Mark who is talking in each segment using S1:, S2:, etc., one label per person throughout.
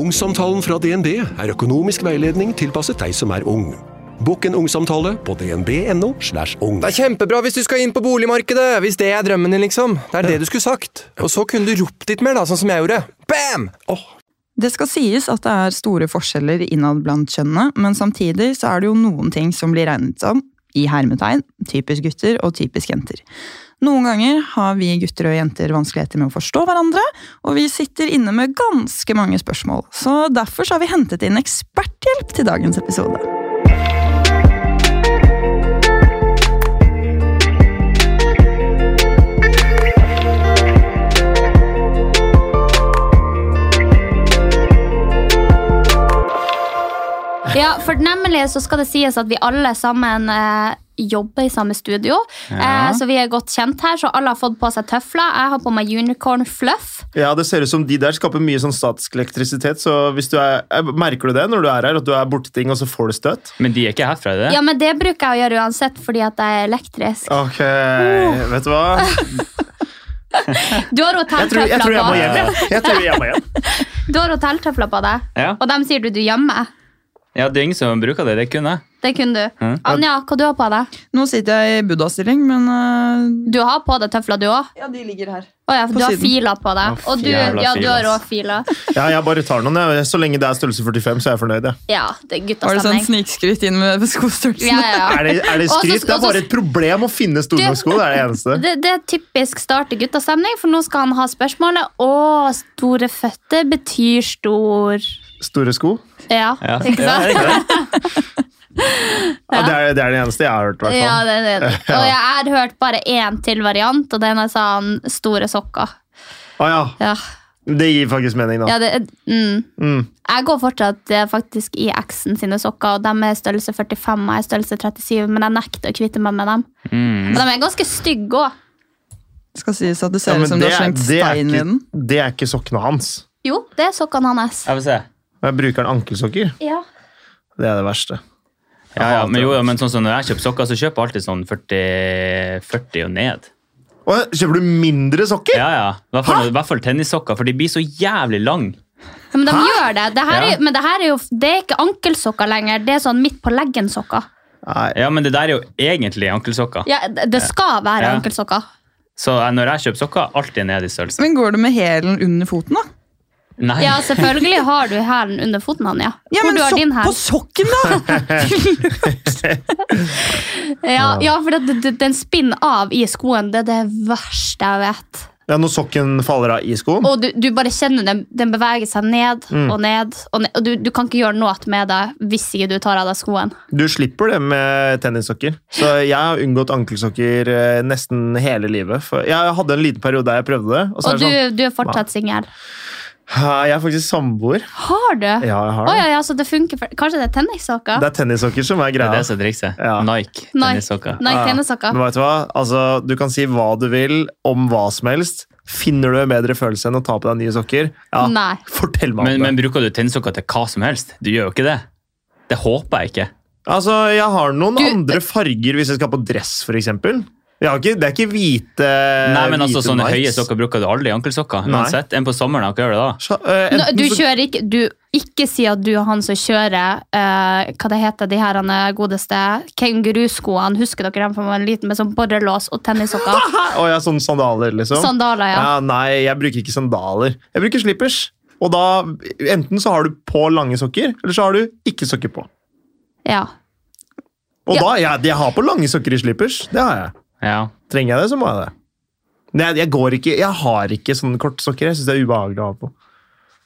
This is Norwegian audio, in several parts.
S1: Ungsamtalen fra DNB er økonomisk veiledning tilpasset deg som er ung. Bokk en ungsamtale på dnb.no. slash ung.
S2: Det er kjempebra hvis du skal inn på boligmarkedet, hvis det er drømmen din, liksom. Det er det du skulle sagt. Og så kunne du ropt litt mer, da, sånn som jeg gjorde. Bam! Åh,
S3: Det skal sies at det er store forskjeller innad blant kjønnene, men samtidig så er det jo noen ting som blir regnet som, i hermetegn, typisk gutter og typisk jenter. Noen ganger har vi gutter og jenter vanskeligheter med å forstå hverandre, og vi sitter inne med ganske mange spørsmål, så derfor så har vi hentet inn eksperthjelp til dagens episode.
S4: Ja, for nemlig så skal det sies at vi alle sammen eh, jobber i samme studio. Eh, så vi er godt kjent her, så alle har fått på seg tøfler. Jeg har på meg unicorn fluff.
S5: Ja, det ser ut som de der skaper mye sånn statisk elektrisitet, så hvis du er, eh, merker du det når du er her, at du er borti ting, og så får du støt?
S6: Men de er ikke herfra, er de det?
S4: Ja, men det bruker jeg å gjøre uansett, fordi at jeg er elektrisk.
S5: Ok,
S4: Uh.
S5: vet du hva?
S4: Du har
S5: Jeg tror, jeg tror jeg må
S4: hotelltøfler
S5: hjem.
S4: på.
S5: ja. Jeg tror jeg må hjem.
S4: Du har hotelltøfler på deg,
S6: Ja.
S4: og dem sier du du gjemmer.
S6: Ja, det er ingen som bruker det. Det kunne jeg.
S4: Det kunne du. Anja, hva du har på deg?
S3: Nå sitter jeg i buddha-stilling, men øh,
S4: Du har på deg tøfler, du òg?
S3: Ja, de ligger her.
S4: Å ja, for
S3: På
S4: du har
S3: siden.
S4: filer på deg.
S6: Å,
S4: Og du,
S6: jævla
S4: ja, du
S6: filer,
S4: har òg filer.
S5: Ja, jeg bare tar noen, jeg. Så lenge det er størrelse 45, så er jeg fornøyd, jeg.
S4: Ja, det er
S3: Var det sånn
S4: guttastemning.
S3: snikskryt inn med skostørrelsen?
S4: Ja, ja, ja.
S5: Er det, er det
S4: Og så-
S5: skryt? Det
S4: og
S5: er
S4: så-
S5: bare et problem å finne store nok sko, det er det eneste.
S4: eh, Det, det er typisk start i guttastemning, for nå skal han ha spørsmålet Å, store føtter betyr stor
S5: Store sko?
S4: Ja,
S6: Ja.
S4: ikke
S6: Ja,
S4: sant?
S6: er det ikke det?
S5: Ja, det er det, er det eneste jeg har hørt, i hvert
S4: Ja,
S5: fall.
S4: det, det, det. Og jeg har hørt bare én til variant, og den er sånn store sokker.
S5: Å ja.
S4: Ja,
S5: Det gir faktisk mening, da.
S4: ja det mm.
S5: Mm.
S4: Jeg går fortsatt eh, faktisk i eksen sine sokker, og de er størrelse 45 og jeg er størrelse 37, men jeg nekter å kvitte meg med dem.
S6: Mm.
S4: Og de er ganske stygge òg.
S3: Det skal sies at det
S5: Ja,
S3: ser
S5: men
S3: ut som du har
S5: er-
S3: slengt
S5: det er
S3: stein i
S5: ikke-
S3: den.
S5: Det er ikke sokkene hans.
S4: Jo, det er sokkene hans.
S6: Jeg vil se.
S5: Jeg bruker en ankelsokker.
S4: Ja.
S5: Det er det verste.
S6: Ja, ja, men jo, ja, men sånn som når jeg kjøper sokker, så kjøper jeg alltid sånn 40, 40 og ned.
S5: Å, kjøper du mindre sokker?
S6: Ja, ja. I hvert fall, i hvert fall tennissokker, for de blir så jævlig lang.
S4: Men de gjør det. det her
S6: Ja.
S4: er, men det her er jo Det er ikke ankelsokker lenger. Det er sånn midt på leggen-sokker.
S5: Nei.
S6: Ja, men det der er jo egentlig ankelsokker.
S4: Ja, det det skal være
S6: Ja.
S4: ankelsokker.
S6: Så jeg- når jeg kjøper sokker, alltid ned i størrelse.
S3: Men går du med hælen under foten, da?
S6: Nei.
S4: Ja, selvfølgelig har du hælen under foten, Anja.
S3: Ja,
S4: Hvor
S3: men
S4: du har
S3: sok-
S4: din hæl.
S3: På sokken, da!
S4: Ja, ja, for det, det, den spinner av i skoen. Det er det verste jeg vet.
S5: Ja, når sokken faller av i skoen?
S4: Og du, du bare kjenner den, den beveger seg ned og ned. Og, ned, og du, du kan ikke gjøre noe med det hvis ikke du tar av deg skoen.
S5: Du slipper det med tennissokker. Så jeg har unngått ankelsokker eh, nesten hele livet. For jeg hadde en liten periode der jeg prøvde det. Og så
S4: Og
S5: er
S4: du,
S5: det sånn,
S4: du er fortsatt singel.
S5: «Hæ, jeg er faktisk samboer.
S4: Har du?
S5: Ja, jeg
S4: Å
S5: har det.
S4: ja, ja, så det funker. For, kanskje det er tennissokker?
S5: Det er tennissokker som er
S6: Det er
S5: greia.
S6: det som er trikset.
S5: Ja.
S6: Nike tennissokker.
S4: Nei,
S5: Ja.
S4: tennissokker.
S5: Men vet du hva? Altså, du kan si hva du vil om hva som helst. Finner du en bedre følelse enn å ta på deg nye sokker? Ja,
S4: Nei.
S5: fortell meg om
S6: Men,
S5: det.
S6: men bruker du tennissokker til hva som helst? Du gjør jo ikke det. Det håper jeg ikke.
S5: Altså, jeg har noen
S4: Du-
S5: andre farger hvis jeg skal på dress, for eksempel. Jeg har ikke, det er ikke hvite
S6: Nei, men altså,
S5: hvite
S6: Sånne
S5: Nikes.
S6: høye sokker bruker du aldri i ankelsokker.
S5: Nei.
S6: Uansett, En på sommeren, hva gjør du da?
S5: Så, eh,
S4: Nå,
S5: enten
S4: du
S5: så-
S4: kjører ikke du, Ikke si at du er han som kjører eh, Hva det heter de her han, eh, godeste Kenguruskoene, husker dere dem fra man var liten Med sånn borrelås og tennissokker
S5: Å ja, sånn sandaler, liksom?
S4: Sandaler, ja.
S5: Nei, jeg bruker ikke sandaler. Jeg bruker slippers. Og da, Enten så har du på lange sokker, eller så har du ikke sokker på.
S4: Ja,
S5: Og
S4: Ja.
S5: da, jeg, jeg har på lange sokker i slippers. Det har jeg.
S6: Ja.
S5: Trenger jeg det, så må jeg det. Men jeg, jeg går ikke, jeg har ikke sånne kortsokker. Jeg syns det er ubehagelig å ha på.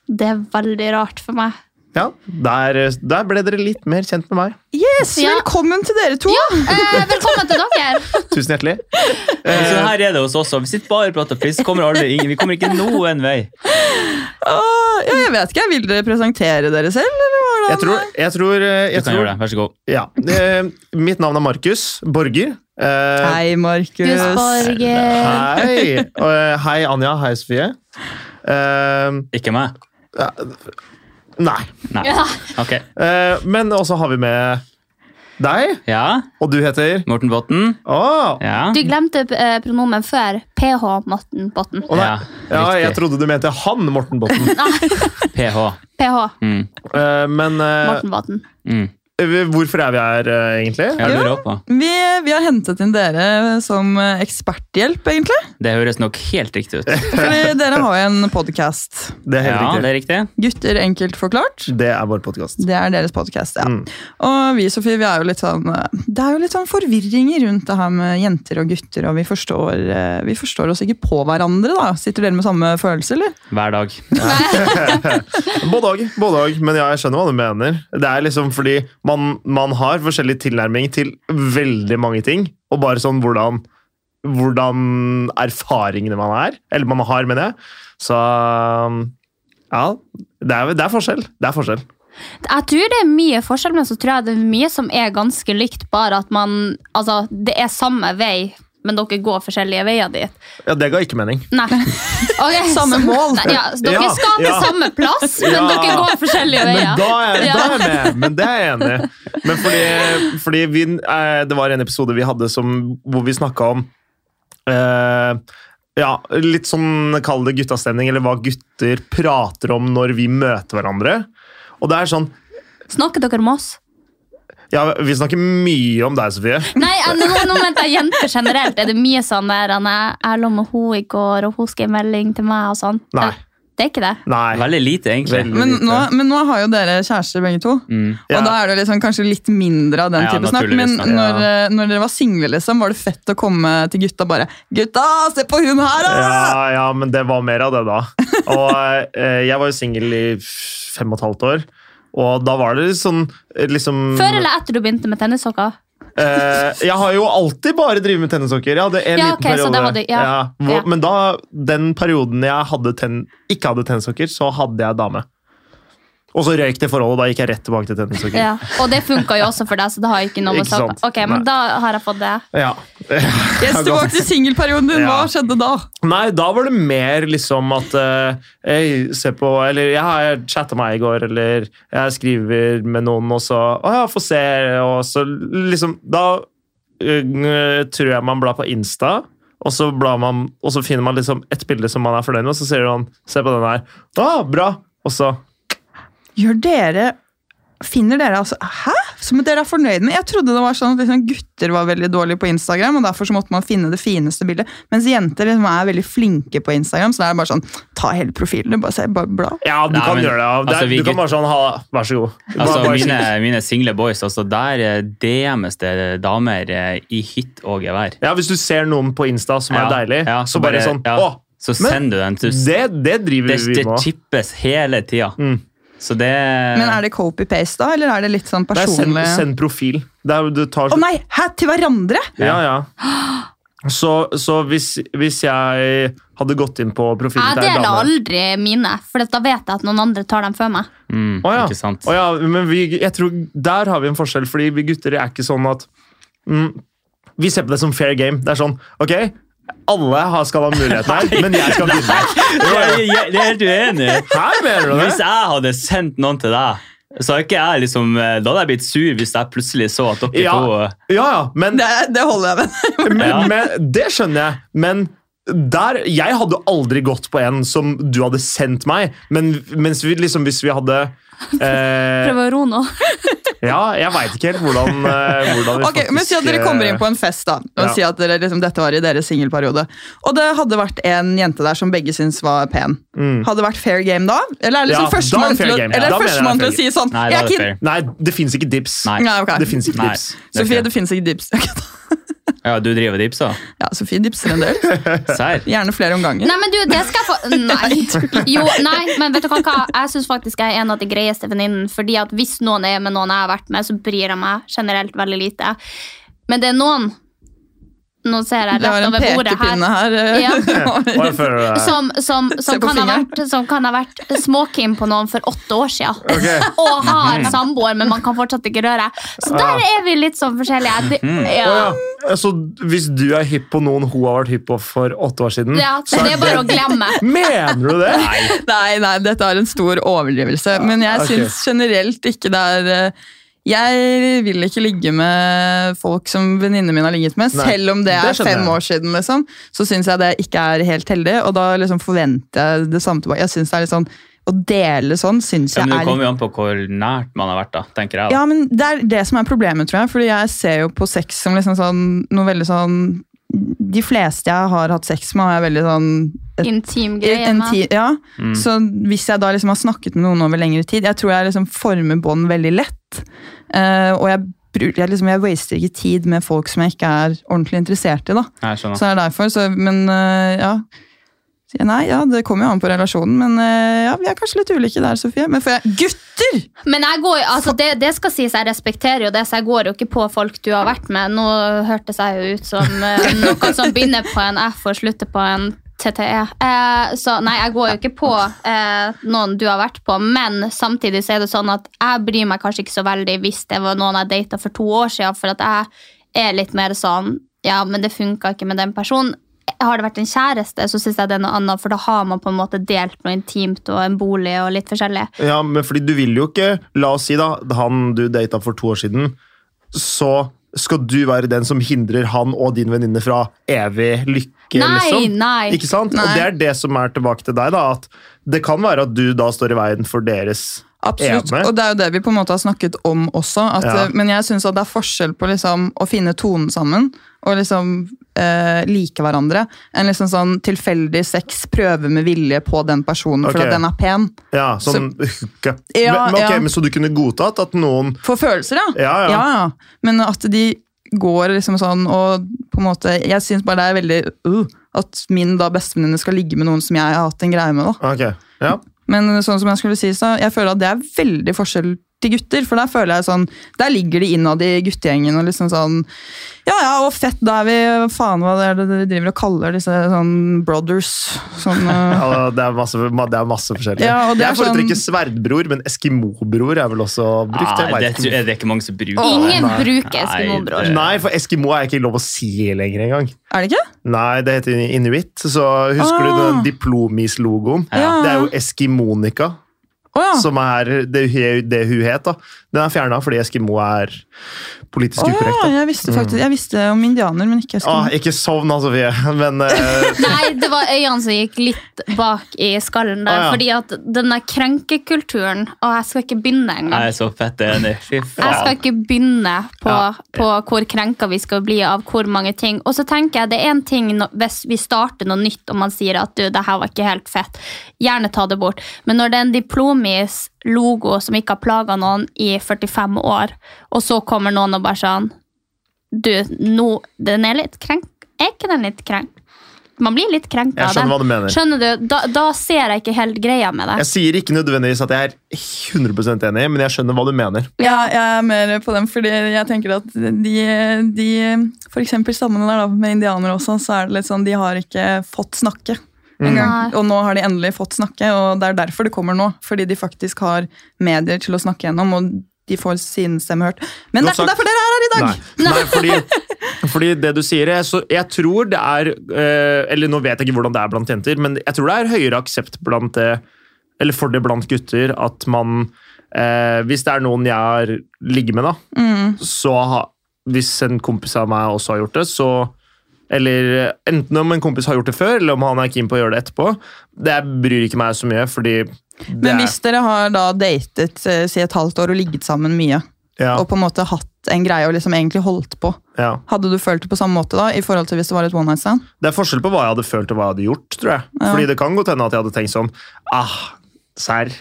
S4: det er veldig rart for meg
S5: Ja, Der, der ble dere litt mer kjent med meg.
S3: Yes,
S4: Ja.
S3: velkommen til dere to!
S4: eh, Velkommen til dere
S5: Tusen hjertelig. Eh,
S6: Men Sånn her er det hos oss også. Vi sitter bare og prater piss. Kommer aldri ingen, vi kommer ikke noen vei.
S3: Åh, ja, jeg jeg vet ikke. Vil dere presentere dere selv, eller hvordan?
S5: Jeg tror, jeg tror, eh, jeg
S6: Du kan gjøre det. Vær så god.
S5: Ja. Eh, Mitt navn er Markus Borger. Eh,
S3: Hei, Markus.
S5: Hei. Og, eh, Hei, Anja. Hei, Sofie. Eh,
S6: Ikke meg?
S5: Nei.
S6: Nei.
S4: Ja.
S6: Ok.
S5: Eh, Men også har vi med deg. Og du heter?
S6: Morten Botten.
S5: Å
S4: Du glemte eh, pronomen før. PH Morten Botten.
S5: Å, nei. ja, jeg trodde du mente han Morten Botten.
S6: PH.
S4: PH
S6: Mm.
S5: Eh, Men eh,
S4: Morten Botten.
S5: eh, hvorfor er vi her, eh, egentlig?
S6: Jeg lurer også på.
S3: Vi, vi har hentet inn dere som eh, eksperthjelp, egentlig.
S6: Det høres nok helt riktig ut.
S3: Fordi dere har jo en podkast.
S5: Det er helt
S6: ja,
S5: riktig.
S6: Det er riktig.
S3: Gutter enkelt forklart.
S5: Det er vår podkast.
S3: Det er deres podkast, ja.
S6: Mm.
S3: Og vi, Sofie, vi er jo litt sånn eh, Det er jo litt sånn forvirring rundt det her med jenter og gutter, og vi forstår, eh, vi forstår oss ikke på hverandre, da. Sitter dere med samme følelse, eller?
S6: Hver dag.
S5: Både òg, både òg, men ja, jeg skjønner hva du mener. Det er liksom fordi man, man har forskjellig tilnærming til veldig mange ting, og bare sånn hvordan, hvordan erfaringene man er, eller man har, mener jeg. Så ja, det er, det er forskjell. Det er forskjell.
S4: Jeg tror det er mye forskjell, men så tror jeg det er mye som er ganske likt, bare at man Altså, det er samme vei, men dere går forskjellige veier dit.
S5: Ja, det ga ikke mening.
S4: Nei. Ok,
S3: Samme
S4: så-
S3: mål.
S4: Nei, ja, så dere
S5: Ja,
S4: skal til
S5: ja.
S4: samme plass, men
S5: Ja.
S4: dere går forskjellige veier.
S5: Men da er,
S4: Ja.
S5: da er jeg med, men det er jeg enig i. Men fordi, fordi vi, eh, det var en episode vi hadde som, hvor vi snakka om eh, ja, litt sånn kall det guttastemning, eller hva gutter prater om når vi møter hverandre. Og det er sånn
S4: Snakker dere med oss?
S5: Ja, vi snakker mye om deg, Sofie.
S4: Nei, jeg- nå, nå mente jeg jenter generelt. Er det mye sånn der han er- Jeg lå med henne i går, og hun skrev melding til meg og sånn?
S5: Nei.
S4: Det er ikke det.
S5: Nei.
S6: Veldig lite, egentlig.
S3: Men nå, men nå har jo dere kjærester begge to,
S5: Ja.
S3: og da er det liksom kanskje litt mindre av den
S6: Ja,
S3: type snakk. Men
S6: naturligvis, ja.
S3: når, eh, når dere var single, liksom, var det fett å komme til gutta bare 'Gutta, se på hun her, da!'
S5: Ja, ja, men det var mer av det da. Og eh, jeg var jo singel i fem og et halvt år. Og da var det litt sånn eh, liksom
S4: Før eller etter du begynte med tennissokker?
S5: Eh, jeg har jo alltid bare drevet med tennissokker. Jeg hadde en
S4: Ja,
S5: liten
S4: ok, så
S5: periode.
S4: det var det- ja.
S5: hvor,
S4: Ja.
S5: Men da, den perioden jeg hadde ten, ikke hadde tennissokker, så hadde jeg dame. Og så røyk det forholdet, og da gikk jeg rett tilbake til tennissokker.
S4: Ja. Og det funka jo også for deg, så det har jeg ikke noe
S5: Mm.
S4: med
S5: Ikke sant.
S4: saken Ok, men
S5: Nei.
S4: da har jeg fått det.
S5: Ja.
S3: Yes, tilbake til singelperioden din,
S5: Ja.
S3: hva skjedde da?
S5: Nei, da var det mer liksom at eh, jeg ser på Eller ja, jeg chatta meg i går, eller jeg skriver med noen, og så Å ja, få se, og så liksom Da eh, tror jeg man blar på Insta, og så, blar man, og så finner man liksom et bilde som man er fornøyd med, og så ser man Se på den her. Å, bra! Og så
S3: Gjør dere Finner dere altså Hæ? Som dere er fornøyd med? Jeg trodde det var sånn at liksom, gutter var veldig dårlige på Instagram, og derfor så måtte man finne det fineste bildet. Mens jenter liksom, er veldig flinke på Instagram, så da er det bare sånn Ta hele profilen, bare se, bare bla.
S5: Ja, du
S6: Nei,
S5: kan
S6: men,
S5: gjøre det. ja. det
S6: altså,
S5: er,
S6: vi
S5: du kan
S6: gutt-
S5: bare sånn ha, Vær så god. Bare-
S6: Altså,
S5: bare-
S6: mine, mine single boys, altså, der eh, DMes det damer eh, i hytt og gevær.
S5: Ja, Hvis du ser noen på Insta som er
S6: Ja,
S5: deilig,
S6: ja,
S5: så bare, sånn
S6: ja,
S5: Å!
S6: Så
S5: men-
S6: sender du dem. til-
S5: Det, Mm. det driver
S6: det,
S5: vi
S6: det
S5: med også.
S6: chippes hele tida. Så det
S3: Men er det copy-paste, da, eller er det litt sånn
S5: Det er send,
S3: personlig Å
S5: send profil. Det er, du tar,
S3: nei! Hæ? Til hverandre?
S5: ja, ja. Så, så hvis, hvis jeg hadde gått inn på profilen
S4: Jeg
S5: til ei
S4: deler
S5: dame
S4: aldri mine, for da vet jeg at noen andre tar dem før meg.
S6: mm,
S5: Å ja.
S6: Ikke sant?
S5: Å ja, men vi, jeg tror Der har vi en forskjell, fordi vi gutter er ikke sånn at mm, Vi ser på det som fair game. Det er sånn OK, alle har, skal ha muligheten her, men jeg skal vinne.
S6: Jeg, jeg, det er helt uenig.
S5: Her mener du
S6: Hvis
S5: det?
S6: jeg hadde sendt noen til deg, så hadde ikke jeg liksom, eh, da hadde jeg blitt sur hvis jeg plutselig så at dere
S5: Ja,
S6: to eh,
S5: ja, ja men,
S3: Det, det holder jeg med.
S5: men,
S6: Ja.
S5: men Det skjønner jeg, men der, jeg hadde aldri gått på en som du hadde sendt meg, men mens vi, liksom, hvis vi hadde eh,
S4: Prøv å ro nå.
S5: Ja, jeg veit ikke helt hvordan, eh, hvordan vi eh,
S3: Ok, men Si at dere kommer inn på en fest, da, og
S5: Ja.
S3: si at dere, liksom, dette var i deres singelperiode. Og det hadde vært en jente der som begge syns var pen. Hadde vært fair game da? Eller er
S5: Mm.
S3: det
S5: Ja, da
S3: liksom
S5: er det
S3: førstemann
S5: fair
S3: til, å-
S5: game, ja.
S3: eller
S5: Da
S3: er
S5: mener jeg det er
S3: førstemann til å
S5: fair
S3: si sånn
S6: Nei, da
S3: jeg er
S6: er det
S3: keen.
S6: fair.
S5: Nei, det fins ikke dips.
S6: Nei.
S3: Nei, ok.
S5: Det finnes ikke
S6: Nei.
S5: dips.
S6: Det er
S3: Sofie,
S6: fair.
S3: det fins ikke dips. Ok, da.
S6: Ja, du driver og dipser?
S3: Ja, Sofie dipser en del.
S6: Serr?
S3: Gjerne flere omganger.
S4: Nei, men du, det skal jeg få Nei. Jo, nei, men vet du hva? hva? Jeg syns faktisk jeg er en av de greieste venninnene. Fordi at hvis noen er med noen jeg har vært med, så bryr jeg meg generelt veldig lite. Men det er noen nå ser jeg
S3: Det var
S4: rett
S3: en
S4: over bordet her.
S3: pekepinne her, eh,
S5: Hva føler du
S4: Ja.
S5: der?
S4: Som, som,
S3: Se
S4: som,
S3: på
S4: kan ha
S3: fingeren.
S4: vært, som kan ha vært småkim på noen for åtte år siden.
S5: Ok.
S4: Og har
S5: Mhm.
S4: samboer, men man kan fortsatt ikke røre. Så der
S5: Ja. Mhm.
S4: er vi litt sånn forskjellige. Det, ja.
S5: Å ja, Så hvis du er hypp på noen hun har vært hypp på for åtte år siden
S4: Ja, så det er bare å glemme.
S5: Mener du det?
S3: Nei, nei, dette er en stor overdrivelse. Men jeg
S5: ok.
S3: syns generelt ikke det er eh, Jeg vil ikke ligge med folk som venninnene mine har ligget med,
S7: Nei,
S3: selv om det
S7: det
S3: er
S7: skjønner
S3: fem
S7: jeg.
S3: år siden. liksom. Så syns jeg det ikke er helt heldig, og da liksom forventer jeg det samme tilbake. Jeg synes det er litt sånn, Å dele sånn syns
S6: Ja,
S3: jeg
S6: men det
S3: er litt
S6: kommer jo an på hvor nært man har vært, da, tenker jeg. da.
S3: Ja, men det er det som er problemet, tror jeg. Fordi jeg ser jo på sex som liksom sånn, noe veldig sånn De fleste jeg har hatt sex med, er veldig sånn et-
S4: Intim greie,
S3: en
S4: man.
S3: ti- Ja.
S4: Mm.
S3: Så hvis jeg da liksom har snakket med noen over lengre tid Jeg tror jeg liksom former bånd veldig lett. eh, og jeg, bru- jeg, liksom, jeg waster ikke tid med folk som jeg ikke er ordentlig interessert i. da.
S6: Jeg skjønner.
S3: Så det er derfor. Så, men eh, ja. Så jeg- Nei, ja, det kommer jo an på relasjonen, men eh, ja, vi er kanskje litt ulike der, Sofie. Men for jeg, gutter!
S4: Men jeg går, altså det, det skal sies, jeg respekterer jo det, så jeg går jo ikke på folk du har vært med. Nå hørtes jeg jo ut som eh, noe som begynner på en F og slutter på en TTE. Eh, så nei, jeg går jo ikke på eh, noen du har vært på, men samtidig så er det sånn at jeg bryr meg kanskje ikke så veldig hvis det var noen jeg data for to år siden, for at jeg er litt mer sånn ja, men det funka ikke med den personen. Har det vært en kjæreste, så syns jeg det er noe annet, for da har man på en måte delt noe intimt og en bolig og litt forskjellig.
S5: Ja, men fordi du vil jo ikke La oss si da, han du data for to år siden Så skal du være den som hindrer han og din venninne fra evig lykke
S4: Nei,
S5: liksom.
S4: nei.
S5: Ikke sant? Og
S4: Nei.
S5: det er det som er tilbake til deg da At det kan være at du da står i veien for deres
S3: Absolutt,
S5: ene
S3: og det er jo det vi på en måte har snakket om også. At,
S5: Ja.
S3: eh, Men jeg syns det er forskjell på liksom, å finne tonen sammen og liksom eh, like hverandre, enn liksom sånn tilfeldig sex, prøve med vilje på den personen for
S5: Ok.
S3: at den er pen.
S5: Ja, sånn hookup
S3: Ja,
S5: men, men ok,
S3: ja.
S5: men Så du kunne godtatt at noen
S3: For følelser, ja.
S5: Ja, ja.
S3: Men at de går liksom sånn og på en måte Jeg syns bare det er veldig uh, at min da bestevenninne skal ligge med noen som jeg har hatt en greie med. da.
S5: Ok, ja
S3: Men sånn som jeg skulle si, så jeg føler at det er veldig forskjell til gutter, for der føler jeg sånn, der ligger de innad i guttegjengen og liksom sånn, ja ja, og fett, da er vi, hva faen hva det er det dere driver og kaller disse sånn brothers, sånn, eh,
S5: Ja, det er masse, ma- det er masse forskjellig.
S3: Ja, og det
S5: jeg
S3: er sånn-
S5: foretrekker sverdbror, men eskimo-bror er vel også brukt?
S6: Ah,
S5: jeg
S6: det
S5: vet
S6: tror
S5: ikke.
S6: jeg det er ikke mange som bruker
S4: Ingen
S5: Nei.
S4: bruker Eskimo-bror.
S5: Nei, Nei, for eskimo er ikke lov å si lenger engang.
S3: er det ikke?
S5: Nei, det heter inuitt. Så husker du
S3: Ah.
S5: den diplomis-logoen?
S3: Ja. Ah.
S5: Det er jo Eskimonika. Som er det, hu- det hun het. da. Den er fjerna fordi Eskimo er politisk
S3: Å
S5: ukorrekt.
S3: ja,
S5: da.
S3: jeg visste faktisk, jeg visste om indianer, men ikke jeg
S5: Ah,
S3: skulle...
S5: ikke sovn, da, Sofie. Men eh,
S4: Nei, det var øynene som gikk litt bak i skallen der.
S6: Å, ja.
S4: Fordi at denne krenkekulturen Og jeg skal ikke begynne engang.
S6: Jeg er så fett enig. Fy
S4: Jeg skal
S6: faen.
S4: ikke begynne på,
S6: Ja.
S4: på hvor krenka vi skal bli av hvor mange ting. Og så tenker jeg det er en ting nå- hvis vi starter noe nytt og man sier at du, det her var ikke helt fett, gjerne ta det bort. Men når det er en diplomis logo som ikke har plaga noen i 45 år, og så kommer noen og bare sånn Du, nå, den er litt krenk. Er ikke den litt krenk? Man blir litt krenka
S5: Jeg
S4: av
S5: skjønner
S4: den.
S5: hva du mener.
S4: Skjønner du? Da, da ser jeg ikke helt greia med det.
S5: jeg sier ikke nødvendigvis at jeg er 100 enig, men jeg skjønner hva du mener.
S3: Ja, jeg er mer på dem, fordi jeg tenker at de, de for eksempel stammene der da, med indianere også, så er det litt sånn, de har ikke fått snakke
S7: Mm.
S3: en gang.
S7: Nei.
S3: Og nå har de endelig fått snakke, og det er derfor det kommer nå. Fordi de faktisk har medier til å snakke gjennom, og de får sin stemme hørt. Men det
S5: Godt
S3: er
S5: sagt.
S3: ikke derfor dere er her i dag!
S5: Nei, nei fordi, fordi det du sier, jeg, så jeg tror det er eh, Eller nå vet jeg ikke hvordan det er blant jenter, men jeg tror det er høyere aksept blant det, eller for det blant gutter at man eh, Hvis det er noen jeg har ligget med, da,
S3: Mm.
S5: så ha, hvis en kompis av meg også har gjort det, så eller Enten om en kompis har gjort det før, eller om han er keen på å gjøre det etterpå. Det bryr ikke meg så mye, fordi det
S3: Men
S5: er-
S3: hvis dere har da datet eh, si et halvt år og ligget sammen mye,
S5: Ja.
S3: og på en måte hatt en greie og liksom egentlig holdt på,
S5: ja.
S3: hadde du følt det på samme måte da, i forhold til hvis det var et one night stand?
S5: Det er forskjell på hva jeg hadde følt og hva jeg hadde gjort. tror jeg.
S3: Ja.
S5: Fordi det kan godt hende at jeg hadde tenkt sånn Ah, serr.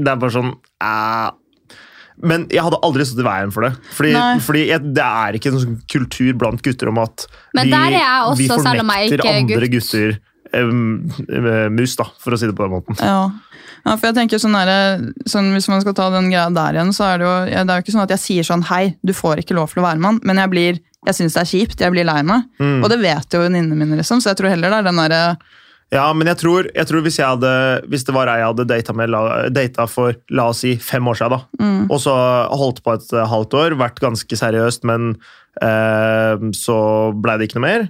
S5: Det er bare sånn ah. Men jeg hadde aldri stått i veien for det. Fordi,
S4: Nei.
S5: fordi jeg, det er ikke en sånn kultur blant gutter om at vi,
S4: Men der er jeg også,
S5: vi
S4: selv om jeg
S5: fornekter
S4: ikke er
S5: andre
S4: gutt.
S5: gutter eh, mus, da, for å si det på den måten.
S3: Ja. ja, for jeg tenker sånn der, sånn, Hvis man skal ta den greia der igjen, så er det jo ja, det er jo ikke sånn at jeg sier sånn Hei, du får ikke lov til å være med han, men jeg blir Jeg syns det er kjipt, jeg blir lei meg.
S5: Mm.
S3: Og det vet jo venninnene mine, liksom, så jeg tror heller det er den derre
S5: Ja, men jeg tror, jeg tror hvis, jeg hadde, hvis det var ei jeg hadde data, med, la- data for la oss si fem år siden, da,
S3: Mm.
S5: og så holdt på et eh, halvt år, vært ganske seriøst, men eh, så blei det ikke noe mer.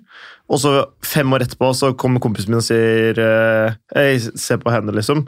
S5: Og så fem år etterpå så kommer kompisen min og sier eh, «Ei, Se på henne, liksom.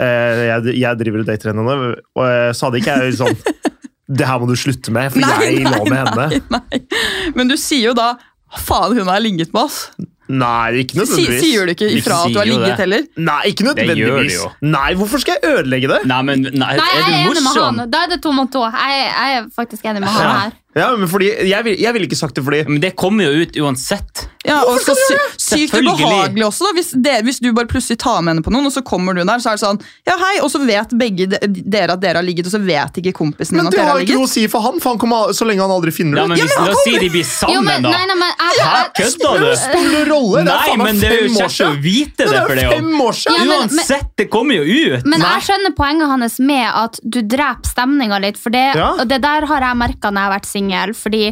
S5: Eh, jeg, jeg driver og dater henne nå. Og eh, så hadde ikke jeg sånn Det her må du slutte med, for
S3: Nei,
S5: jeg lå
S3: nei,
S5: med henne.
S3: nei, nei. Men du sier jo da Faen, hun har ligget med oss.
S5: Nei, ikke
S3: Si-
S5: nødvendigvis.
S3: sier du ikke ifra at du har
S6: sier jo
S3: ligget
S6: det.
S3: heller?
S5: Nei, ikke
S6: Det gjør de
S5: nødvendigvis.
S6: jo.
S5: Nei, hvorfor skal jeg ødelegge det?
S6: Nei, men nei,
S4: Nei,
S6: er
S4: jeg er
S6: du
S4: enig med han.
S6: morsom?
S4: Da er det to mot to. Jeg, jeg er faktisk enig med han
S6: Ja.
S4: her.
S5: Ja, men fordi, jeg ville vil ikke sagt det fordi
S6: Men det kommer jo ut uansett.
S3: Ja, og så sy sykt
S6: Selvfølgelig.
S3: ubehagelig også, da. Hvis, det, hvis du bare plutselig tar med henne på noen, og så kommer du der, så er det sånn Ja, hei, og så vet begge de, dere at dere har ligget, og så vet ikke kompisen din
S5: Men
S3: at
S5: det
S3: dere
S5: har
S3: har
S5: ikke noe å
S3: ligget.
S5: si for han, for han kommer, al- så lenge han aldri finner
S6: Ja,
S5: det
S6: men
S5: ut.
S6: hvis, La oss si de blir
S4: Jo, men,
S6: sammen, da.
S4: nei, nei, men jeg,
S6: Hæ,
S4: jeg,
S6: kødder du?
S5: Spiller rolle! Det er
S6: Nei,
S5: faen meg
S6: men det er jo
S5: fem år
S6: kjekt å
S5: siden!
S6: vite det
S5: er
S6: for det òg.
S5: fem år siden!
S4: Ja, men-
S6: Uansett, det kommer jo ut.
S4: men jeg skjønner poenget hans med at du dreper stemninga litt. For det,
S5: Ja.
S4: og det der har jeg merka når jeg har vært singel. Fordi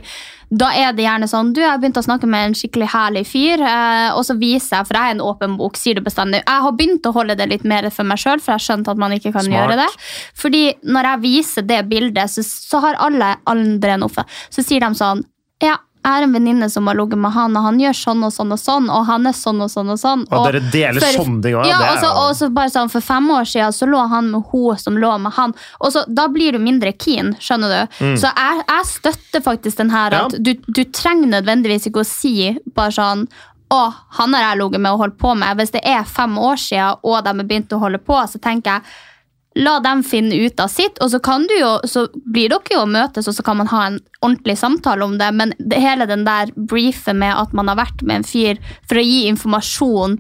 S4: da er det gjerne sånn Du, jeg har begynt å snakke med en skikkelig herlig fyr, eh, og så viser jeg, for jeg er en åpen bok, sier det bestandig. Jeg har begynt å holde det litt mer for meg sjøl, for jeg skjønte at man ikke kan
S5: Smart.
S4: gjøre det. Fordi når jeg viser det bildet, så, så har alle andre en offer. Så sier de sånn Ja, jeg har en venninne som har ligget med han, og han gjør sånn og sånn og sånn, og han er sånn og sånn og sånn.
S5: Og dere deler sånne ting også,
S4: Ja,
S5: det er
S4: og så,
S5: jo-
S4: og så bare sånn, For fem år siden så lå han med hun som lå med han. Og så, Da blir du mindre keen, skjønner du.
S5: Mm.
S4: Så jeg, jeg støtter faktisk den her at
S5: Ja.
S4: du, du trenger nødvendigvis ikke å si bare sånn å, han har jeg ligget med og holdt på med. Hvis det er fem år siden, og de har begynt å holde på, så tenker jeg La dem finne ut av sitt, og så, kan du jo, så blir dere jo å møtes, og så kan man ha en ordentlig samtale om det, men det, hele den der briefen med at man har vært med en fyr for å gi informasjon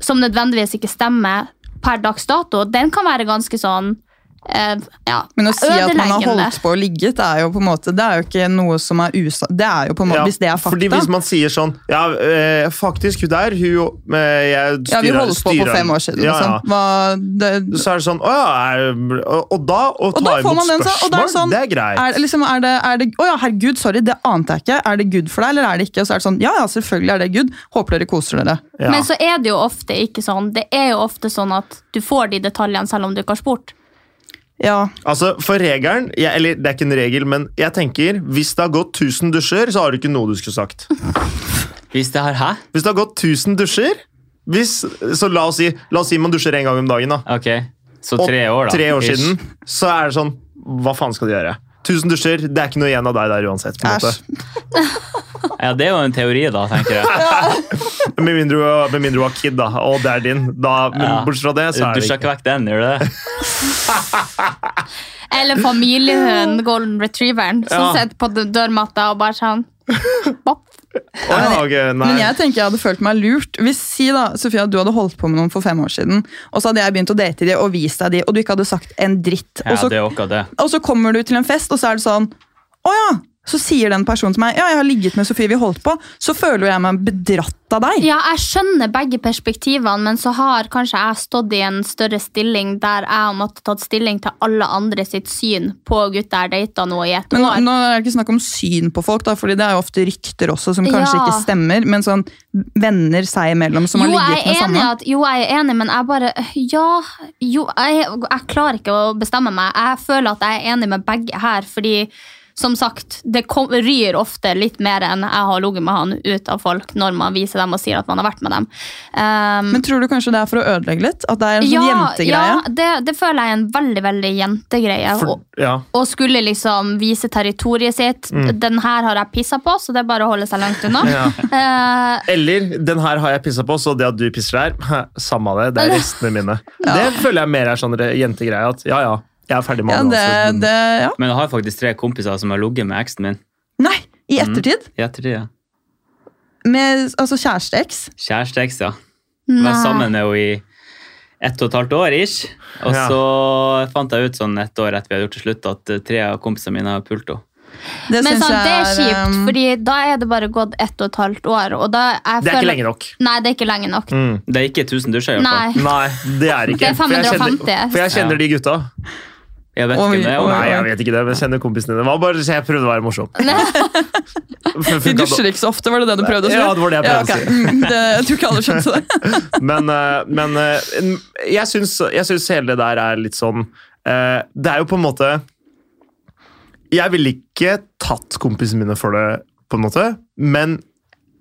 S4: som nødvendigvis ikke stemmer per dags dato, den kan være ganske sånn eh, ja,
S3: Men å si at man har
S4: ødeleggende.
S3: holdt på og ligget, det er jo på en måte Det er jo ikke noe som er usa... Det er jo på en måte,
S5: Ja,
S3: Hvis det er
S5: Fordi
S3: fakta.
S5: Hvis man sier sånn Ja, eh, faktisk, hun der hun, eh, jeg styrer,
S3: Ja, vi holdt på
S5: styrer-
S3: på fem år siden.
S5: Ja, ja.
S3: Liksom. Hva, det,
S5: Så er det sånn Å ja, er, og, og da å
S3: Og
S5: ta
S3: da
S5: imot
S3: får man den sånn. Og da er
S5: spørsmål,
S3: det sånn
S5: det er greit.
S3: Er, liksom, er det, er det, å ja, herregud, sorry, det ante jeg ikke. Er det good for deg, eller er det ikke? Og så er det sånn, ja, ja, selvfølgelig er det good. Håper dere koser dere.
S5: Ja.
S4: Men så er det jo ofte ikke sånn. Det er jo ofte sånn at du får de detaljene selv om du ikke har spurt.
S3: Ja,
S5: Altså, for regelen, jeg, eller det er ikke en regel, men jeg tenker, hvis det har gått 1000 dusjer, så har du ikke noe du skulle sagt.
S6: Hvis det her Hæ?
S5: Hvis det har gått 1000 dusjer, hvis, så la oss si, la oss si man dusjer en gang om dagen, da.
S6: Ok, så tre år, da.
S5: tre år
S6: Ish.
S5: siden, så er det sånn, hva faen skal du gjøre? 1000 dusjer, det er ikke noe igjen av deg der uansett, på en måte.
S3: æsj.
S6: Ja, det er jo en teori, da, tenker jeg.
S5: Med mindre, du- med mindre du har kid, da, og det er din. Da, men
S6: Ja.
S5: bortsett fra det,
S6: Du
S5: så er det
S6: dusja
S5: ikke.
S6: ikke vekk den, gjør du det?
S4: Eller familiehund, golden retrieveren, som
S5: Ja.
S4: sitter på d- dørmatta og bare sånn Bopp.
S5: Å, ja, ok, nei.
S3: Men jeg tenker jeg hadde følt meg lurt. Hvis si da, Sofia, du hadde holdt på med noen for fem år siden, og så hadde jeg begynt å date de og vist deg de, og du ikke hadde sagt en dritt.
S6: Ja,
S3: og, så,
S6: det er jo akkurat det.
S3: og så kommer du til en fest, og så er det sånn, å ja, så sier den personen til meg, ja, jeg har ligget med Sofie, vi holdt på, så føler jeg meg bedratt av deg.
S4: Ja, jeg skjønner begge perspektivene, men så har kanskje jeg stått i en større stilling der jeg har måttet tatt stilling til alle andre sitt syn på gutter jeg data nå i et
S3: Men nå,
S4: år.
S3: nå er det ikke snakk om syn på folk, da, fordi det er jo ofte rykter også som kanskje
S4: Ja.
S3: ikke stemmer, men sånn venner seg imellom som
S4: jo,
S3: har
S4: jeg
S3: ligget med
S4: er enig
S3: samme.
S4: at, jo, jeg er enig, men jeg bare øh, Ja, jo, jeg, jeg klarer ikke å bestemme meg. Jeg føler at jeg er enig med begge her, fordi som sagt, det kom, ryr ofte litt mer enn jeg har ligget med han ut av folk når man viser dem og sier at man har vært med dem. Um,
S3: Men tror du kanskje det er for å ødelegge litt? At det er en sånn jentegreie?
S4: ja det, det føler jeg er en veldig, veldig jentegreie.
S5: For,
S4: og,
S5: ja.
S4: og skulle liksom vise territoriet sitt.
S3: Mm.
S4: Den her har jeg pissa på, så det er bare å holde seg langt unna. Eh,
S5: Eller den her har jeg pissa på, så det at du pisser der, samme det. Det er restene mine. Det føler jeg mer er sånn re- jentegreie. At ja, ja, jeg er ferdig med
S3: Ja,
S5: han,
S3: det,
S5: altså.
S3: det, ja.
S6: Men jeg har faktisk tre kompiser som har ligget med eksen min.
S3: Nei, i ettertid?
S6: I ettertid, ja.
S3: Med altså kjæresteeks?
S6: Kjæresteeks, ja.
S4: nei.
S6: Var sammen med henne i ett og et halvt år, ish. Og
S5: Ja.
S6: så fant jeg ut sånn et år etter vi hadde gjort det slutt, at eh, tre av kompisene mine har pult henne.
S3: Det
S4: Men
S3: syns
S4: sånn, det er
S3: jeg
S4: kjipt,
S3: um,
S4: fordi da er det bare gått ett og et halvt år. Og da jeg
S5: Det er ikke
S4: føler-
S5: lenge nok.
S4: Nei, det er ikke lenge nok.
S6: Det er ikke 1000 dusjer, i hvert Mm, fall.
S4: Nei.
S5: Nei, det er ikke.
S4: Det er
S5: For jeg kjenner-
S4: 550.
S5: For jeg kjenner de gutta.
S6: Jeg vet ikke om det.
S5: Nei, jeg vet ikke det, men jeg kjenner kompisene dine. Det var Bare, så jeg prøvde å være morsom.
S3: Vi dusjer ikke så ofte, var det det du prøvde å si?
S5: Ja, det var det jeg prøvde å
S3: ok.
S5: si.
S3: Mm, det, jeg tror ikke alle skjønte det.
S5: Men, eh, men eh, en- jeg syns, jeg syns hele det der er litt sånn eh, Det er jo på en måte Jeg ville ikke tatt kompisene mine for det, på en måte, men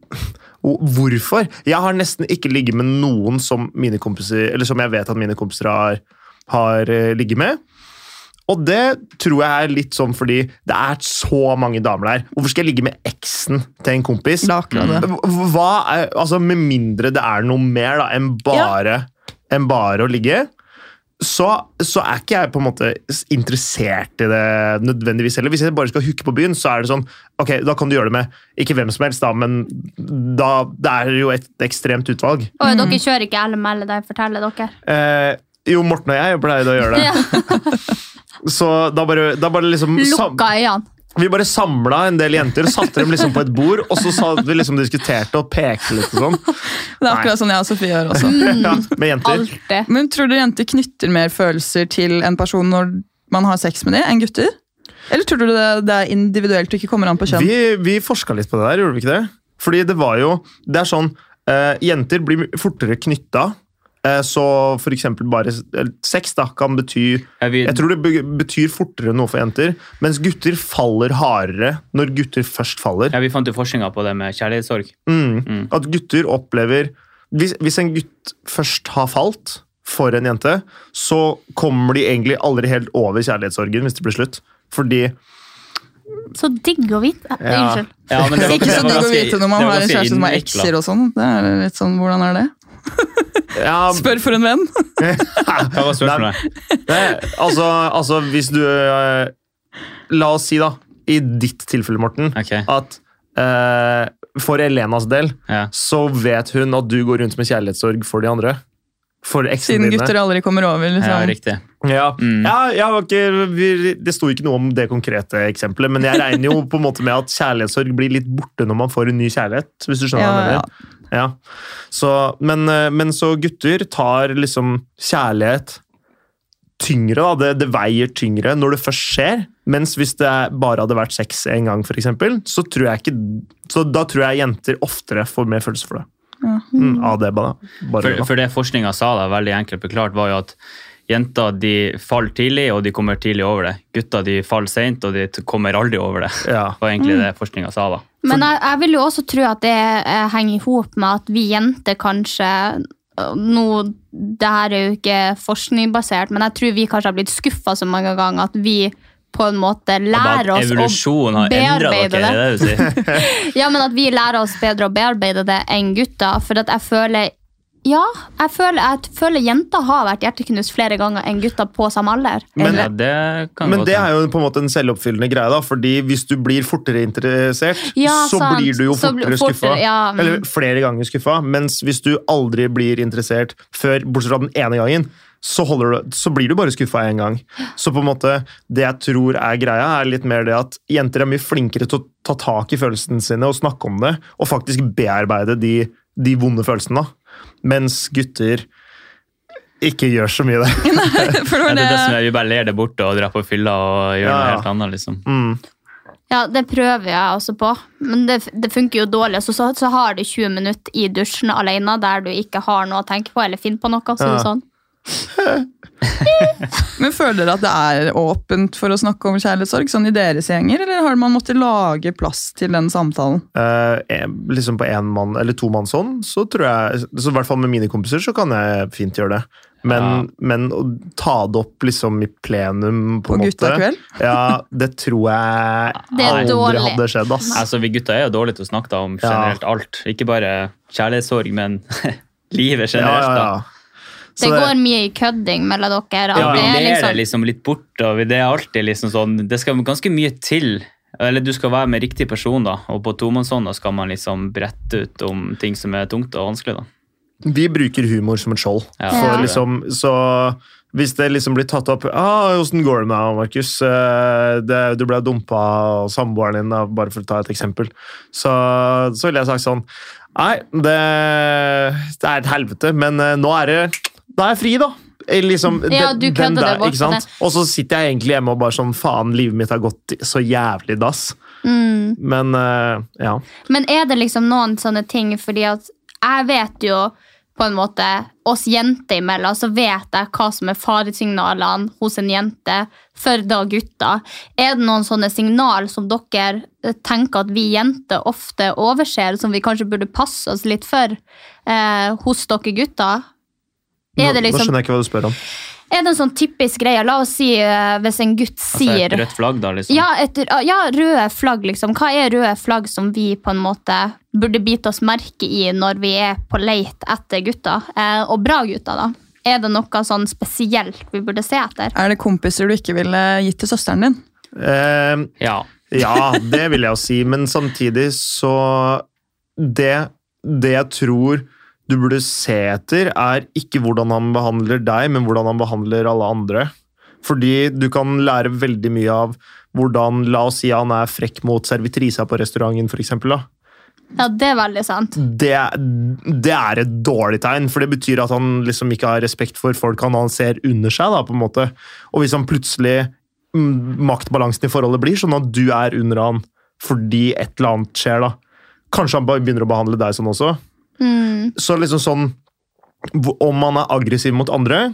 S5: og hvorfor? Jeg har nesten ikke ligget med noen som mine kompiser, eller som jeg vet at mine kompiser har, har eh, ligget med. Og det tror jeg er litt sånn fordi det er så mange damer der. Hvorfor skal jeg ligge med eksen til en kompis? Mm. Hva er, altså Med mindre det er noe mer da, enn bare, enn bare å ligge, så, så er ikke jeg på en måte s- interessert i det nødvendigvis heller. Hvis jeg bare skal hooke på byen, så er det sånn Ok, da kan du gjøre det med ikke hvem som helst, da, men da, det er jo et ekstremt utvalg.
S4: Oi, Dere kjører ikke LML, det forteller dere.
S5: Eh, jo, Morten og jeg pleide å gjøre det. Så da bare, da bare liksom sam-
S4: Lukka øynene.
S5: Vi bare samla en del jenter og satte dem liksom på et bord, og så sa vi liksom diskuterte og pekte litt og sånn.
S3: Det er akkurat sånn jeg og Sofie gjør også.
S5: ja, med jenter.
S3: Men tror dere jenter knytter mer følelser til en person når man har sex med dem, enn gutter? Eller tror du det, det er individuelt og ikke kommer an på kjønn?
S5: Vi, vi forska litt på det der, gjorde vi ikke det? Fordi det var jo Det er sånn eh, Jenter blir fortere knytta. Eh, så for eksempel bare s- eller sex da, kan bety Jeg tror det be- betyr fortere noe for jenter. Mens gutter faller hardere når gutter først faller.
S6: Ja, Vi fant jo forskninga på det med kjærlighetssorg.
S5: Mm. At gutter opplever hvis, hvis en gutt først har falt for en jente, så kommer de egentlig aldri helt over kjærlighetssorgen hvis det blir slutt. Fordi
S4: Så digg å vite. Eh, Unnskyld.
S5: Ja, men det var-
S3: ikke
S5: det
S3: så
S5: var
S3: digg å
S5: ganske-
S3: Sånn, vite når man
S5: det var
S3: har en
S5: ganske
S3: kjæreste som har
S5: innviklet.
S3: ekser og sånn. Det er litt sånn, Hvordan er det? Spør for en venn.
S5: Hva
S6: var spørsmålet?
S5: altså, altså, hvis du eh, La oss si, da, i ditt tilfelle, Morten, at eh, for Elenas del så vet hun at du går rundt med kjærlighetssorg for de andre. For eksene
S3: Siden
S5: dine.
S3: gutter aldri kommer over. Liksom.
S5: Ja,
S3: Mm.
S5: ja jeg var ikke, vi, Det sto ikke noe om det konkrete eksempelet, men jeg regner jo på en måte med at kjærlighetssorg blir litt borte når man får en ny kjærlighet. hvis du skjønner hva
S3: Ja,
S5: jeg mener. Ja. Så, men, eh, men så gutter tar liksom kjærlighet tyngre, da. Det, det veier tyngre når det først skjer. Mens hvis det bare hadde vært sex en gang, for eksempel, så, tror jeg ikke, så da tror jeg jenter oftere får mer følelse for det. Mm, av det bare. bare
S6: For, for det forskninga sa da, veldig enkelt forklart, var jo at jenter de faller tidlig, og de kommer tidlig over det. Gutter de faller seint, og de t- kommer aldri over det. Det var egentlig det forskninga sa da.
S4: Men jeg, jeg vil jo også tro at det eh, henger i hop med at vi jenter kanskje eh, nå, det her er jo ikke forskningbasert, men jeg tror vi kanskje har blitt skuffa så mange ganger at vi på en måte lærer
S6: At
S4: oss
S6: evolusjonen har endra dere, det er det du sier.
S4: Ja, men at vi lærer oss bedre å bearbeide det enn gutta. For at jeg føler Ja, jeg føler, jeg føler jenter har vært hjerteknust flere ganger enn gutta på samme alder.
S5: Men-
S4: Eller-
S6: det,
S5: Men det er jo på en måte en selvoppfyllende greie, da, fordi hvis du blir fortere interessert,
S4: Ja,
S5: så
S4: sant.
S5: blir du jo
S4: Så blir-
S5: fortere
S4: fortere,
S5: skuffa.
S4: ja, mm.
S5: Eller flere ganger skuffa. Mens hvis du aldri blir interessert før, bortsett fra den ene gangen, så, holder du, så blir du bare skuffa én gang. Så på en måte, det jeg tror er greia, er litt mer det at jenter er mye flinkere til å ta tak i følelsene sine og snakke om det, og faktisk bearbeide de, de vonde følelsene. da. Mens gutter ikke gjør så mye det.
S3: for
S6: det, er det som er, vi bare ler det borte og drar på fylla og gjør
S5: Ja,
S6: noe
S5: ja. Mm.
S6: helt annet, liksom.
S4: Ja, det prøver jeg også på, men det, det funker jo dårlig. Så, så, så har du 20 minutter i dusjen alene der du ikke har noe å tenke på, eller finne på noe. Så,
S3: Ja.
S4: sånn.
S3: Men Føler dere at det er åpent for å snakke om kjærlighetssorg sånn i deres gjenger, eller har man måttet lage plass til den samtalen?
S5: Eh, en- liksom på en mann eller to manns hånd, så tror jeg så I hvert fall med mine kompiser så kan jeg fint gjøre det. Men, men å ta det opp liksom i plenum på,
S3: På
S5: en måte
S3: guttakveld?
S5: Ja, det tror jeg
S6: Det er
S5: aldri
S6: dårlig.
S5: hadde skjedd, ass.
S6: Altså, Vi gutter er jo dårlige til å snakke da, om generelt alt. Ikke bare kjærlighetssorg, men livet generelt.
S5: Ja,
S6: da.
S5: ja, ja.
S4: Det, går mye i kødding mellom dere.
S6: Ja, vi
S4: at det er
S6: ler det
S4: liksom-
S6: liksom litt bort, og vi- det er alltid liksom sånn Det skal ganske mye til. Eller du skal være med riktig person, da. Og på tomannshånd da skal man liksom brette ut om ting som er tungt og vanskelig, da.
S5: Vi bruker humor som et skjold.
S6: Ja.
S5: For
S6: Ja.
S5: liksom, så hvis det liksom blir tatt opp ah, 'Åssen går det med deg, Markus?' Eh, det- 'Du ble dumpa av samboeren din', da, bare for å ta et eksempel. Så, så ville jeg sagt sånn Nei, det, det er et helvete, men eh, nå er det Da er jeg fri, da. eh, liksom,
S4: Ja,
S5: den-
S4: du
S5: den
S4: kødder
S5: der,
S4: det bort eh.
S5: ikke sant?
S4: med det.
S5: Og så sitter jeg egentlig hjemme og bare sånn Faen, livet mitt har gått så jævlig dass.
S4: Mm.
S5: Men eh, ja.
S4: Men er det liksom noen sånne ting fordi at jeg vet jo på en måte, oss jenter imellom, så vet jeg hva som er faresignalene hos en jente for da gutter. Er det noen sånne signal som dere eh, tenker at vi jenter ofte overser, som vi kanskje burde passe oss litt for eh, hos dere gutter? Er det liksom,
S5: jeg ikke hva du spør om.
S4: er det en sånn typisk greie? La oss si eh, hvis en gutt
S6: Altså
S4: sier
S6: et rødt flagg, da, liksom.
S4: ja, et, ja, røde flagg, liksom. Hva er røde flagg som vi på en måte burde bite oss merke i når vi er på leit etter gutter? Eh, og bra gutter, da. Er det noe sånn spesielt vi burde se etter?
S3: Er det kompiser du ikke ville gitt til søsteren din?
S5: ja. ja, det vil jeg jo si. Men samtidig så det, det jeg tror du burde se etter, er ikke hvordan han behandler deg, men hvordan han behandler alle andre. Fordi du kan lære veldig mye av hvordan La oss si han er frekk mot servitrisa på restauranten, for eksempel, da.
S4: Ja, det er veldig sant.
S5: det, det er et dårlig tegn, for det betyr at han liksom ikke har respekt for folk han, han ser under seg. da, på en måte. Og hvis han plutselig mm, Maktbalansen i forholdet blir sånn at du er under han fordi et eller annet skjer, da. Kanskje han bare begynner å behandle deg sånn også.
S4: Mm.
S5: Så liksom sånn hvor- Om han er aggressiv mot andre,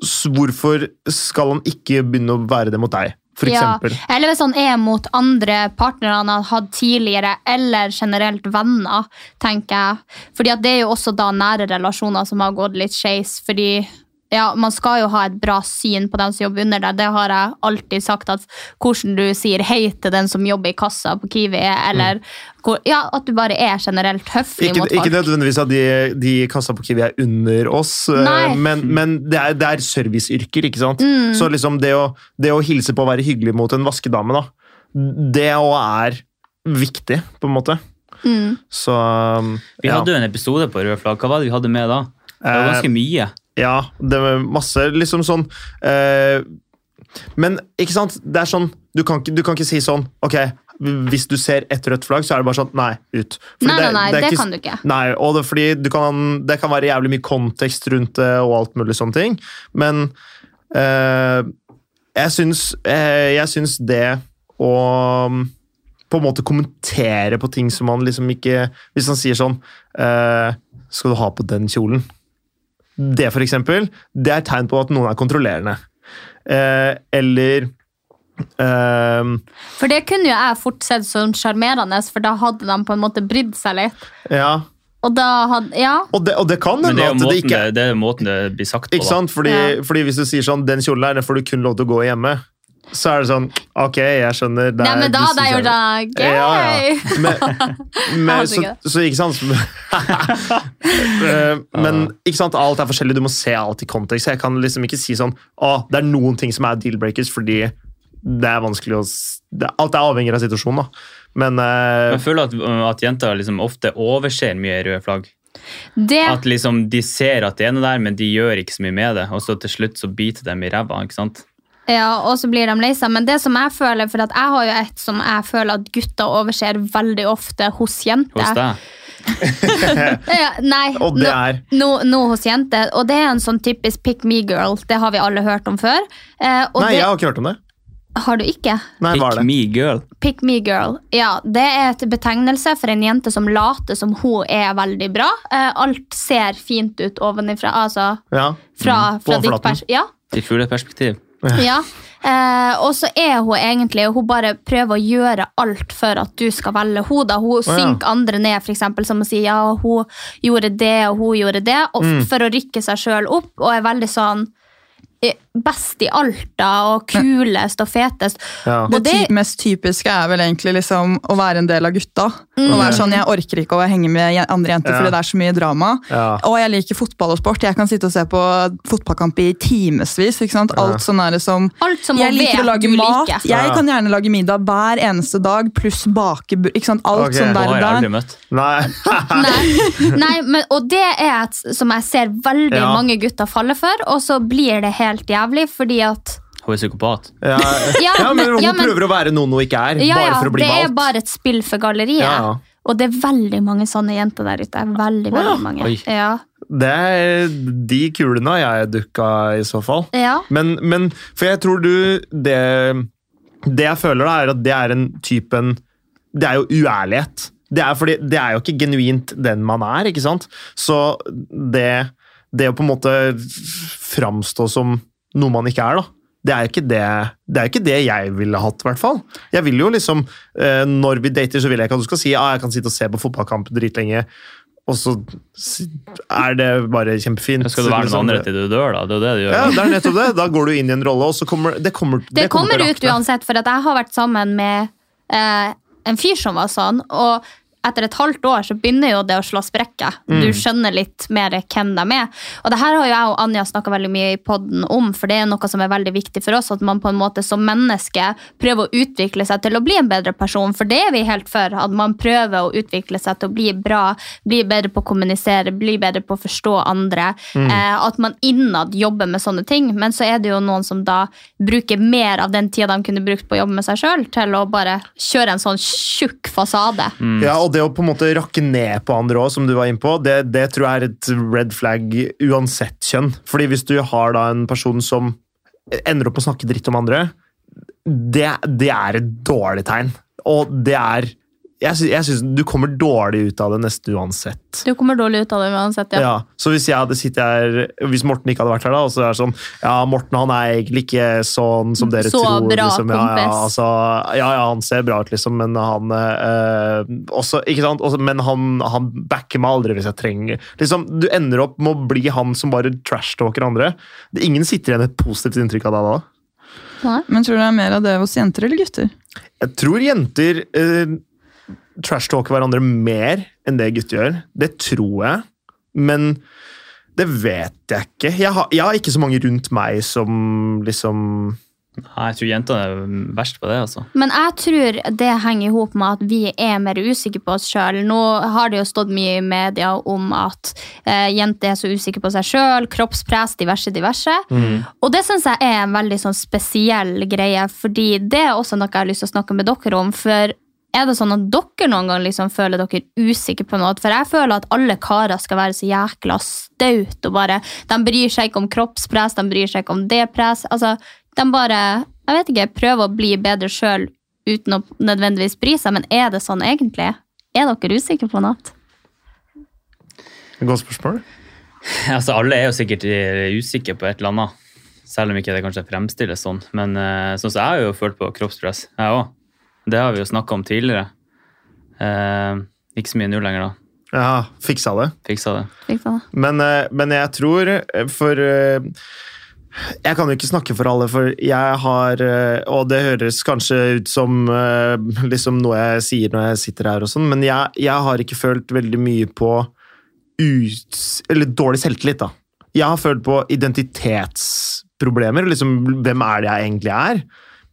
S5: s- hvorfor skal han ikke begynne å være det mot deg, for eksempel?
S4: Ja, eller hvis han er mot andre partnere han har hatt tidligere, eller generelt venner, tenker jeg. Fordi at det er jo også da nære relasjoner som har gått litt skeis. Fordi ja, man skal jo ha et bra syn på dem som jobber under deg. Det har jeg alltid sagt, at hvordan du sier hei til den som jobber i kassa på Kiwi, eller hvor, ja, at du bare er generelt
S5: Mm.
S4: høflig
S5: Ikke,
S4: mot folk.
S5: ikke nødvendigvis at de, de i kassa på Kiwi er under oss,
S4: Nei.
S5: eh, men, men det, er, det er serviceyrker, ikke sant?
S4: Mm.
S5: Så liksom det å, det å hilse på å være hyggelig mot en vaskedame, da, det òg er viktig, på en måte.
S4: Mm.
S5: Så um,
S6: Vi hadde jo en episode på Rød flagg. Hva var det vi hadde med da? Det var
S5: Eh,
S6: ganske mye.
S5: Ja, det var masse liksom sånn eh, Men ikke sant, det er sånn du kan, ikke, du kan ikke si sånn Ok, hvis du ser et rødt flagg, så er det bare sånn Nei, ut.
S4: Nei,
S5: det-
S4: nei, nei,
S5: er
S4: det kan du ikke.
S5: Nei, og det, er fordi du kan, det kan være jævlig mye kontekst rundt det og alt mulig sånne ting, men eh, jeg, syns, eh, jeg syns det å mm, på en måte kommentere på ting som man liksom ikke Hvis han sier sånn eh, Skal du ha på den kjolen? Det, for eksempel, det er tegn på at noen er kontrollerende. Eh, eller eh,
S4: For det kunne jo jeg fort sett som sjarmerende, for da hadde de på en måte brydd seg litt.
S5: Ja.
S4: Og da hadde, ja.
S5: Og det, og det kan
S6: Men det
S5: hende at det
S6: er jo måten
S5: ikke
S6: det, det, er jo måten det blir sagt på,
S5: Ikke sant? Fordi,
S6: Ja.
S5: fordi hvis du sier sånn, den kjolen her, den får du kun lov til å gå i hjemme, så er det sånn, ok, jeg skjønner. det
S4: Nei,
S5: er
S4: men
S5: du
S4: da
S5: som
S4: hadde jeg
S5: sier
S4: gjort det. Gøy!
S5: Ja, ja. Men,
S4: hadde
S5: så,
S4: ikke
S5: så ikke sant Eh, Men ikke sant, alt er forskjellig, du må se alt i kontekst. Jeg kan liksom ikke si sånn, ah, det er noen ting som er deal-breakers, fordi det er vanskelig å... s- Det, alt er avhengig av situasjonen, da. Men... eh,
S6: Jeg føler at, at jenter liksom ofte overser mye røde flagg.
S4: Det,
S6: At liksom De ser at det er noe der, men de gjør ikke så mye med det. Og så til slutt så biter de i ræva. ikke sant?
S4: ja, og så blir de lei seg. Men det som jeg føler, for at jeg har jo et som jeg føler at gutter overser veldig ofte hos jenter.
S6: Hos deg.
S4: Ja, nei,
S6: Og det er?
S4: nå, nå, nå hos jenter. Og det er en sånn typisk pick me girl. Det har vi alle hørt om før. Eh, og
S5: nei,
S4: det,
S5: jeg har ikke hørt om det.
S4: Har du ikke?
S5: Nei, hva er det?
S6: Me girl.
S4: Pick me girl. Ja, Det er et betegnelse for en jente som later som hun er veldig bra. Eh, alt ser fint ut ovenifra. Altså
S5: Ja. Mm.
S4: fra, fra ditt pers... Ja,
S6: I fugleperspektiv.
S4: Ja. Eh, og så er hun egentlig Hun bare prøver å gjøre alt for at du skal velge henne. da. Hun
S7: ja.
S4: synker andre ned, for eksempel, som å si ja, hun gjorde det og hun gjorde det, og f-
S7: Mm.
S4: for å rykke seg sjøl opp. Og er veldig sånn eh, best i alt, da, og kulest og fetest.
S3: Det,
S4: Og det,
S3: ty mest typiske er vel egentlig liksom å være en del av gutta.
S4: Mm.
S3: Å være sånn, Jeg orker ikke å henge med je- andre jenter
S4: Ja.
S3: fordi det er så mye drama.
S5: Ja.
S3: Og jeg liker fotball og sport. Jeg kan sitte og se på fotballkamp i timevis. ikke sant?
S5: Ja.
S3: Alt sånn er det som
S4: Alt som
S3: Jeg
S4: man
S3: liker
S4: vet
S3: å lage
S4: du
S3: mat.
S4: liker.
S3: Jeg
S5: Ja.
S3: kan gjerne lage middag hver eneste dag, pluss bake bu- ikke sant? Alt
S5: Ok.
S3: sånn der og der.
S6: møtt.
S5: Nei.
S4: Nei, men, og det er et som jeg ser veldig
S6: Ja.
S4: mange gutter falle for, og så blir det helt jævlig, fordi at
S6: Hun er psykopat.
S5: Ja,
S4: Ja,
S5: ja, men
S4: men-
S5: hun
S4: ja, men-
S5: prøver å være noe hun ikke er,
S4: Ja,
S5: bare
S4: ja,
S5: for å bli
S4: det er
S5: valgt.
S4: bare et spill for galleriet.
S5: Ja, ja.
S4: Og det er veldig mange sånne jenter der ute. Veldig,
S5: Å, ja.
S4: veldig mange.
S5: Oi.
S4: Ja.
S5: Det er de kulene jeg dukka i så fall.
S4: Ja.
S5: Men, men For jeg tror du Det, det jeg føler, da, er at det er en typen Det er jo uærlighet. Det er, fordi, det er jo ikke genuint den man er, ikke sant? Så det, det å på en måte framstå som noe man ikke er, da. Det er jo ikke det, det, er jo ikke det jeg ville hatt, i hvert fall. Jeg vil jo liksom, eh, Når vi dater, så vil jeg ikke at du skal si ah, jeg kan sitte og se på fotballkamp dritlenge, og så si- er det bare kjempefint.
S6: Skal det være noen
S5: Liksom,
S6: andre til du dør, da? Det er jo det du gjør.
S5: ja, det er nettopp det. Da går du inn i en rolle, og så kommer det kommer,
S4: Det kommer
S5: til å
S4: ut
S5: rakne.
S4: uansett, for at jeg har vært sammen med eh, en fyr som var sånn, og etter et halvt år så begynner jo det å slå sprekker. Du
S7: Mm.
S4: skjønner litt mer hvem de er. Og det her har jo jeg og Anja snakka veldig mye i podden om, for det er noe som er veldig viktig for oss, at man på en måte som menneske prøver å utvikle seg til å bli en bedre person, for det er vi helt for. At man prøver å utvikle seg til å bli bra, bli bedre på å kommunisere, bli bedre på å forstå andre.
S7: Mm.
S4: Eh, at man innad jobber med sånne ting. Men så er det jo noen som da bruker mer av den tida de kunne brukt på å jobbe med seg sjøl, til å bare kjøre en sånn tjukk fasade.
S5: Ja, og det å på en måte rakke ned på andre òg, som du var inne på, det, det tror jeg er et red flag uansett kjønn. Fordi hvis du har da en person som ender opp med å snakke dritt om andre, det, det er et dårlig tegn. Og det er Jeg, sy jeg syns du kommer dårlig ut av det nesten uansett.
S4: Du kommer dårlig ut av det uansett.
S5: Ja.
S4: Ja.
S5: Så hvis jeg hadde sittet her Hvis Morten ikke hadde vært her, da, og så er det sånn Ja, Morten han er egentlig ikke sånn som dere
S4: Så
S5: tror.
S4: bra
S5: liksom. ja, ja,
S4: kompis.
S5: altså, ja, ja, han ser bra ut, liksom, men han eh, også, ikke sant? Også, Men han, han backer meg aldri hvis jeg trenger liksom, Du ender opp med å bli han som bare trashtalker andre. Det- Ingen sitter igjen med et positivt inntrykk av deg da.
S3: Men tror du det er mer av det hos jenter eller gutter?
S5: Jeg tror jenter eh, trashtalker hverandre mer enn det gutter gjør. Det tror jeg. Men det vet jeg ikke. Jeg har, jeg har ikke så mange rundt meg som liksom
S6: Nei, jeg tror jentene er verst på det, altså.
S4: Men jeg tror det henger i hop med at vi er mer usikre på oss sjøl. Nå har det jo stått mye i media om at eh, jenter er så usikre på seg sjøl, kroppspress, diverse, diverse. Og det syns jeg er en veldig sånn spesiell greie, fordi det er også noe jeg har lyst til å snakke med dere om. For er det sånn at dere noen gang liksom føler dere usikre på noe? For jeg føler at alle karer skal være så jækla staut og bare De bryr seg ikke om kroppspress, de bryr seg ikke om det press. Altså, de bare Jeg vet ikke, prøver å bli bedre sjøl uten å nødvendigvis bry seg, men er det sånn egentlig? Er dere usikre på noe?
S5: Godt spørsmål.
S6: Altså, alle er jo sikkert eh, usikre på et eller annet. Selv om ikke det kanskje fremstilles sånn. Men eh, sånn som jeg har jo følt på kroppspress, jeg òg. Det har vi jo snakka om tidligere. Eh, ikke så mye nå lenger, da.
S5: Ja, fiksa det.
S6: Fiksa det.
S4: Liksom.
S5: Men, eh, men jeg tror eh, For eh, jeg kan jo ikke snakke for alle, for jeg har eh, Og det høres kanskje ut som eh, liksom noe jeg sier når jeg sitter her, og sånn, men jeg, jeg har ikke følt veldig mye på ut, eller dårlig selvtillit. da. Jeg har følt på identitetsproblemer. liksom Hvem er det jeg egentlig er?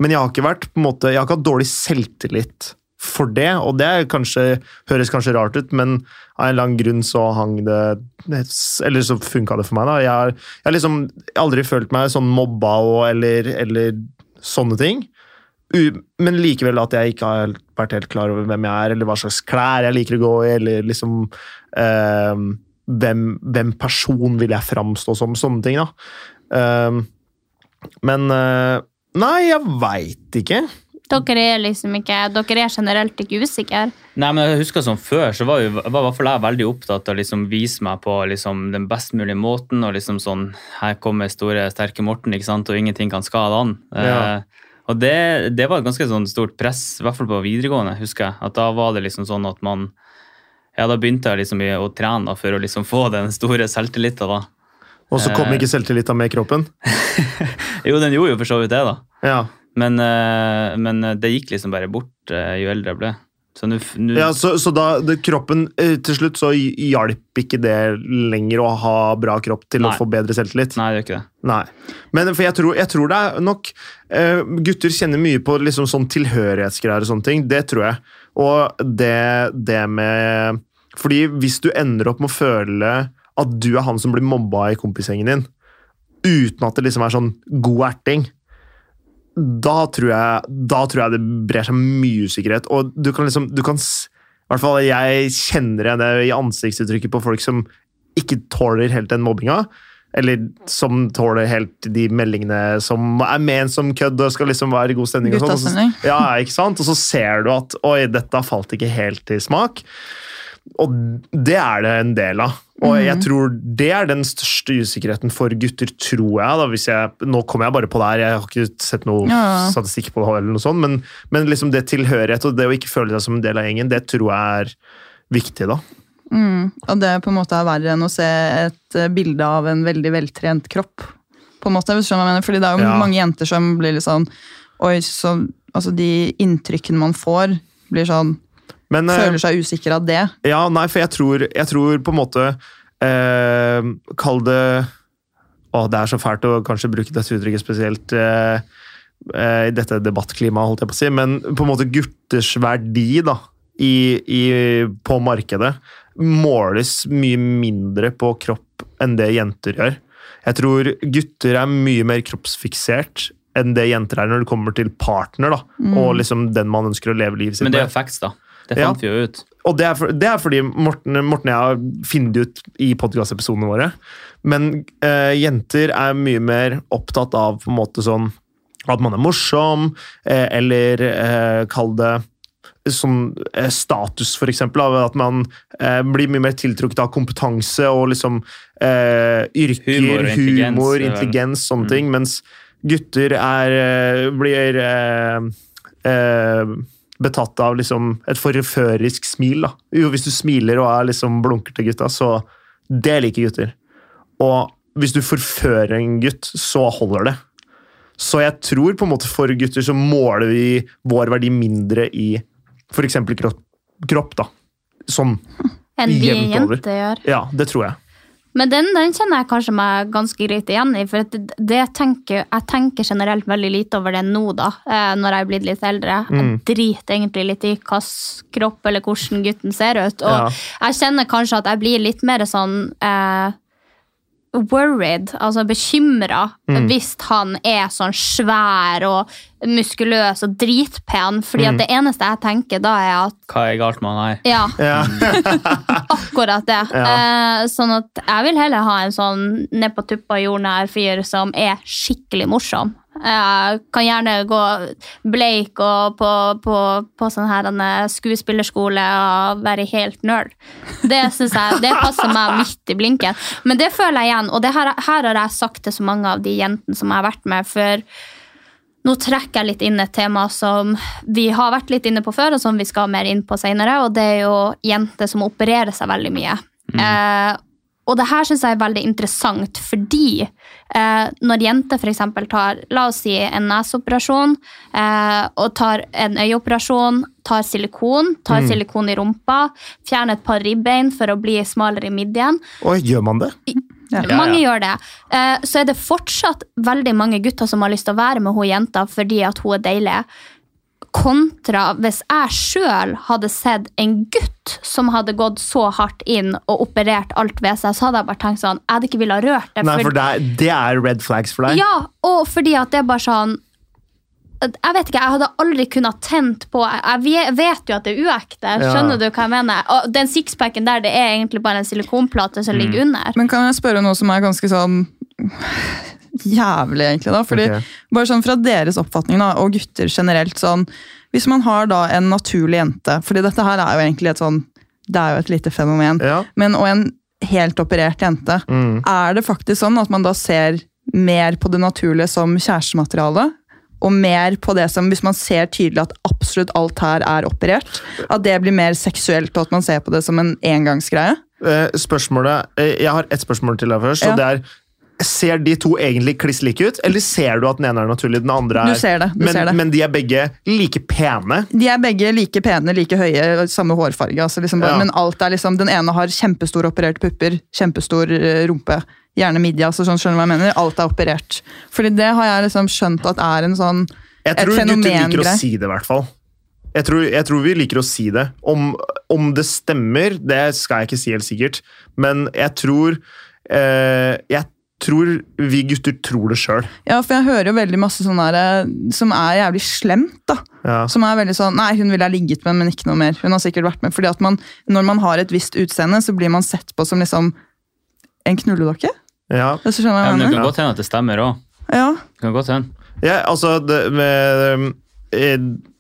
S5: Men jeg har ikke vært på en måte, jeg har ikke hatt dårlig selvtillit for det, og det er kanskje, høres kanskje rart ut, men av en eller annen grunn så hang det Eller så funka det for meg, da. Jeg har, jeg har liksom aldri følt meg sånn mobba og eller, eller sånne ting. U- Men likevel at jeg ikke har helt- vært helt klar over hvem jeg er, eller hva slags klær jeg liker å gå i, eller liksom eh, hvem, hvem person vil jeg framstå som? Sånne ting, da. Eh, men eh, Nei, jeg veit ikke.
S4: Dere er liksom ikke Dere er generelt ikke usikre.
S6: Nei, men jeg husker som før, så var, jo, var i hvert fall jeg veldig opptatt av å liksom vise meg på liksom den best mulige måten, og liksom sånn Her kommer store, sterke Morten, ikke sant, og ingenting kan skade han.
S5: Ja.
S6: Eh, og det, det var et ganske sånn stort press, i hvert fall på videregående, husker jeg. At da var det liksom sånn at man Ja, da begynte jeg liksom i- å trene da, for å liksom få den store selvtilliten, da.
S5: Og så kom
S6: Eh,
S5: ikke selvtilliten med i kroppen.
S6: Jo, den gjorde jo for så vidt det, da.
S5: Ja.
S6: Men, eh, men det gikk liksom bare bort eh, jo eldre jeg ble. Så nå f- nå-
S5: Ja, så, så da det, kroppen eh, Til slutt så hjalp ikke det lenger å ha bra kropp til
S6: Nei.
S5: å få bedre selvtillit.
S6: Nei, det gjør ikke det.
S5: Nei. Men for jeg tror, jeg tror det er nok eh, Gutter kjenner mye på liksom sånn tilhørighetsgreier og sånne ting. Det tror jeg. Og det, det med Fordi hvis du ender opp med å føle at du er han som blir mobba i kompisgjengen din, uten at det liksom er sånn god erting da tror, jeg, da tror jeg det brer seg mye usikkerhet. Og du kan liksom du kan, s- i hvert fall Jeg kjenner igjen det i ansiktsuttrykket på folk som ikke tåler helt den mobbinga. Eller som tåler helt de meldingene som er ment som kødd og skal liksom være i god stemning. Og, sånn, og
S3: Guttastemning.
S5: så- ja, ikke sant? og så ser du at oi, dette falt ikke helt i smak. Og det er det en del av. Og jeg
S3: Mhm.
S5: tror det er den største usikkerheten for gutter, tror jeg. da, hvis jeg, Nå kommer jeg bare på det her, jeg har ikke sett noe
S3: Ja.
S5: statistikk på det, eller noe sånt, men, men liksom det tilhørighet og det å ikke føle seg som en del av gjengen, det tror jeg er viktig, da.
S3: Mm, og det på en måte er verre enn å se et eh, bilde av en veldig veltrent kropp. på en måte, hvis du skjønner hva jeg mener. Fordi det er jo
S5: Ja.
S3: mange jenter som blir litt sånn Oi, så Altså, de inntrykkene man får, blir sånn
S5: Men, eh,
S3: Føler seg usikker av det.
S5: Ja, nei, for jeg tror, jeg tror på en måte eh, Kall det Å, det er så fælt å kanskje bruke dette uttrykket spesielt eh, eh, i dette debattklimaet, holdt jeg på å si, men på en måte gutters verdi da, i, i, på markedet måles mye mindre på kropp enn det jenter gjør. Jeg tror gutter er mye mer kroppsfiksert enn det jenter er når det kommer til partner, da,
S6: Mm.
S5: og liksom den man ønsker å leve livet sitt
S6: Men det
S5: med.
S6: er facts, da. Det
S5: Ja.
S6: fant vi jo ut.
S5: Og det er, for, det er fordi Morten, Morten og jeg har funnet det ut i podkastepisodene våre. Men eh, jenter er mye mer opptatt av på en måte sånn at man er morsom, eh, eller eh, kall det sånn eh, status, for eksempel. Av at man eh, blir mye mer tiltrukket av kompetanse og liksom eh, yrker,
S6: Humor
S5: humor,
S6: og intelligens,
S5: intelligens,
S6: det er vel-
S5: sånne sånn ting. Mens gutter er, eh, blir eh, eh, betatt av liksom et forførerisk smil. Da. Jo, hvis du smiler og er liksom blunker til gutta, så Det liker gutter. Og hvis du forfører en gutt, så holder det. Så jeg tror på en måte for gutter så måler vi vår verdi mindre i f.eks. Kropp, kropp, da. Som
S4: Enn vi
S5: jevnt over.
S4: jenter gjør.
S5: Ja, det tror jeg.
S4: Men den, den kjenner jeg kanskje meg ganske greit igjen i. For at det- det tenker, jeg tenker generelt veldig lite over det nå, da, eh, når jeg er blitt litt eldre.
S7: Mm.
S4: Jeg driter egentlig litt i hvilken kropp eller hvordan gutten ser ut.
S7: Ja.
S4: Og jeg kjenner kanskje at jeg blir litt mer sånn eh, worried, altså bekymra,
S7: Mm.
S4: hvis han er sånn svær og muskuløs og dritpen. Fordi
S6: Mm.
S4: at det eneste jeg tenker da, er at
S6: Hva er galt med han her?
S4: ja,
S5: Ja.
S4: akkurat det. Eh, sånn at jeg vil heller ha en sånn ned på tuppa jordnær fyr som er skikkelig morsom. Eh, kan gjerne gå bleik og på, på, på sånn her en skuespillerskole og være helt nerd. Det synes jeg, det passer meg midt i blinken. Men det føler jeg igjen, og det her, her har jeg sagt til så mange av de jentene som jeg har vært med, for nå trekker jeg litt inn et tema som vi har vært litt inne på før, og som vi skal mer inn på senere, og det er jo jenter som opererer seg veldig mye. Eh, og det her syns jeg er veldig interessant, fordi eh, når jenter f.eks. tar la oss si en neseoperasjon eh, og tar en øyeoperasjon, tar silikon, tar
S5: Mm.
S4: silikon i rumpa, fjerner et par ribbein for å bli smalere i midjen,
S5: Oi, gjør man det?
S4: mange gjør det. Eh, Så er det fortsatt veldig mange gutter som har lyst til å være med hun jenta fordi at hun er deilig. Kontra hvis jeg sjøl hadde sett en gutt som hadde gått så hardt inn og operert alt ved seg, så hadde jeg bare tenkt sånn Jeg hadde ikke villet ha rørt det.
S5: Nei,
S4: for-
S5: for det er, det er red flags for deg?
S4: ja, og fordi at det er bare sånn jeg vet ikke, jeg hadde aldri kunnet tent på Jeg jeg ve- vet jo at det er uekte.
S3: Ja.
S4: Skjønner du hva jeg mener? Og den sixpacken der, det er egentlig bare en silikonplate som ligger under.
S3: Men kan jeg spørre noe som er ganske sånn jævlig, egentlig? da? Fordi,
S4: Ok.
S3: Bare sånn fra deres oppfatning, da, og gutter generelt sånn Hvis man har da en naturlig jente fordi dette her er jo egentlig et sånn Det er jo et lite fenomen. Men og en helt operert jente.
S5: Mm.
S3: Er det faktisk sånn at man da ser mer på det naturlige som kjærestemateriale? Og mer på det som, hvis man ser tydelig at absolutt alt her er operert, at det blir mer seksuelt, og at man ser på det som en engangsgreie?
S5: Eh, spørsmålet, eh, jeg har ett spørsmål til deg først.
S3: Ja.
S5: Og det er, Ser de to egentlig kliss like ut, eller ser du at den ene er naturlig? den andre er...
S3: Du ser det, du
S5: men,
S3: ser det.
S5: men de er begge like pene.
S3: De er begge like pene, like høye, samme hårfarge. Altså liksom bare,
S5: Ja.
S3: Men alt er liksom, den ene har kjempestor opererte pupper, kjempestor eh, rumpe, gjerne midje. Altså sånn, skjønner du hva jeg mener? Alt er operert. Fordi det har jeg liksom skjønt at er en sånn
S5: Jeg tror
S3: et
S5: gutter liker å
S3: fenomengreie.
S5: si det, i hvert fall. Jeg tror, jeg tror vi liker å si det. Om, om det stemmer, det skal jeg ikke si helt sikkert, men jeg tror eh, Jeg tror vi gutter tror det sjøl.
S3: Ja, for jeg hører jo veldig masse sånn der eh, som er jævlig slemt, da.
S5: Ja.
S3: Som er veldig sånn Nei, hun ville ha ligget med, men ikke noe mer. Hun har sikkert vært med. Fordi at man, når man har et visst utseende, så blir man sett på som liksom en knulledokke?
S5: Ja.
S3: Det så skjønner
S6: Ja,
S3: jeg
S6: men det
S3: hva jeg
S6: kan
S3: mener.
S6: godt hende at det stemmer òg.
S3: Ja.
S6: Det kan godt hende.
S5: Ja, altså det, med, um,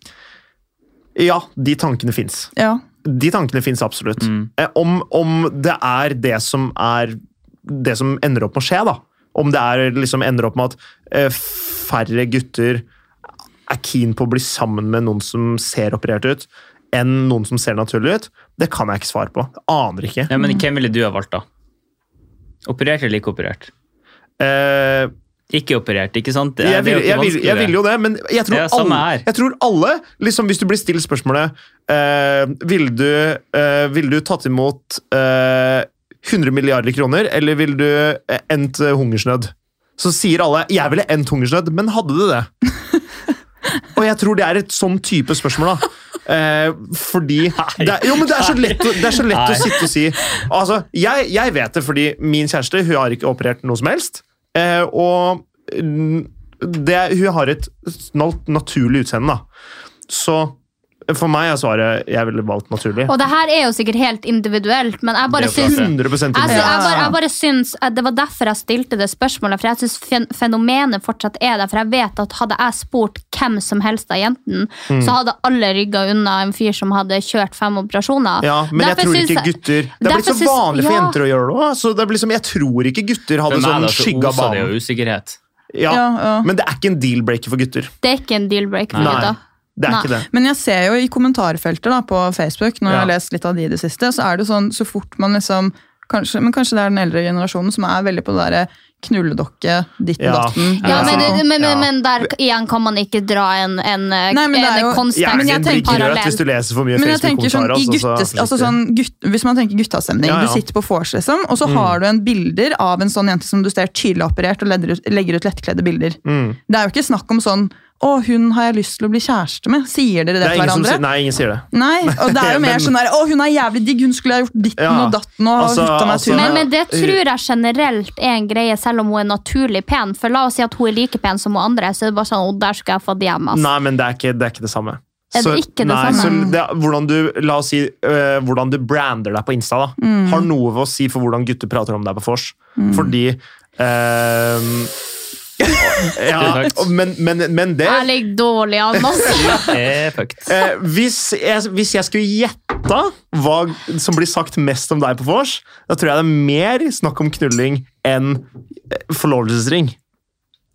S5: eh, Ja, de tankene fins.
S3: Ja.
S5: De tankene fins absolutt. Eh, Om, om det er det som er det som ender opp med å skje, da. Om det er, liksom ender opp med at eh, færre gutter er keen på å bli sammen med noen som ser operert ut, enn noen som ser naturlig ut, det kan jeg ikke svare på. Aner ikke.
S6: Ja, men hvem ville du ha valgt, da? Operert eller ikke operert?
S5: Eh,
S6: ikke operert, ikke sant? Det er-
S5: jeg, vil,
S6: det er jo ikke
S5: jeg, vil, jeg
S6: vanskeligere.
S5: vil jo det, men jeg tror
S6: Det er samme
S5: alle, jeg tror alle liksom Hvis du blir stilt spørsmålet eh, Vil du, eh, vil du tatt imot eh, 100 milliarder kroner, eller vil du eh, endt eh, hungersnød? Så sier alle 'jeg ville endt hungersnød', men hadde du det? Og jeg tror det er et sånn type spørsmål, da. Eh, fordi det er, Jo, men det er så lett, å- det er så lett å
S7: Nei.
S5: sitte og si Altså, jeg, jeg vet det fordi min kjæreste hun har ikke operert noe som helst. Eh, og mm, det, hun har et snalt, naturlig utseende, da. Så for meg er svaret jeg ville valgt naturlig.
S4: Og det her er jo sikkert helt individuelt, men jeg bare
S5: Det er jo klart
S4: syns
S5: det. 100%
S4: jeg, sy- jeg,
S5: individuelt.
S4: bare, jeg bare syns at Det var derfor jeg stilte det spørsmålet, for jeg syns fenomenet fortsatt er der. For jeg vet at hadde jeg spurt hvem som helst av jentene,
S5: Mm.
S4: så hadde alle rygga unna en fyr som hadde kjørt fem operasjoner.
S5: Ja, men jeg
S4: Derfor
S5: tror
S4: syns
S5: ikke gutter Det er blitt
S4: derfor
S5: så
S4: syns-
S5: vanlig for
S4: ja.
S5: jenter å gjøre det òg. Så det blir som, jeg tror ikke gutter hadde
S6: For meg,
S5: sånn
S6: da, så
S5: skygga
S6: oser det
S5: banen.
S6: jo usikkerhet.
S5: Ja,
S3: Ja, ja.
S5: Men det er ikke en deal-breaker for gutter.
S3: Det er ikke en deal-breaker
S5: for Nei. gutta. Det er ikke det.
S3: Men jeg ser jo i kommentarfeltet da, på Facebook, når jeg
S5: Ja.
S3: har lest litt av de i det siste, så er det sånn, så fort man liksom Kanskje, men kanskje det er den eldre generasjonen som er veldig på det derre knulledokke, ditten
S5: Ja. altså,
S3: datten.
S4: Ja, men,
S3: liksom.
S4: men, men, men der igjen kan man ikke dra en, en, eh,
S3: Nei, men det er
S4: en
S3: jo-
S4: konstant
S3: Hjernen din blir grøt
S4: parallell.
S5: Hvis du leser for mye
S3: Men jeg tenker sånn,
S5: Facebook-kommentarer,
S3: i
S5: altså, så-
S3: guttes, altså sånn gutt, Hvis man tenker guttastemning,
S5: Ja, ja.
S3: du sitter på vors, liksom, og så
S5: Mm.
S3: har du en bilder av en sånn jente som du ser tydelig operert, og legger ut, legger ut lettkledde bilder.
S5: Mm.
S3: Det er jo ikke snakk om sånn 'Å, hun har jeg lyst til å bli kjæreste med'. Sier dere det,
S5: Det er
S3: til
S5: ingen som
S3: hverandre?
S5: sier, nei, ingen sier det.
S3: Nei, og det er jo mer
S5: Men-
S3: sånn der 'Å, hun er jævlig digg, hun skulle ha gjort ditten
S5: Ja,
S3: og datten og
S5: altså,
S3: hutta meg
S5: altså-
S3: turen'.
S4: Men, men det tror jeg generelt er en greie, selv om hun er naturlig pen. For la oss si at hun er like pen som hun andre, så er det bare sånn, «Å, der skulle jeg fått hjem. ass».
S5: Nei, men det er ikke det, er ikke det samme.
S4: Er det ikke det
S5: nei,
S4: samme?
S5: Så det, er- hvordan du, la oss si øh, hvordan du brander deg på Insta, da.
S4: Mm.
S5: Har noe å si for hvordan gutter prater om deg på vors.
S4: Mm.
S5: Fordi øh, øhm, ja,
S4: Perfekt.
S5: men, men, men det
S4: Jeg ligger dårlig an, ass.
S5: Eh, hvis, jeg, hvis jeg skulle gjette hva som blir sagt mest om deg på vors, da tror jeg det er mer snakk om knulling enn eh, forlovelsesring.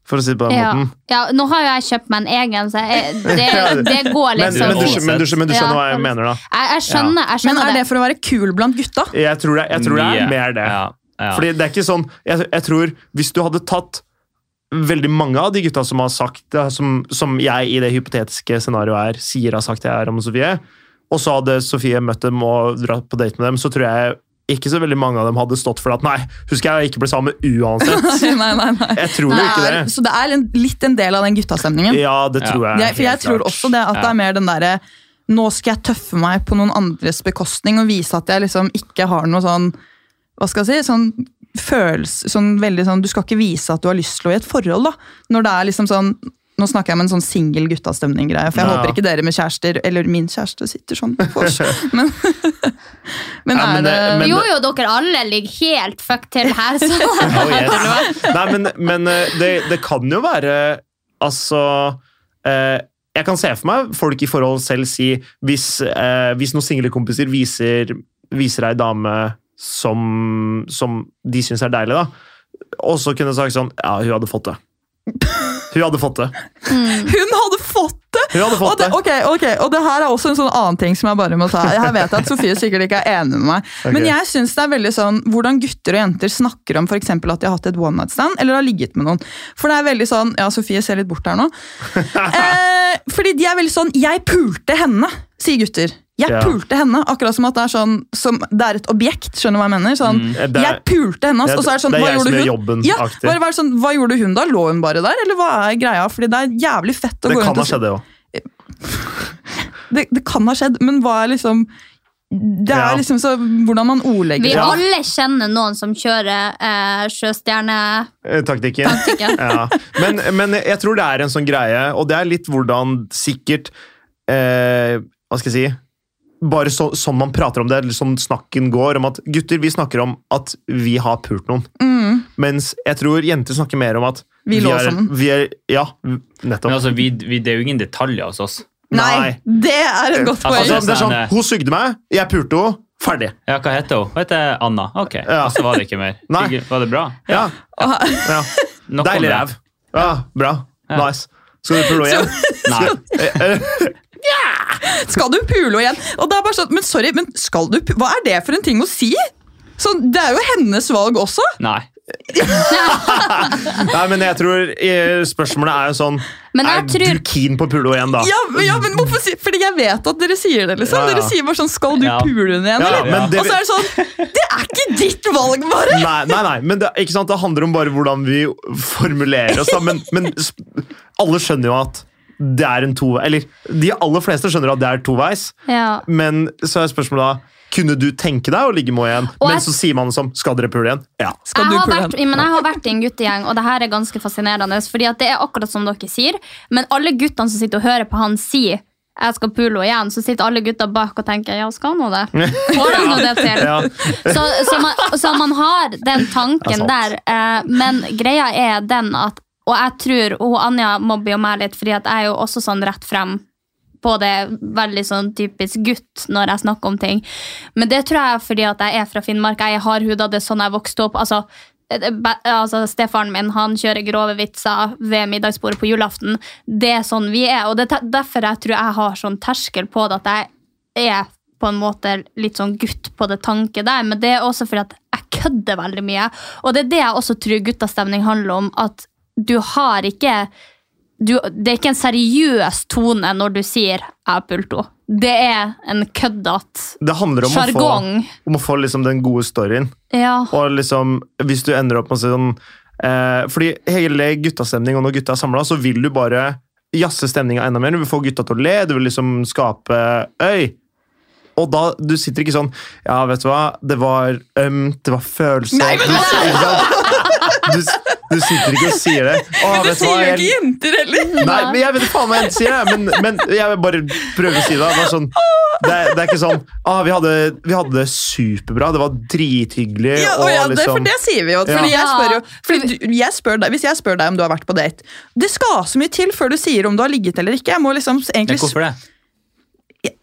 S5: For å si det på den
S4: Ja.
S5: måten.
S4: ja, nå har jo jeg kjøpt meg en egen, så jeg, det, det går
S5: Men-
S4: liksom
S5: Men, du, skjø- men, du, skjø- men du skjønner hva jeg
S4: Ja.
S5: mener, da?
S4: Jeg, jeg skjønner, jeg skjønner
S3: Men er det for å være kul blant gutta?
S5: Jeg tror det, jeg tror det
S6: Mye.
S5: er mer det.
S6: ja.
S5: Fordi det er ikke sånn jeg, jeg tror Hvis du hadde tatt veldig mange av de gutta som har sagt det, som, som jeg i det hypotetiske scenarioet her sier har sagt det her om Sofie, og så hadde Sofie møtt dem og dratt på date med dem, så tror jeg ikke så veldig mange av dem hadde stått for at nei, husker jeg ikke ble sammen uansett.
S3: nei, nei, nei.
S5: Jeg tror jo
S3: Det
S5: ikke
S3: er,
S5: det.
S3: Så det er en, litt en del av den guttastemningen?
S5: Ja, det tror jeg,
S3: Det er- for jeg
S5: helt
S3: tror
S5: klart.
S3: også det at det
S5: Ja.
S3: er mer den derre Nå skal jeg tøffe meg på noen andres bekostning og vise at jeg liksom ikke har noe sånn Hva skal jeg si? Sånn følelse sånn veldig sånn, Du skal ikke vise at du har lyst til å i et forhold, da. Når det er liksom sånn nå snakker jeg om en sånn singel guttastemning-greie, for jeg
S5: Ja.
S3: håper ikke dere med kjærester eller min kjæreste sitter sånn på vors. Men, men
S5: Nei,
S3: er
S5: men
S3: det
S5: det- men-
S4: jo, jo, dere alle ligger helt fuck til her, så
S5: Oh, yes. Nei, men, men eh, det, det kan jo være Altså eh, Jeg kan se for meg folk i forhold selv si Hvis, eh, hvis noen single kompiser viser, viser ei dame som, som de syns er deilig, da, og så kunne jeg sagt sånn Ja, hun hadde fått det. Hun hadde fått det.
S3: Hun hadde fått det!
S5: Hun hadde fått
S3: og det, ok, ok, og det her er også en sånn annen ting som jeg bare må ta. Jeg vet at Sofie sikkert ikke er enig med meg.
S5: Ok.
S3: Men jeg synes det er veldig sånn hvordan gutter og jenter snakker om for eksempel at de har hatt et one night stand eller har ligget med noen. For det er veldig sånn Ja, Sofie ser litt bort her nå. Eh, fordi de er veldig sånn Jeg pulte henne, sier gutter. Jeg
S5: Ja.
S3: pulte henne, akkurat som at det er sånn som Det er et objekt, skjønner du hva jeg mener? Sånn,
S5: Mm. Det er-
S3: Jeg pulte henne, ass,
S5: det er-
S3: og så er det sånn
S5: det er
S3: Hva
S5: jeg som
S3: gjorde hun?
S5: gjør jobben,
S3: ja,
S5: aktig.
S3: bare være sånn, hva gjorde hun da? Lå hun bare der, eller hva er greia? Fordi det er jævlig fett å
S5: Det
S3: gå
S5: kan
S3: rundt
S5: ha
S3: og si-
S5: skjedd, det òg.
S3: det, det kan ha skjedd, men hva er liksom Det er
S5: Ja.
S3: liksom så hvordan man ordlegger
S4: Vi
S3: det.
S4: alle kjenner noen som kjører eh, sjøstjerne...
S5: Eh, Taktikken.
S4: Taktikken.
S5: ja. men, men jeg tror det er en sånn greie, og det er litt hvordan sikkert eh, Hva skal jeg si bare så, sånn man prater om det, eller sånn snakken går, om at gutter, vi snakker om at vi har pult noen.
S3: Mm.
S5: Mens jeg tror jenter snakker mer om at
S3: Vi lå sammen.
S5: Vi er, ja, nettopp.
S6: Men altså, vi, vi, det er jo ingen detaljer hos oss.
S3: Nei, det er et godt poeng.
S5: Altså, det er sånn, hun sugde meg, jeg pulte henne, ferdig.
S6: Ja, hva heter hun? Hun heter Anna. Ok, og så var det ikke mer.
S5: Nei.
S6: Hygge- Var det bra?
S5: Ja. ja.
S6: Nok om
S5: Deilig
S6: det.
S5: ræv. Ja, bra. Nice. Skal du pule igjen? Nei.
S3: Skal du pule igjen? Og det er bare sånn, men sorry, men skal du, pu- hva er det for en ting å si? Sånn, det er jo hennes valg også.
S6: Nei.
S5: Nei, men jeg tror eh, spørsmålet er jo sånn
S3: Men
S5: Er
S3: jeg tror-
S5: du keen på å pule henne igjen, da?
S3: Ja, men- ja, men hvorfor si, Fordi jeg vet at dere sier det. liksom.
S5: Ja, ja.
S3: Dere sier bare sånn 'Skal du
S5: Ja.
S3: pule henne igjen?'
S5: Ja,
S3: eller?
S5: men det-
S3: Og så er det sånn Det er ikke ditt valg, bare!
S5: Nei, nei, nei, men det, ikke sant? det handler om bare hvordan vi formulerer oss. Da. Men, men sp- alle skjønner jo at det er en to... Eller de aller fleste skjønner at det er toveis.
S4: Ja.
S5: Men så er spørsmålet da kunne du tenke deg å ligge med henne igjen?
S4: Og
S5: Men
S4: jeg-
S5: så sier man det som skal dere pule igjen? Ja.
S4: jeg har, vært, men jeg har vært i en guttegjeng, og det her er ganske fascinerende. fordi at det er akkurat som dere sier, Men alle guttene som sitter og hører på han si 'jeg skal pule henne igjen', så sitter alle gutta bak og tenker 'ja, skal han nå det?' Får han nå det til?
S7: Ja.
S4: Så, så, man, så man har den
S7: Det er
S4: tanken
S7: sant.
S4: der. Eh, men greia er den at Og jeg tror og hun Anja mobber jo meg litt, fordi at jeg er jo også sånn rett frem på det veldig sånn typisk gutt når jeg snakker om ting. Men det tror jeg er fordi at jeg er fra Finnmark. Jeg er hardhuda, det er sånn jeg vokste opp. Altså, det- ba- altså Stefaren min han kjører grove vitser ved middagsbordet på julaften. Det er sånn vi er, og det er te- derfor jeg tror jeg har sånn terskel på det at jeg er på en måte litt sånn gutt på det tanket der, men det er også fordi at jeg kødder veldig mye. Og det er det jeg også tror guttastemning handler om, at du har ikke du, det er ikke en seriøs tone når du sier 'jeg har pult henne'. Det er en køddete
S5: Det handler om å få,
S4: Jargong.
S5: om å få liksom den gode storyen.
S4: ja.
S5: Og liksom, hvis du ender opp med sånn eh, Fordi hele guttastemning, og når gutta er samla, så vil du bare jazze stemninga enda mer. Du vil få gutta til å le, du vil liksom skape Øy! Og da, du sitter ikke sånn Ja, vet du hva, det var ømt, det var følelser
S3: Nei, men-
S5: du, ikke sant? du, s- du sitter ikke og sier det. Å,
S3: Men det
S5: vet du hva,
S3: sier jo
S5: jeg-
S3: ikke jenter heller.
S5: Nei, men jeg vet faen hva jeg sier, jeg, men, men jeg vil bare prøve å si det. Det, var sånn, det, er, det er ikke sånn ah, vi, hadde, vi hadde det superbra, det var drithyggelig. liksom-
S3: Ja, og ja,
S4: liksom-
S3: det, for det sier vi jo. Fordi
S5: Ja.
S3: jeg spør jo fordi du, jeg spør deg, Hvis jeg spør deg om du har vært på date Det skal så mye til før du sier om du har ligget eller ikke. Jeg må liksom egentlig...
S6: Hvorfor det?
S3: Jeg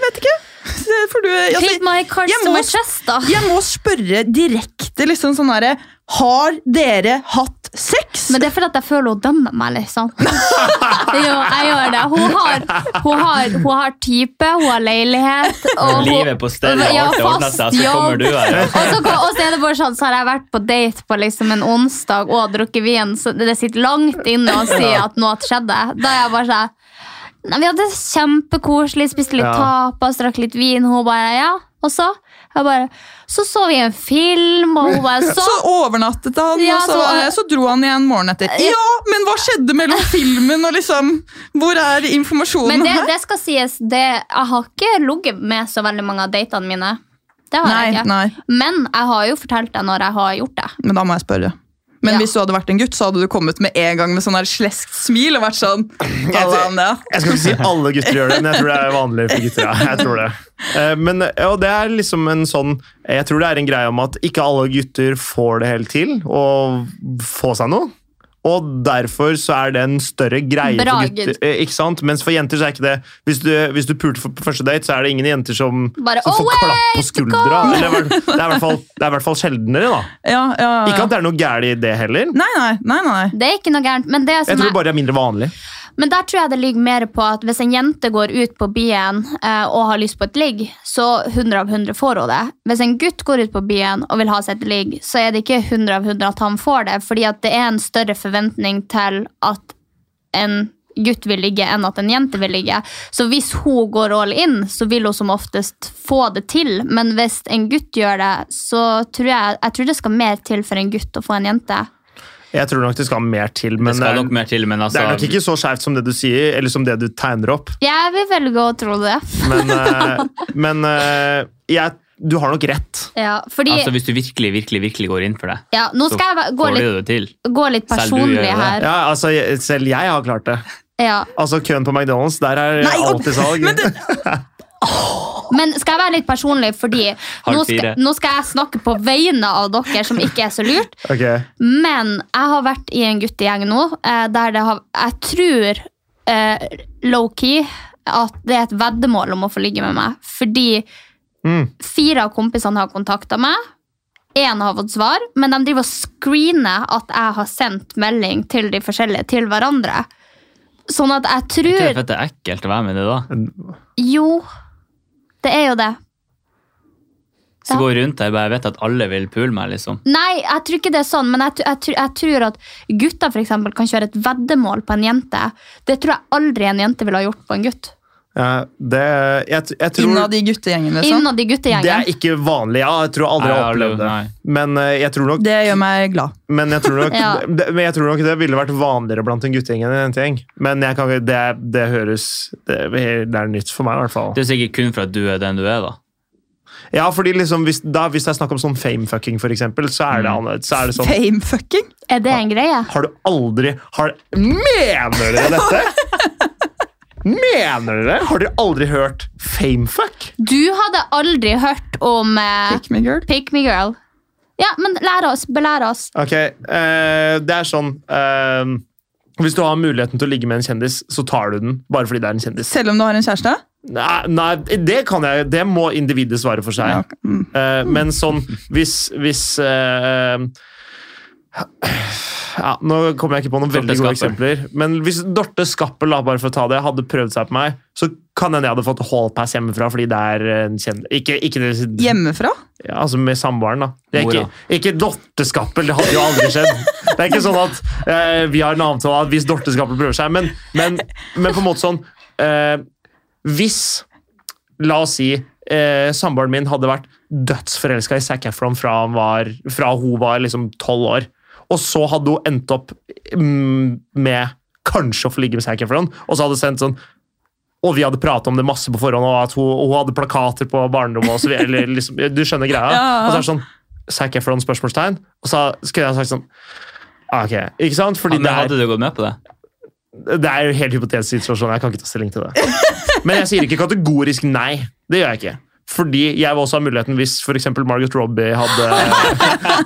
S3: vet ikke. Det får du, altså,
S4: Take my cards
S3: jeg
S4: to
S3: må
S4: my
S3: sp-
S4: chest, da.
S3: Jeg må spørre direkte liksom sånn herre Har dere hatt sex?
S4: Men det er fordi at jeg føler hun dømmer meg, liksom. jo, jeg gjør det. Hun har, hun har, hun har type, hun har leilighet. Og hun,
S6: Livet på stell, og
S4: Ja,
S6: alt er ordnet seg,
S4: fast
S6: så
S4: jobb.
S6: kommer du her.
S4: Og så, kan- og så er det bare sånn, så har jeg vært på date på liksom en onsdag og drukket vin, så det sitter langt inne å si at noe skjedde. Da er jeg bare sånn Nei, vi hadde det kjempekoselig, spiste litt
S7: Ja.
S4: tapas, drakk litt vin. Hun bare ja. Og så? Jeg bare, så så vi en film, og hun bare så.
S3: Så overnattet han,
S4: Ja,
S3: og så,
S4: så-
S3: eh, så dro han igjen morgenen etter. Ja, men hva skjedde mellom filmen og liksom Hvor er informasjonen
S4: Men det,
S3: her?
S4: det skal sies, det, jeg har ikke ligget med så veldig mange av datene mine. Det har
S3: Nei,
S4: jeg ikke.
S3: nei.
S4: Men jeg har jo fortalt deg når jeg har gjort det.
S3: Men da må jeg spørre. Men hvis du hadde vært en gutt, så hadde du kommet med en gang med sånn her sleskt smil og vært sånn
S5: Jeg,
S3: «Halla, Anja».
S5: jeg skal ikke si alle gutter gjør det, men jeg tror det er vanlig for gutter. Ja. Jeg tror det. Eh, Men, og det er liksom en sånn Jeg tror det er en greie om at ikke alle gutter får det helt til å få seg noe. Og derfor så er det en større greie
S4: Bra,
S5: for gutter. eh, Ikke sant? Mens for jenter så er ikke det Hvis du, hvis du pulte for- på første date, så er det ingen jenter som,
S4: Bare,
S5: som
S4: «Oh,
S5: får klapp på
S4: wait,
S5: skuldra.
S4: go!»
S5: Eller, i hvert- det er i hvert fall, det er i hvert fall sjeldnere, da.
S3: Ja, ja, ja.
S5: Ikke at det er noe gærent i det heller.
S3: Nei, nei, nei, nei.
S4: Det er ikke noe gærent. Men, det
S5: Jeg
S4: som
S5: tror det
S4: jeg,
S5: bare er mindre vanlig.
S4: men der tror jeg det ligger mer på at hvis en jente går ut på byen eh, og har lyst på et ligg, så 100 av 100 får hun det. Hvis en gutt går ut på byen og vil ha seg et ligg, så er det ikke 100 av 100 at han får det, fordi at det er en større forventning til at en gutt vil ligge enn at en jente vil ligge. Så hvis hun går all in, så vil hun som oftest få det til. Men hvis en gutt gjør det, så tror jeg, jeg tror det skal mer til for en gutt å få en jente.
S5: Jeg tror nok det skal mer til, men eh,
S6: Det skal nok mer til, men altså
S5: det er nok ikke så skjevt som det du sier, eller som det du tegner opp.
S4: Jeg vil velge å tro det.
S5: Men, eh, men eh, jeg, du har nok rett.
S4: Ja, fordi,
S6: Altså, hvis du virkelig, virkelig, virkelig går inn for det,
S4: ja, nå
S6: så
S4: skal jeg gå
S6: får du det
S4: litt,
S6: til.
S4: gå litt
S6: Selv du gjør
S4: personlig
S6: det.
S4: her.
S5: Ja, altså, jeg, selv jeg har klart det.
S4: Ja.
S5: Altså, Køen på McDonald's, der er
S4: Nei, og-
S5: alltid salg.
S4: men
S5: det,
S4: Men skal jeg være litt personlig, fordi nå
S5: Halv
S4: skal,
S5: fire.
S4: nå skal jeg snakke på vegne av dere som ikke er så lurt.
S5: Ok.
S4: Men jeg har vært i en guttegjeng nå eh, der det har Jeg tror eh, low-key at det er et veddemål om å få ligge med meg. Fordi fire av kompisene har kontakta meg. Én har fått svar, men de driver og screener at jeg har sendt melding til de forskjellige til hverandre. Sånn at jeg
S6: Ikke
S4: tror
S6: det for at det er ekkelt å være med i det, da?
S4: Jo, det er jo det.
S6: Så går jeg rundt der og bare vet at alle vil pule meg, liksom.
S4: Nei, jeg tror ikke det er sånn, men jeg, tr- jeg, tr- jeg tror at gutter for eksempel, kan kjøre et veddemål på en jente. Det tror jeg aldri en jente ville ha gjort på en gutt.
S5: Ja, det, jeg, t- jeg tror,
S3: Innad i guttegjengene, liksom.
S4: Innad
S5: det
S4: i
S5: er
S4: guttegjengen.
S5: ikke vanlig. Ja, jeg tror aldri jeg har opplevd det. Men eh, jeg tror nok
S3: Det gjør meg glad.
S5: Men jeg tror nok,
S3: Ja.
S5: det, men jeg tror nok det ville vært vanligere blant en guttegjeng enn en jentegjeng. Men jeg kan, ikke- det, det høres det, det er nytt for meg, i hvert fall.
S6: Det er sikkert kun for at du er den du er, da.
S5: Ja, fordi liksom, hvis, da, hvis det er snakk om sånn famefucking, for eksempel, så er det, annet- så er det sånn
S3: Famefucking?
S4: Er det en greie?
S5: Har du aldri har, Mener dere dette?! Mener dere? Har dere aldri hørt famefuck?
S4: Du hadde aldri hørt om eh, Pick
S3: me girl.
S4: Ja, men lær oss. Belær oss.
S5: Ok, eh, det er sånn eh, Hvis du har muligheten til å ligge med en kjendis, så tar du den bare fordi det er en kjendis.
S3: Selv om du har en kjæreste?
S5: Nei, nei det kan jeg Det må individet svare for seg. Eh, men sånn hvis, hvis eh, ja, Nå kommer jeg ikke på noen
S6: Dorte
S5: veldig gode
S6: Skappel.
S5: eksempler. Men hvis Dorte Skappel da, bare for å ta det, hadde prøvd seg på meg, så kan hende jeg hadde fått hallpass hjemmefra. fordi det er en kjend... Ikke, ikke det,
S3: Hjemmefra?
S5: ja, altså med samboeren, da. Det er
S6: Mora.
S5: ikke, ikke Dorte Skappel, det hadde jo aldri skjedd. Det er ikke sånn at eh, vi har en avtale at hvis Dorte Skappel prøver seg, men, men, men på en måte sånn eh, Hvis, la oss si, eh, samboeren min hadde vært dødsforelska i Zac Efron fra, han var, fra hun var liksom tolv år, og så hadde hun endt opp mm, med kanskje å få ligge med Zac Efron, og så hadde hun sendt sånn og vi hadde pratet om det masse på forhånd, og at hun, og hun hadde plakater på barnerommet. Og så, vi- eller liksom, du skjønner greia?
S7: Ja.
S5: Og så er det sånn Zac Efron? spørsmålstegn. Og så skulle jeg sagt sånn ah, Ok, ikke sant? Fordi
S6: Men
S5: det,
S6: hadde du gått med på det?
S5: er, det er jo en helt hypotetisk situasjon. Jeg kan ikke ta stilling til det. Men jeg sier ikke kategorisk nei. Det gjør jeg ikke. Fordi jeg vil også ha muligheten hvis f.eks. Margot Robbie hadde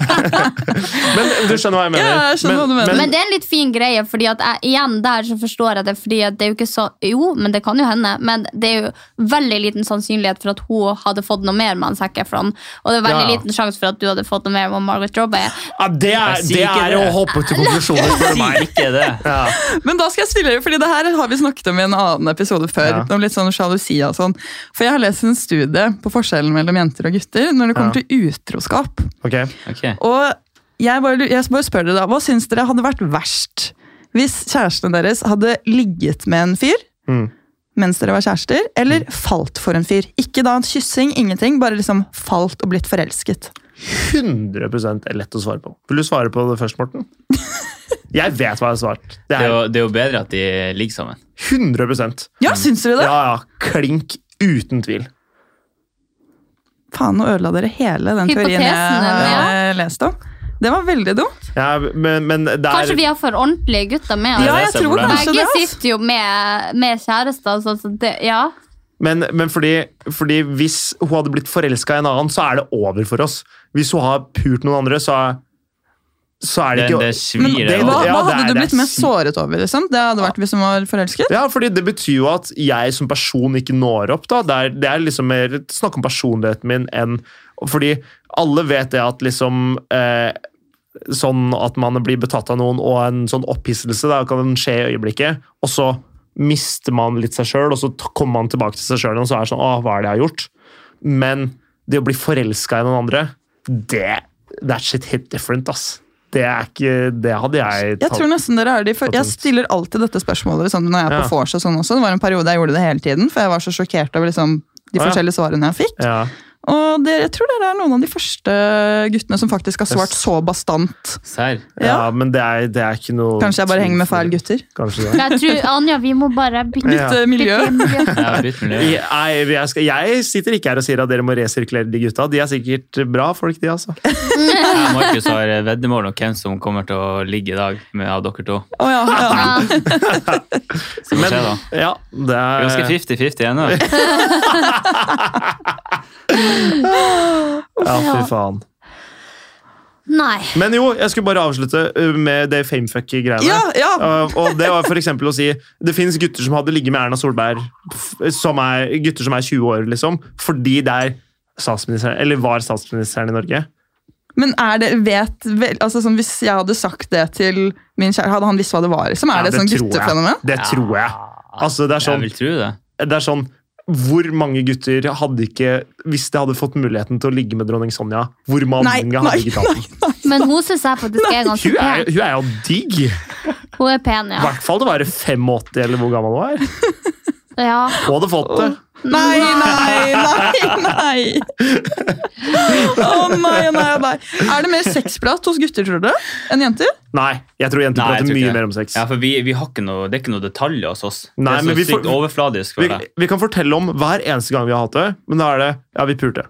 S5: Men du skjønner hva jeg mener?
S4: Men, det er en litt fin greie, fordi at jeg, igjen der så forstår jeg det. fordi at det er Jo, ikke så, jo, men det kan jo hende, men det er jo veldig liten sannsynlighet for at hun hadde fått noe mer med han Zac Efron. Og det er
S5: Ja,
S4: veldig
S5: ja.
S4: liten sjanse for at du hadde fått noe mer med Margaret Robbie.
S5: Ja, Ah, det er,
S6: Jeg sier
S5: det
S6: ikke
S5: er
S6: det.
S5: å hoppe til konklusjoner, spør du meg.
S6: Ikke det.
S5: Ja.
S3: Men da skal jeg stille dere, fordi det her har vi snakket om i en annen episode før.
S5: Ja.
S3: om litt sånn sjalusi og sånn. For jeg har lest en studie på forskjellen mellom jenter og gutter når det kommer
S5: Ja.
S3: til utroskap.
S5: Ok.
S3: Og jeg bare, jeg bare spør dere da, hva syns dere hadde vært verst hvis kjærestene deres hadde ligget med en fyr
S5: Mm.
S3: mens dere var kjærester, eller falt for en fyr? Ikke da kyssing, ingenting, bare liksom falt og blitt forelsket.
S5: 100 er lett å svare på. Vil du svare på det først, Morten? Jeg vet hva jeg har svart. Det
S6: Det er,
S5: er
S6: jo, det er jo bedre at de ligger sammen.
S5: 100
S3: Ja, syns dere det?
S5: Mm. Ja, ja. Klink uten tvil.
S3: Faen, nå ødela dere hele den
S4: Hypotesen,
S3: teorien jeg
S4: ja.
S3: har eh, lest om. Det var veldig dumt.
S5: Ja, men, men det er
S4: Kanskje vi har for ordentlige gutter med oss.
S5: Ja, jeg tror kanskje det,
S4: Begge
S3: altså.
S5: ass.
S4: sitter jo med, med kjærester. Så, så det, ja.
S5: Men, men fordi, fordi hvis hun hadde blitt forelska i en annen, så er det over for oss. Hvis hun har pult noen andre, så er, så er det
S6: Det-
S5: ikke
S6: det svir, Men
S3: Hva,
S5: ja,
S3: hva
S5: det er-
S3: hadde
S5: det
S3: du
S5: er
S3: blitt mest
S5: svir.
S3: såret over? liksom? Det hadde vært hvis hun var forelsket?
S5: Ja, fordi det betyr jo at jeg som person ikke når opp. da. Det er, det er liksom mer snakk om personligheten min enn Fordi alle vet det at liksom eh, Sånn at man blir betatt av noen, og en sånn opphisselse da, kan skje i øyeblikket. Og så mister man litt seg sjøl, og så t- kommer man tilbake til seg sjøl og så er det sånn Å, hva er det jeg har gjort? Men det å bli forelska i noen andre, det That shit hit different, ass. Det er ikke Det hadde jeg
S3: Jeg tror nesten dere er de for, Jeg stiller alltid dette spørsmålet liksom, når jeg er
S5: Ja.
S3: på vors og sånn også. Det var en periode jeg gjorde det hele tiden, for jeg var så sjokkert over liksom, de
S5: Å, ja.
S3: forskjellige svarene jeg fikk.
S5: Ja.
S3: Og dere, jeg tror dere er noen av de første guttene som faktisk har svart så bastant.
S6: Serr?
S5: Ja, men det er, det er ikke noe
S3: Kanskje jeg bare henger med feil gutter. Eh,
S5: Kanskje
S4: Men jeg tror, Anja, vi må bare bytte,
S5: Ja. Bytte miljø.
S6: miljø.
S5: Jeg, jeg, skal, jeg sitter ikke her og sier at dere må resirkulere de gutta. De er sikkert bra folk, de, altså.
S6: Jeg og Markus har veddemål om hvem som kommer til å ligge i dag med av dere to.
S3: Å ja, ja.
S6: Så får vi se, da.
S5: Ja, det er
S6: Ganske 50-50 ennå.
S5: Ja, fy faen.
S4: Nei.
S5: Men jo, jeg skulle bare avslutte uh, med det famefucky-greiene.
S3: Ja, ja.
S5: Uh, og det var for eksempel å si det fins gutter som hadde ligget med Erna Solberg, f- som er, gutter som er 20 år, liksom, fordi det er statsministeren, eller var statsministeren i Norge.
S3: Men er det, vet, vel- altså sånn, hvis jeg hadde sagt det til min kjære, hadde han visst hva det var? Liksom, er
S5: Ja,
S3: det, et sånn
S5: tror jeg.
S3: guttefenomen?
S5: Det tror jeg. Altså, det er sånn,
S6: Jeg vil tro det.
S5: det er sånn hvor mange gutter hadde ikke, hvis de hadde fått muligheten til å ligge med dronning Sonja, hvor mange
S4: Nei,
S5: hadde
S4: nei,
S5: ikke tatt den?
S4: Men hun syns jeg faktisk er ganske
S5: Hun er,
S4: pen.
S5: hun er jo digg! I
S4: Hun er pen, ja.
S5: hvert fall til å være 85, eller hvor gammel hun er.
S4: ja.
S5: Hun hadde fått det.
S3: Nei, nei, nei! nei. Å nei, nei, nei. Er det mer sexprat hos gutter, tror du, enn jenter?
S5: Nei, jeg tror jenter
S6: jeg
S5: prater
S6: tror ikke
S5: mye
S6: det.
S5: mer om sex.
S6: Ja, for vi, vi har ikke noe, Det er ikke noe detaljer hos oss.
S5: Nei,
S6: det
S5: men
S6: er
S5: vi
S6: så
S5: får-
S6: sykt overfladisk.
S5: Vi,
S6: føler jeg.
S5: vi kan fortelle om hver eneste gang vi har hatt det, men da er det ja, vi pulte.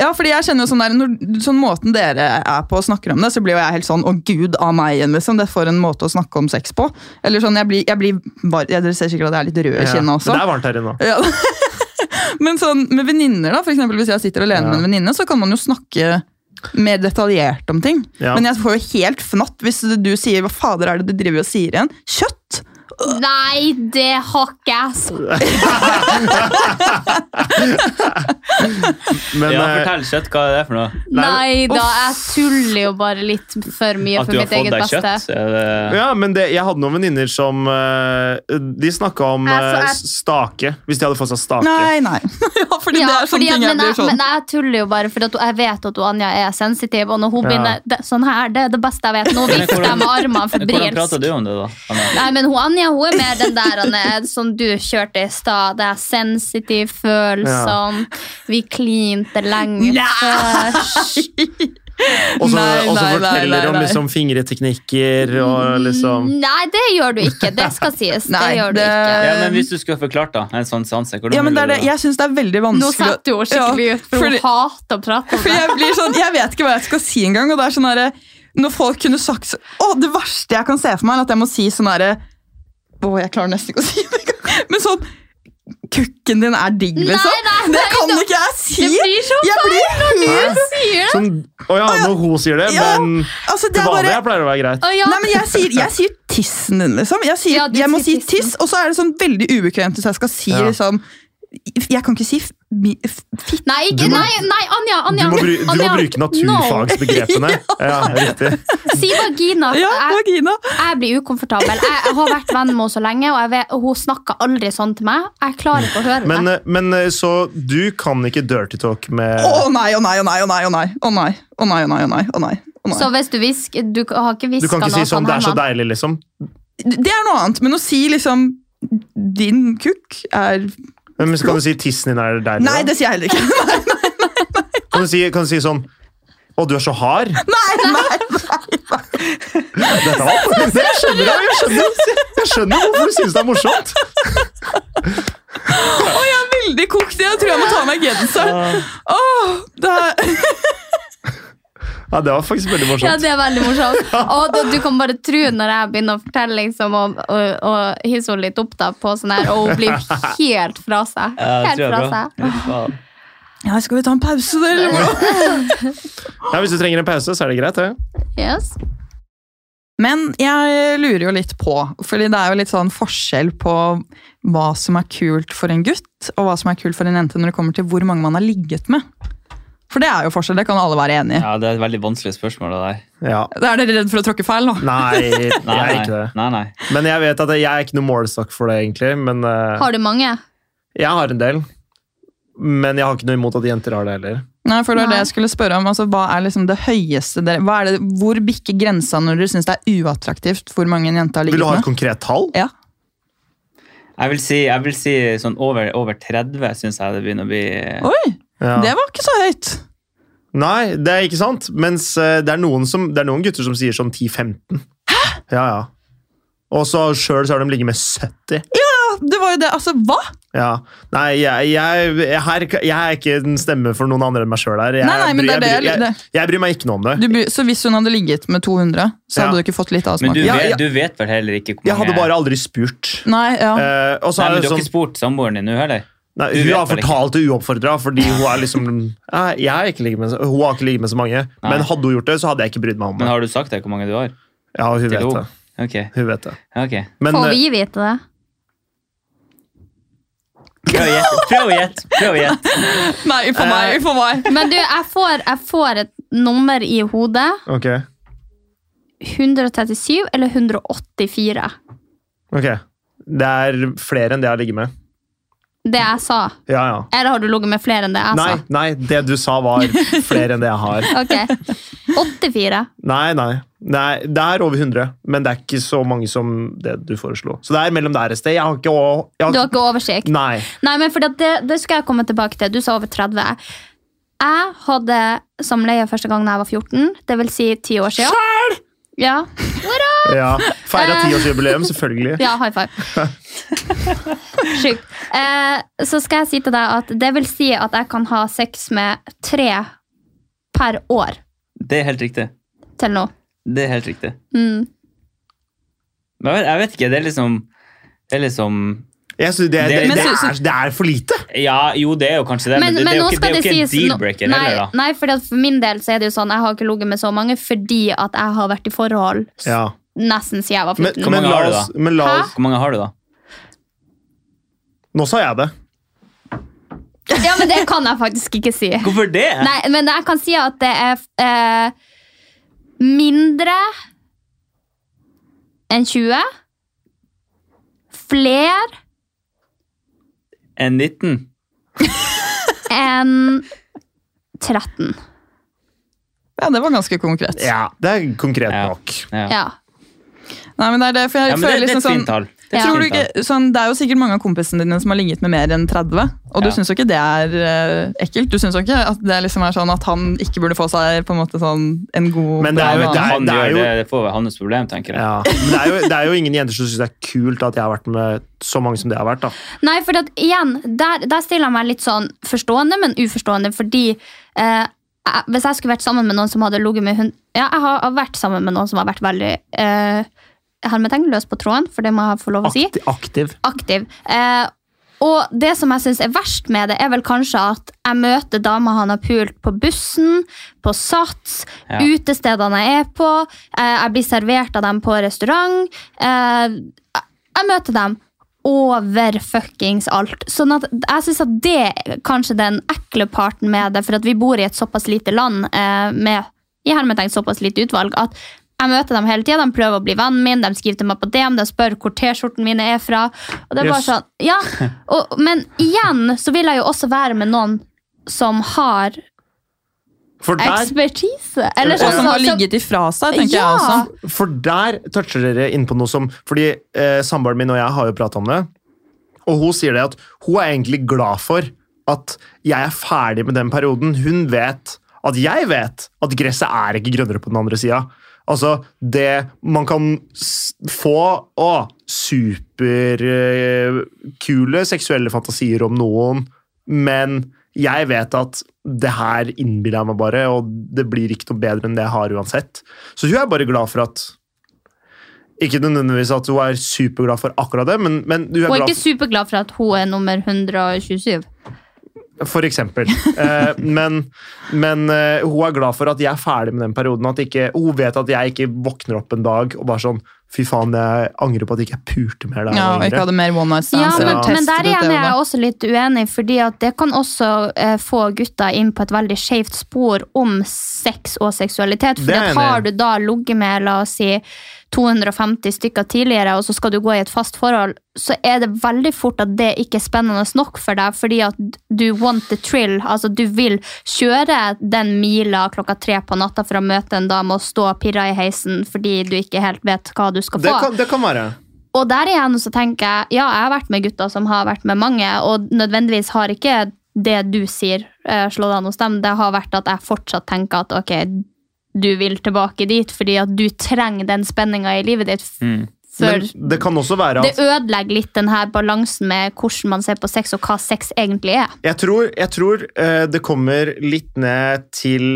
S3: Ja, fordi jeg kjenner jo sånn der, når, sånn Måten dere er på og snakker om det, så blir jo jeg helt sånn 'Å, gud av meg igjen'. liksom. Det er for en måte å snakke om sex på. Eller sånn, jeg blir, jeg blir var, ja, Dere ser sikkert at jeg er litt rød i
S5: Ja.
S3: kinnet også.
S5: Men det er varmt her inne nå.
S3: Ja. Men sånn, med venninner, da, for eksempel hvis jeg sitter alene
S5: Ja.
S3: med en venninne, så kan man jo snakke mer detaljert om ting.
S5: Ja.
S3: Men jeg får jo helt fnatt hvis du sier 'hva fader er det du driver og sier igjen'? Kjøtt!
S4: Nei, det har ikke jeg altså. sagt.
S5: Men,
S6: ja,
S5: eh,
S6: fortell kjøtt, hva er det for noe?
S4: Nei da, jeg tuller jo bare litt for mye
S6: At
S4: for
S6: du har
S4: mitt
S6: fått
S4: eget
S6: deg
S4: beste.
S6: kjøtt? Er det...
S5: eh, Ja, men det, Jeg hadde noen venninner som eh, De snakka om
S4: Altså,
S5: eh,
S4: jeg-
S5: stake, hvis de hadde fått seg stake.
S3: Nei, nei. ja, fordi det er sånne
S4: fordi at-
S3: ting jeg
S4: men,
S3: blir sånn.
S4: men jeg tuller jo bare, for at jeg vet at hun Anja er sensitiv. Og når hun
S5: Ja.
S4: begynner det, sånn her, det er det beste jeg vet. Nå vifter jeg med armene
S6: Hvordan
S4: febrilsk.
S6: prater du om det, da? Anna?
S4: Nei, men hun Anja hun er mer den der Anne, som du kjørte i stad. Det er sensitiv, følsom. Vi klinte lenge først.
S5: Og så og
S3: Nei,
S5: så
S3: nei, nei,
S5: forteller
S3: nei,
S5: om
S3: nei.
S5: liksom fingreteknikker og
S4: Mm,
S5: liksom
S4: Nei, det gjør du ikke. Det skal sies.
S3: Nei,
S4: det gjør du
S3: det-
S4: ikke.
S6: Ja, men Hvis du skulle forklart da, en sånn sanse hvordan
S3: Ja, men det
S6: ville
S3: er det.
S6: du da?
S3: Jeg syns det er veldig
S4: Nå
S3: vanskelig å-
S4: setter hun skikkelig
S3: Ja,
S4: ut, for hun
S3: fordi-
S4: hater å prate om
S3: For
S4: det.
S3: jeg blir sånn, jeg vet ikke hva jeg skal si engang. Og det er sånn herre Når folk kunne sagt så- Å, det verste jeg kan se for meg, er at jeg må si sånn herre Å, jeg klarer nesten ikke å si det engang. Men sånn Kukken din er digg,
S4: Nei,
S3: liksom. det
S4: nei, nei,
S3: kan
S4: det-
S3: ikke jeg si!
S4: Det blir så
S3: Jeg
S4: feil
S3: blir
S4: når
S5: Hæ?
S4: du sier det.
S5: Sånn, Å ja, når hun sier det,
S3: Ja,
S5: men
S3: Altså, det
S5: til
S3: er
S5: vanlig
S3: bare
S5: jeg pleier å være greit.
S4: Å, ja.
S3: Nei, men jeg sier, jeg sier tissen din, liksom. Jeg, sier,
S4: Ja, du
S3: jeg må si
S4: sier tissen.
S3: tiss, og så er det sånn veldig ubekvemt hvis jeg skal si
S5: Ja.
S3: liksom Jeg kan ikke si f- mi- f- fitte.
S4: Nei,
S5: Du
S4: ikke,
S5: må-
S4: nei, nei, Anja!
S5: Du
S4: Anja
S5: må, bru, du må
S4: Anja,
S5: bruke
S4: no.
S5: naturfagsbegrepene. Ja, riktig.
S4: Si vagina.
S3: Ja,
S4: Jeg,
S3: vagina.
S4: jeg blir ukomfortabel. Jeg, jeg har vært venn med henne så lenge, og jeg vet, og hun snakker aldri sånn til meg. Jeg klarer ikke å høre
S5: Men,
S4: det.
S5: eh, men eh, så du kan ikke dirty talk med
S3: Å nei, å nei, å nei, å nei, å nei, å nei, å nei, å nei, å nei, å nei. å nei.
S4: Så hvis du hvisker Du har ikke
S5: eh, Du
S4: hviska
S5: kan
S4: noe
S5: ikke si sånn 'det er så
S4: Herman.
S5: deilig', liksom.
S3: Det er noe annet, men å si liksom din kukk er
S5: Men så kan du si 'tissen din er deilig'?
S3: Nei, det sier jeg heller ikke.
S5: da. Kan, du si, kan du si sånn 'å, du er så hard'?
S3: Nei, nei.
S5: Dette var morsomt. Jeg skjønner det, jeg skjønner, jeg skjønner hvorfor du synes det er morsomt.
S3: Å, jeg er veldig kokt. Jeg tror jeg må ta av meg genseren. Åh, det er...
S5: Ja, det var faktisk veldig
S4: Ja,
S5: morsomt.
S4: det er veldig morsomt. Og du, du kan bare tro når jeg begynner å fortelle liksom, og, og, og hisse henne litt opp da, på sånn her, og hun blir helt fra seg.
S6: Ja, det
S4: Helt
S6: tror jeg
S4: fra
S6: er bra.
S4: seg.
S6: Fy faen.
S3: Ja, skal vi ta en pause, dere? eller hva?
S5: Ja, hvis du trenger en pause, så er det greit, det.
S4: Yes.
S3: Men jeg lurer jo litt på, fordi det er jo litt sånn forskjell på hva som er kult for en gutt, og hva som er kult for en jente når det kommer til hvor mange man har ligget med. For det er jo forskjell, det kan alle være enig i.
S6: Ja, det er et veldig vanskelig spørsmål. det der.
S5: Ja.
S3: Er dere redd for å tråkke feil nå?
S5: Nei, jeg
S6: Nei,
S5: er ikke det.
S6: Nei, nei.
S5: Men jeg vet at jeg er ikke noe målestokk for det, egentlig. Men eh,
S4: Har du mange?
S5: jeg har en del. Men jeg har ikke noe imot at jenter har det heller.
S3: Nei, for det var det
S4: Nei.
S3: jeg skulle spørre om. Altså, hva er liksom det høyeste dere hva er det, Hvor bikker grensa når dere syns det er uattraktivt hvor mange en jente har
S5: Vil
S3: ligget
S5: du ha et
S3: med?
S5: konkret tall?
S3: Ja.
S6: Jeg vil si, jeg vil si sånn over, over 30 syns jeg det begynner å bli
S3: Oi,
S5: Ja.
S3: det var ikke så høyt!
S5: Nei, det er ikke sant. Mens eh, det er noen, som, det er noen gutter som sier sånn 10-15. Ja, ja. Og så sjøl så har de ligget med 70.
S3: Ja, det var jo det. Altså, hva?
S5: Ja. Nei, jeg, jeg, jeg, her, jeg er ikke en stemme for noen andre enn meg sjøl her. Jeg,
S3: Nei, nei, men
S5: bryr-
S3: det er det
S5: jeg,
S3: jeg-
S5: bryr- jeg, jeg bryr meg ikke noe om det.
S3: Du, bry- så hvis hun hadde ligget med 200, så hadde
S5: Ja.
S3: du ikke fått litt
S6: Men
S3: avsmak?
S6: du,
S3: Ja,
S6: vet,
S3: ja.
S6: du vet vel heller ikke hvor mange
S5: Jeg hadde bare aldri spurt.
S3: Nei, ja.
S5: Eh, og så er
S6: Nei,
S5: det
S6: men Du har
S5: sånn
S6: ikke spurt samboeren din nå heller?
S5: Nei,
S6: Du
S5: hun
S6: vet
S5: har
S6: vel ikke.
S5: fortalt det uoppfordra, fordi hun er liksom Nei, jeg har ikke ligget med, så- Hun har ikke ligget med så mange. Men hadde hun gjort det, så hadde jeg ikke brydd meg om det.
S6: Men har du sagt det, hvor mange du har?
S5: Ja, hun vet
S6: henne?
S5: det. Hun vet det.
S6: Ok.
S5: Men,
S4: Får
S5: eh,
S4: vi vite det?
S6: Prøv å gjette. Prøv å gjette. Prøv å gjette.
S3: Nei, for
S5: eh,
S3: meg. For meg.
S4: Men du, jeg får, jeg får et nummer i hodet.
S5: Ok.
S4: 137 eller 184?
S5: ok. Det er flere enn det jeg har ligget med.
S4: Det jeg sa.
S5: Ja, ja.
S4: Eller har du ligget med flere enn det jeg
S5: Nei, nei, det du sa var flere enn det jeg har.
S4: sa? Ok. 84.
S5: Nei, nei. nei. Det er over 100, men det er ikke så mange som det du foreslo. Så det er mellom der et sted. Jeg har ikke å- jeg
S4: Du har ikke oversikt?
S5: Nei.
S4: Nei, men fordi at det, det skal jeg komme tilbake til. Du sa over 30. Jeg hadde samleie første gang da jeg var 14, det vil si 10 år siden. Ja. Hurra!
S5: Ja. Feira
S4: Eh.
S5: tiårsjubileum, selvfølgelig.
S4: Ja, high five. Sjukt. Eh, så skal jeg si til deg at det vil si at jeg kan ha sex med tre per år
S6: Det er helt riktig.
S4: til nå.
S6: Det er helt riktig.
S4: Mm.
S6: Men jeg vet- jeg vet ikke, det er liksom Det er liksom
S5: Jeg synes det, det, det, er, det er for lite.
S6: Ja, jo, det er jo kanskje det, men, det, det er jo ikke, det er jo ikke en
S4: nå-
S6: deal-breaker
S4: nei,
S6: heller, da.
S4: Nei, fordi at for min del så er det jo sånn, jeg har ikke ligget med så mange fordi at jeg har vært i forhold s-
S5: Ja.
S4: nesten siden jeg var
S5: Men,
S4: 14.
S5: men la oss, men la oss
S6: Hvor mange har du, da?
S5: Nå sa jeg det.
S4: Ja, men det kan jeg faktisk ikke si.
S6: Hvorfor det?
S4: Nei, men jeg kan si at det er eh, mindre enn 20. Fler
S6: En 19?
S4: enn 13.
S3: ja, det var ganske konkret.
S5: Ja, det er konkret nok.
S4: Ja.
S3: Nei, men det er det, for jeg
S6: Ja, men det- det
S3: føler
S6: er
S3: liksom
S6: et
S3: sånn
S6: fint tall. Det er et
S3: Tror du
S6: fint
S3: ikke, sånn, det er jo sikkert mange av kompisene dine som har ligget med mer enn 30, og du
S6: Ja.
S3: syns jo ikke det er eh, ekkelt? Du syns jo ikke at det liksom er sånn at han ikke burde få seg på en måte sånn en god
S5: Men det er jo-
S3: bra dame?
S5: det
S6: Han
S5: er
S6: gjør
S5: jo-
S6: det, det får være hans problem, tenker jeg.
S5: Ja. Men det er, jo, det er jo ingen jenter som syns det er kult at jeg har vært med så mange som det har vært. da.
S4: Nei, for at, igjen, der, der stiller jeg meg litt sånn forstående, men uforstående, fordi eh, jeg- hvis jeg skulle vært sammen med noen som hadde ligget med hund... Ja, jeg har har vært sammen med noen som har vært veldig eh, hermetegn løs på tråden, for det må jeg få lov å si.
S5: Akti- Aktiv.
S4: Aktiv. Eh, og det som jeg syns er verst med det, er vel kanskje at jeg møter damer han har pult på bussen, på Sats,
S7: Ja.
S4: utestedene jeg er på, eh, jeg blir servert av dem på restaurant. Eh, jeg- jeg møter dem over fuckings alt. Sånn at jeg syns at det er kanskje den ekle parten med det, for at vi bor i et såpass lite land eh, med i hermetegn såpass lite utvalg at jeg møter dem hele tida. De prøver å bli vennen min, de skriver til meg på DM, de spør hvor T-skjorten min er fra. Og det er bare
S7: Yes.
S4: sånn, ja. Og, men igjen så vil jeg jo også være med noen som har
S5: For der,
S4: ekspertise.
S5: Eller sånn-
S3: og som har
S4: så-
S3: ligget ifra seg, tenker
S4: Ja.
S3: jeg også.
S5: For der toucher dere inn på noe som Fordi eh, samboeren min og jeg har jo prata om det, og hun sier det at hun er egentlig glad for at jeg er ferdig med den perioden. Hun vet at jeg vet at gresset er ikke grønnere på den andre sida. Altså, det man kan s- få Å, superkule seksuelle fantasier om noen, men jeg vet at det her innbiller jeg meg bare, og det blir ikke noe bedre enn det jeg har uansett. Så hun er bare glad for at Ikke nødvendigvis at hun er superglad for akkurat det, men, men hun er
S4: Hun er
S5: glad
S4: ikke superglad for at hun er nummer 127.
S5: For eksempel. Eh, men men eh, hun er glad for at jeg er ferdig med den perioden. At ikke, hun vet at jeg ikke våkner opp en dag og bare sånn Fy faen, jeg angrer på at jeg ikke pulte mer da jeg
S3: Ja,
S5: var
S3: og ikke
S5: yngre.
S3: hadde mer one night
S4: Ja,
S3: stands.
S4: men,
S3: eller
S4: men
S3: testet
S4: der
S3: ut
S4: igjen
S3: det
S4: er jeg
S3: og det.
S4: også litt uenig, fordi at det kan også eh, få gutter inn på et veldig skjevt spor om sex og seksualitet.
S7: Det er
S4: For at
S7: jeg enig i.
S4: har du da ligget med la oss si 250 stykker tidligere, og så skal du gå i et fast forhold, så er det veldig fort at det ikke er spennende nok for deg, fordi at du want the thrill. Altså, du vil kjøre den mila klokka tre på natta for å møte en dame og stå og pirre i heisen fordi du ikke helt vet hva du skal
S5: Det
S4: få.
S5: kan, det kan være.
S4: Og der igjen så tenker jeg, ja, jeg har vært med gutter som har vært med mange, og nødvendigvis har ikke det du sier eh, slått an hos dem. Det har vært at jeg fortsatt tenker at ok, du vil tilbake dit, fordi at du trenger den spenninga i livet ditt. f-
S6: Mm.
S4: For
S5: Men det kan også være
S4: det
S5: at
S4: ødelegger litt den her balansen med hvordan man ser på sex, og hva sex egentlig er.
S5: Jeg tror, jeg tror eh, det kommer litt ned til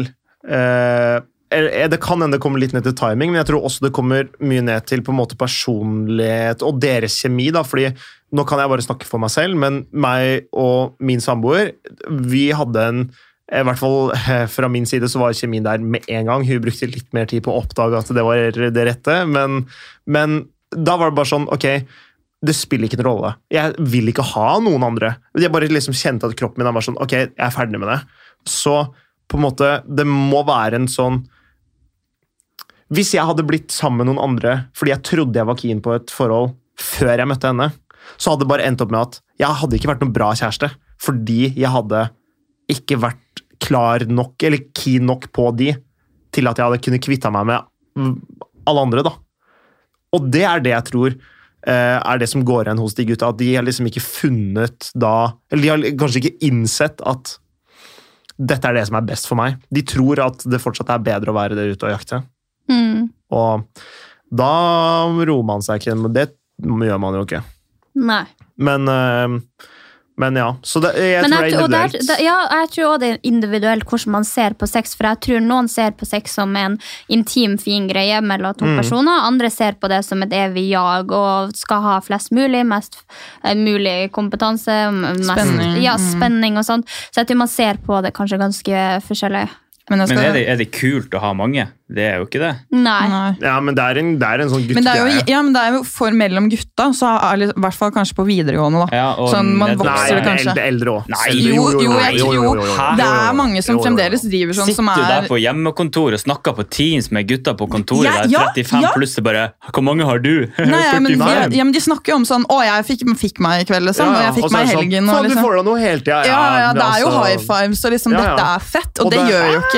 S5: eh, eller, Det kan hende det kommer litt ned til timing, men jeg tror også det kommer mye ned til på en måte personlighet og deres kjemi. da, fordi Nå kan jeg bare snakke for meg selv, men meg og min samboer vi hadde en i hvert fall eh, Fra min side så var kjemien der med en gang. Hun brukte litt mer tid på å oppdage at det var det rette, men, men da var det bare sånn Ok, det spiller ikke noen rolle. Jeg vil ikke ha noen andre. Jeg bare liksom kjente at kroppen min var sånn, ok, jeg er ferdig med det. Så på en måte, det må være en sånn Hvis jeg hadde blitt sammen med noen andre fordi jeg trodde jeg var keen på et forhold før jeg møtte henne, så hadde det bare endt opp med at jeg hadde ikke vært noen bra kjæreste. Fordi jeg hadde ikke vært klar nok, eller keen nok på de, til at jeg hadde kunnet kvitta meg med alle andre, da. Og det er det jeg tror eh, er det som går igjen hos de gutta. At de har liksom ikke funnet da Eller de har kanskje ikke innsett at dette er det som er best for meg. De tror at det fortsatt er bedre å være der ute og jakte.
S4: Mm.
S5: Og da roer man seg ikke, men det gjør man jo ikke.
S4: Nei.
S5: Men, eh, men ja. Så det, jeg
S4: Men
S5: tror det er
S4: og der-
S5: individuelt.
S4: der- ja, jeg tror også det er individuelt hvordan man ser på sex. For jeg tror noen ser på sex som en intim, fin greie mellom to
S7: Mm.
S4: personer. Andre ser på det som et evig jag og skal ha flest mulig, mest eh, mulig kompetanse. m- Mest,
S3: Spenning,
S4: Ja,
S3: mm.
S4: spenning og sånt. Så jeg tror man ser på det kanskje ganske forskjellig.
S3: Men,
S6: Men er det, er det kult å ha mange? Det er jo ikke det.
S4: Nei.
S5: Ja, men det er en, det er en sånn
S3: Men det, er jo,
S5: guttegreie.
S3: ja, men det er jo for mellom gutta, så er det, i hvert fall kanskje på videregående. da.
S6: Ja, og
S3: sånn man
S6: ned- Nei,
S3: vokser det kanskje.
S6: eld- eldre
S5: også.
S6: Nei,
S3: jo, jo, jeg tror
S6: Hæ?
S3: Det er mange som
S6: Jo, jo, jo.
S3: fremdeles driver sånn, som
S6: Sitter du
S3: er
S6: der på hjemmekontoret og snakker på Teams med gutta på kontoret
S3: Ja,
S6: der,
S3: ja,
S6: 35
S3: ja.
S6: pluss, det bare 'Hvor mange har du?'
S3: Nei, ja, men, de,
S6: 45.
S3: ja, men de snakker jo om sånn 'Å, jeg fikk, fikk meg i kveld', liksom.
S6: Ja,
S3: og
S6: ja,
S3: jeg fikk
S6: og så er
S3: meg i
S6: det sånn,
S3: helgen.
S6: «Faen,
S3: og
S6: du
S3: liksom.
S6: får da noe hele tida, ja,
S3: Ja, ja, det er jo
S5: altså-
S3: high fives, og liksom
S5: Ja, ja.
S3: dette er fett. Og,
S5: Og
S3: det,
S5: det-
S3: gjør jo ikke,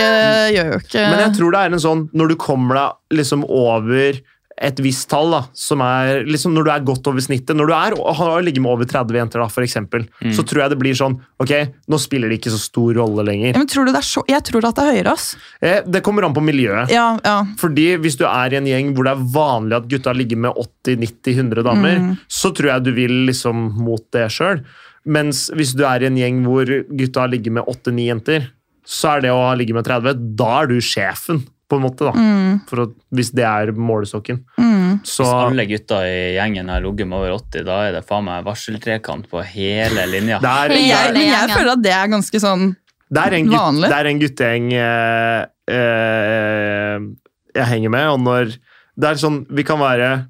S3: gjør jo ikke
S5: Men jeg tror det er en sånn Når du kommer deg liksom over et visst tall, da, som er liksom når du er godt over snittet Når du er, har ligget med over 30 jenter, da, for eksempel,
S3: Mm.
S5: så tror jeg det blir sånn Ok, nå spiller det ikke så stor rolle lenger.
S3: Ja, men tror du det er så, Jeg tror at det er høyere, ass.
S5: Eh, Det kommer an på miljøet.
S3: Ja, ja.
S5: Fordi Hvis du er i en gjeng hvor det er vanlig at gutta ligger med 80-90-100 damer,
S3: Mm.
S5: så tror jeg du vil liksom mot det sjøl. Mens hvis du er i en gjeng hvor gutta ligger med 8-9 jenter, så er det å ligge med 30, da er du sjefen, på en måte. da.
S3: Mm.
S5: For at, hvis det er målestokken. Så-
S6: Hvis alle gutta i gjengen har ligget med over 80, da er det faen meg varseltrekant på hele linja.
S5: Der-
S3: Men jeg, men jeg
S5: gjengen.
S3: føler at det er ganske sånn
S5: Det er en, gutt,
S3: vanlig.
S5: det er en guttegjeng eh, eh, jeg henger med, og når Det er sånn Vi kan være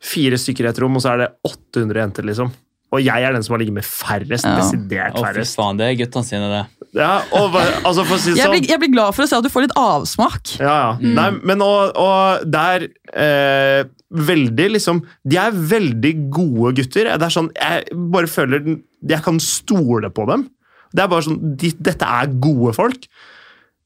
S5: fire stykker i et rom, og så er det 800 jenter, liksom. Og jeg er den som har ligget med færrest. Desidert
S6: Å, fy
S5: færrest.
S6: faen, det er guttene sine, det.
S5: Ja, og, hva- altså for å si det
S3: jeg
S5: sånn
S3: blir, jeg blir glad for å se at du får litt avsmak.
S5: Ja, ja.
S6: Mm.
S5: Nei, men og, og det er eh, veldig liksom De er veldig gode gutter. Det er sånn, Jeg bare føler den- Jeg kan stole på dem. Det er bare sånn, de, Dette er gode folk.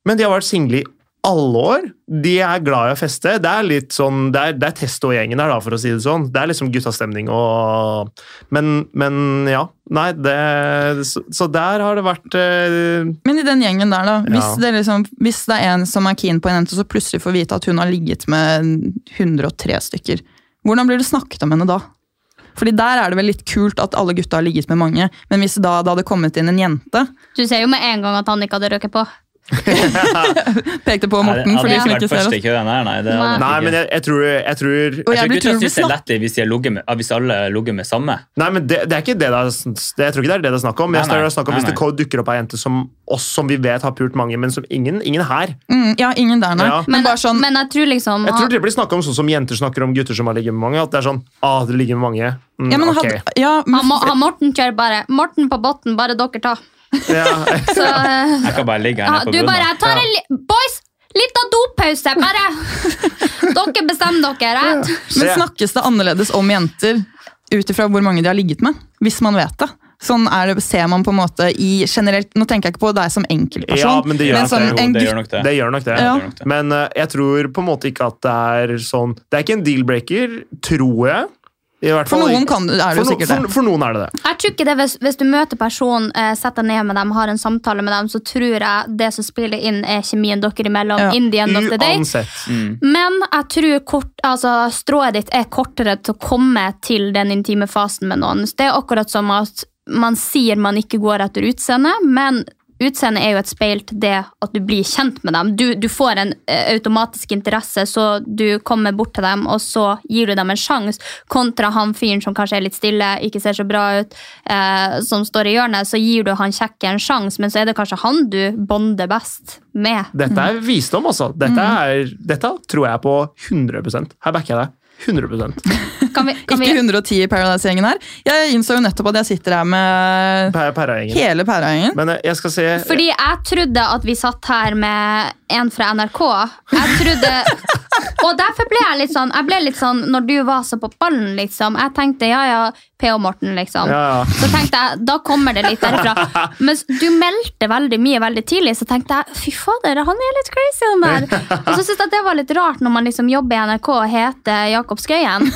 S5: Men de har vært single i alle år. De er glad i å feste. Det er litt sånn, det er, det er Testo-gjengen her, da, for å si det sånn. Det er liksom guttastemning og Men, men ja. Nei, det Så, så der har det vært eh,
S3: Men i den gjengen der, da. Hvis,
S5: Ja.
S3: det, liksom, hvis det er en som er keen på en jente, og så plutselig får vite at hun har ligget med 103 stykker, hvordan blir det snakket om henne da? Fordi der er det vel litt kult at alle gutta har ligget med mange, men hvis da det hadde kommet inn en jente,
S4: Du ser jo med en gang at han ikke hadde røket på.
S3: pekte på
S6: Nei, det
S3: Morten for de
S6: hadde ikke
S3: som ikke
S6: vært
S3: ser
S6: først
S3: oss.
S6: i køen her, nei. Det
S3: Nei.
S6: hadde
S5: Nei,
S6: ikke.
S5: men jeg, jeg tror, jeg tror
S3: Og
S6: Jeg
S3: jeg
S6: tror
S3: blir
S6: gutta syns det er
S3: snakk-
S6: lettere hvis, de har ligget med- hvis alle har ligget med samme.
S5: Nei, men det, det er ikke det det er, s- det- jeg tror ikke det er det det er snakk om. Jeg
S6: Nei, nei.
S5: tror det er snakk om
S6: Nei,
S5: Hvis det ko- dukker opp ei jente som oss som vi vet har pult mange, men som ingen, ingen her.
S3: Mm, ja, ingen der, nei.
S5: Ja.
S3: Men, bare sånn
S4: Men jeg tror liksom
S5: Jeg tror det blir snakk om sånn som jenter snakker om gutter som har ligget med mange. At det er sånn ah, det ligger med mange. Mm,
S3: ja, men
S5: ok.
S3: hadde, ja, men,
S4: han, må- han Morten kjører bare 'Morten på botten, bare dere ta'.
S5: Ja.
S4: Så, eh,
S6: Jeg kan bare ligge her
S4: Ja,
S6: nede på
S4: du
S6: bunnen.
S4: bare, jeg tar en li Boys, litt av dopause, bare. dere bestemmer dere. Jeg.
S3: men snakkes det annerledes om jenter ut ifra hvor mange de har ligget med? Hvis man vet det. Sånn er det, ser man på en måte i generelt Nå tenker jeg ikke på deg som enkeltperson,
S5: Ja, men det gjør, nok
S3: som
S5: det.
S3: en
S5: det
S3: gutt-
S5: gjør nok det. Det gjør nok det.
S3: Ja.
S5: Men eh, jeg tror på en måte ikke at det er sånn Det er ikke en deal-breaker, tror jeg. I hvert
S3: For
S5: fall-
S3: noen kan- er det
S5: for
S3: jo
S5: no-
S3: sikkert det.
S5: For, for noen er det det.
S4: Jeg tror ikke det hvis, hvis du møter personen, eh, setter deg ned med dem, har en samtale med dem, så tror jeg det som spiller inn, er kjemien dere imellom. in the end of the day.
S5: Uansett.
S4: Men jeg tror kort, altså, strået ditt er kortere til å komme til den intime fasen med noen. Så det er akkurat som at man sier man ikke går etter utseende, men utseende er jo et speil til det at du blir kjent med dem. Du, du får en eh, automatisk interesse, så du kommer bort til dem, og så gir du dem en sjanse, kontra han fyren som kanskje er litt stille, ikke ser så bra ut, eh, som står i hjørnet, så gir du han kjekke en sjanse, men så er det kanskje han du bonder best med.
S5: Dette
S3: Mm.
S5: er visdom, altså. Dette, er, dette tror jeg på 100 Her backer jeg deg. 100
S3: Ikke 110 i Paradise-gjengen her. Jeg innså jo nettopp at jeg sitter her med
S5: Pæra-gjengen.
S3: hele Pæra-gjengen.
S5: Men eh, jeg skal se
S4: Fordi jeg trodde at vi satt her med en fra NRK. Jeg trodde Og derfor ble jeg litt sånn Jeg ble litt sånn, Når du var så på ballen, liksom Jeg tenkte ja, ja, P.O. Morten, liksom.
S5: Ja, ja.
S4: Så tenkte jeg, da kommer det litt derfra. Mens du meldte veldig mye veldig tidlig, så tenkte jeg fy fader, han er litt crazy, han der. Og så syntes jeg det var litt rart når man liksom jobber i NRK og heter Jakob Skøyen.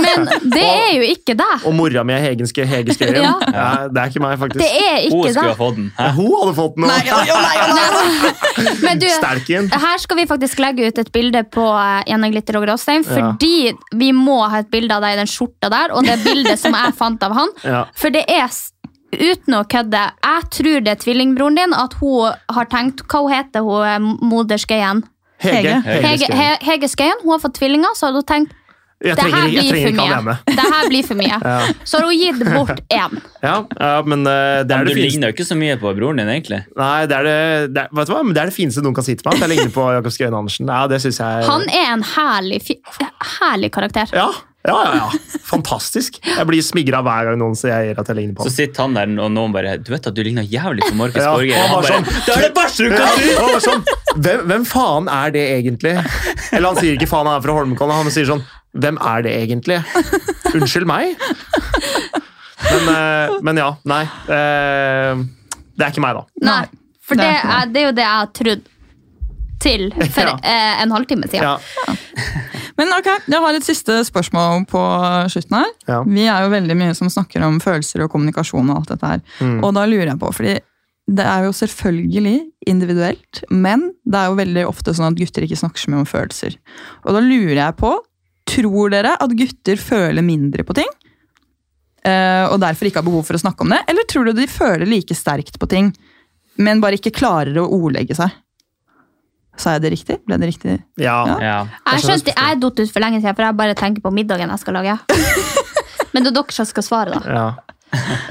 S4: Men det er jo ikke deg.
S5: Og mora mi er Hegen Skø- Hege Skøyen.
S4: Ja.
S5: Ja, det er ikke meg, faktisk.
S4: Det er ikke Hun skulle deg. ha
S5: fått den. Hun hadde fått den.
S4: Men du,
S5: Sterken.
S4: her skal vi faktisk legge ut et bilde på eh, Jenny Glitter og Gråstein,
S5: Ja.
S4: fordi vi må ha et bilde av deg i den skjorta der, og det bildet som jeg fant av han.
S5: Ja.
S4: For det er, s- uten å kødde, jeg tror det er tvillingbroren din, at hun har tenkt, hva hun heter hun eh, moderskøyen?
S5: Hege. Hege
S4: Hege,
S5: Skøyen.
S4: He- Hege Skøyen, hun har fått tvillinger, så hadde hun tenkt,
S5: Jeg
S4: det
S5: trenger- jeg
S4: her blir
S5: trenger
S4: for
S5: ikke ha
S4: mye.
S5: det
S4: Det her blir for mye.
S6: Ja.
S4: Så har hun gitt bort en.
S5: Ja, ja men eh, det er
S6: Men
S5: det
S6: du
S5: fineste.
S6: ligner jo ikke så mye på broren din, egentlig.
S5: Nei, det er det, det, er- vet du hva? Men det er det fineste noen kan si til meg. At jeg ligner på Jakob Skøyen Andersen. Ja, det synes jeg...
S4: Han er en herlig, fi- herlig karakter.
S5: Ja, ja, ja, ja. Fantastisk. Jeg blir smigra hver gang noen sier at jeg ligner på
S6: Så
S5: ham.
S6: sitter han der, og noen bare Du vet at du ligner jævlig på Markus
S5: Ja,
S6: Borger.
S5: han
S6: Han
S5: var
S6: bare,
S5: sånn,
S6: det er det verste du
S5: Ja,
S6: kan si!
S5: han var sånn, hvem, hvem faen er det egentlig? Eller han sier ikke faen han er fra Holmenkollen, han sier sånn Hvem er det egentlig? Unnskyld meg? Men, eh, men ja. Nei. eh, Det er ikke meg, da.
S4: Nei, for det er, det er jo det jeg har trodd til for
S3: Ja.
S4: eh, en halvtime siden.
S3: Men ok, jeg har et siste spørsmål på slutten her.
S5: Ja.
S3: Vi er jo veldig mye som snakker om følelser og kommunikasjon og alt dette her.
S5: Mm.
S3: Og da lurer jeg på, fordi det er jo selvfølgelig individuelt, men det er jo veldig ofte sånn at gutter ikke snakker så mye om følelser. Og da lurer jeg på, tror dere at gutter føler mindre på ting? eh, Og derfor ikke har behov for å snakke om det? Eller tror dere de føler like sterkt på ting, men bare ikke klarer å ordlegge seg? Sa jeg det riktig? Ble det riktig?
S5: Ja.
S4: Jeg skjønte jeg er datt ut for lenge siden, for jeg bare tenker på middagen jeg skal lage. Men det er dere som skal svare, da.
S5: Ja.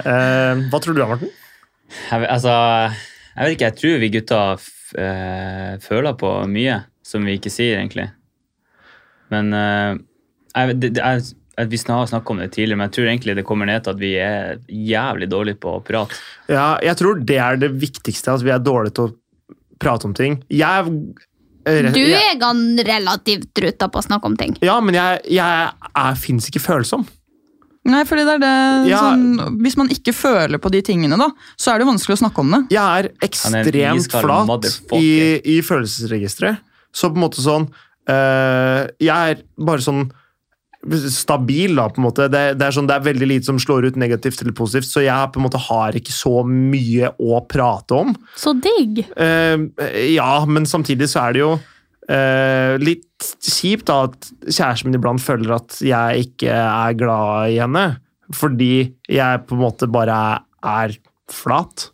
S5: Eh, hva tror du, Marten?
S6: Jeg, vet- altså, jeg vet ikke, jeg tror vi gutter f eh, føler på mye som vi ikke sier, egentlig. Men eh, jeg, vet- det, det, jeg, jeg- vi snak- har snakket om det tidligere, men jeg tror egentlig det kommer ned til at vi er jævlig dårlige på å prate.
S5: Ja, jeg tror det er det viktigste. At vi er dårlige til å prate om ting. Jeg
S4: Du er gan- relativt ruta på å snakke om ting.
S5: Ja, men jeg, jeg, jeg fins ikke følsom.
S3: Nei, fordi det er det
S5: Ja.
S3: sånn, Hvis man ikke føler på de tingene, da, så er det vanskelig å snakke om det.
S5: Jeg er
S3: Han er en
S5: ekstremt
S3: iskald
S5: flat
S3: motherfucker.
S5: i, i følelsesregisteret. Så på en måte sånn eh, Jeg er bare sånn stabil, da, på en måte. Det, det, er sånn, det er veldig lite som slår ut negativt eller positivt, så jeg på en måte har ikke så mye å prate om.
S4: Så digg!
S5: Eh, ja, men samtidig så er det jo eh, litt kjipt da at kjæresten min iblant føler at jeg ikke er glad i henne, fordi jeg på en måte bare er flat.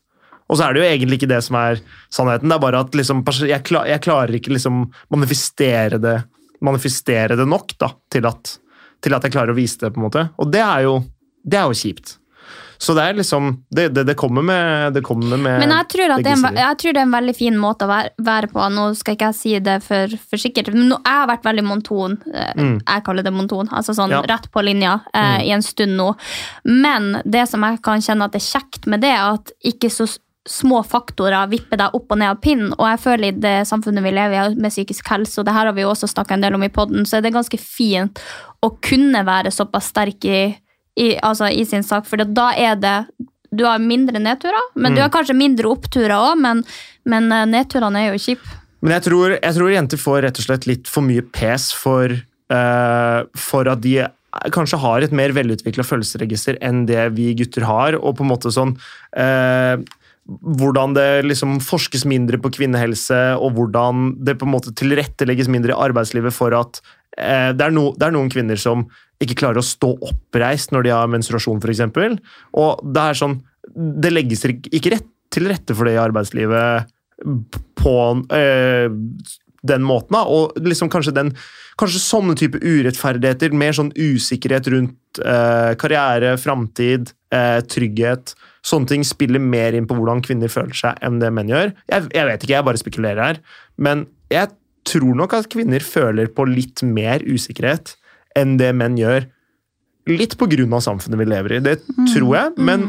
S5: Og så er det jo egentlig ikke det som er sannheten, det er bare at liksom, pers- jeg, kla- jeg klarer ikke liksom manifestere det, manifestere det nok da, til at, til at jeg klarer å vise det, på en måte. Og det er jo, det er jo kjipt. Så det er liksom Det, det, det kommer med, det kommer med
S4: Men jeg tror, at
S5: begge
S4: det er en,
S5: sider.
S4: jeg tror det er en veldig fin måte å være, være på. Nå skal ikke jeg si det for, for sikkert, men nå, jeg har vært veldig monton. eh,
S7: Mm.
S4: Jeg kaller det monton, altså sånn
S7: Ja.
S4: rett på linja eh,
S7: Mm.
S4: i en stund nå. Men det som jeg kan kjenne at er kjekt med det, er at ikke så s- små faktorer vipper deg opp og ned av pinnen. Og jeg føler i det samfunnet vi lever i med psykisk helse, og det her har vi jo også snakka en del om i podden, så er det ganske fint å kunne være såpass sterk i, i, altså, i sin sak, for da er det du har mindre nedturer, men
S5: Mm.
S4: du har kanskje mindre oppturer òg, men, men eh, nedturene er jo kjipe.
S5: Men jeg tror, jeg tror jenter får rett og slett litt for mye pes for, eh, for at de kanskje har et mer velutvikla følelsesregister enn det vi gutter har, og på en måte sånn eh, hvordan det liksom forskes mindre på kvinnehelse, og hvordan det på en måte tilrettelegges mindre i arbeidslivet for at eh, det, er no, det er noen kvinner som ikke klarer å stå oppreist når de har menstruasjon, f.eks. Og det er sånn Det legges ikke rett, til rette for det i arbeidslivet på eh, den måten. Da. Og liksom kanskje, den, kanskje sånne type urettferdigheter, mer sånn usikkerhet rundt eh, karriere, framtid, eh, trygghet Sånne ting spiller mer inn på hvordan kvinner føler seg enn det menn gjør. Jeg, jeg vet ikke, jeg bare spekulerer her. Men jeg tror nok at kvinner føler på litt mer usikkerhet enn det menn gjør. Litt på grunn av samfunnet vi lever i, det tror jeg. Men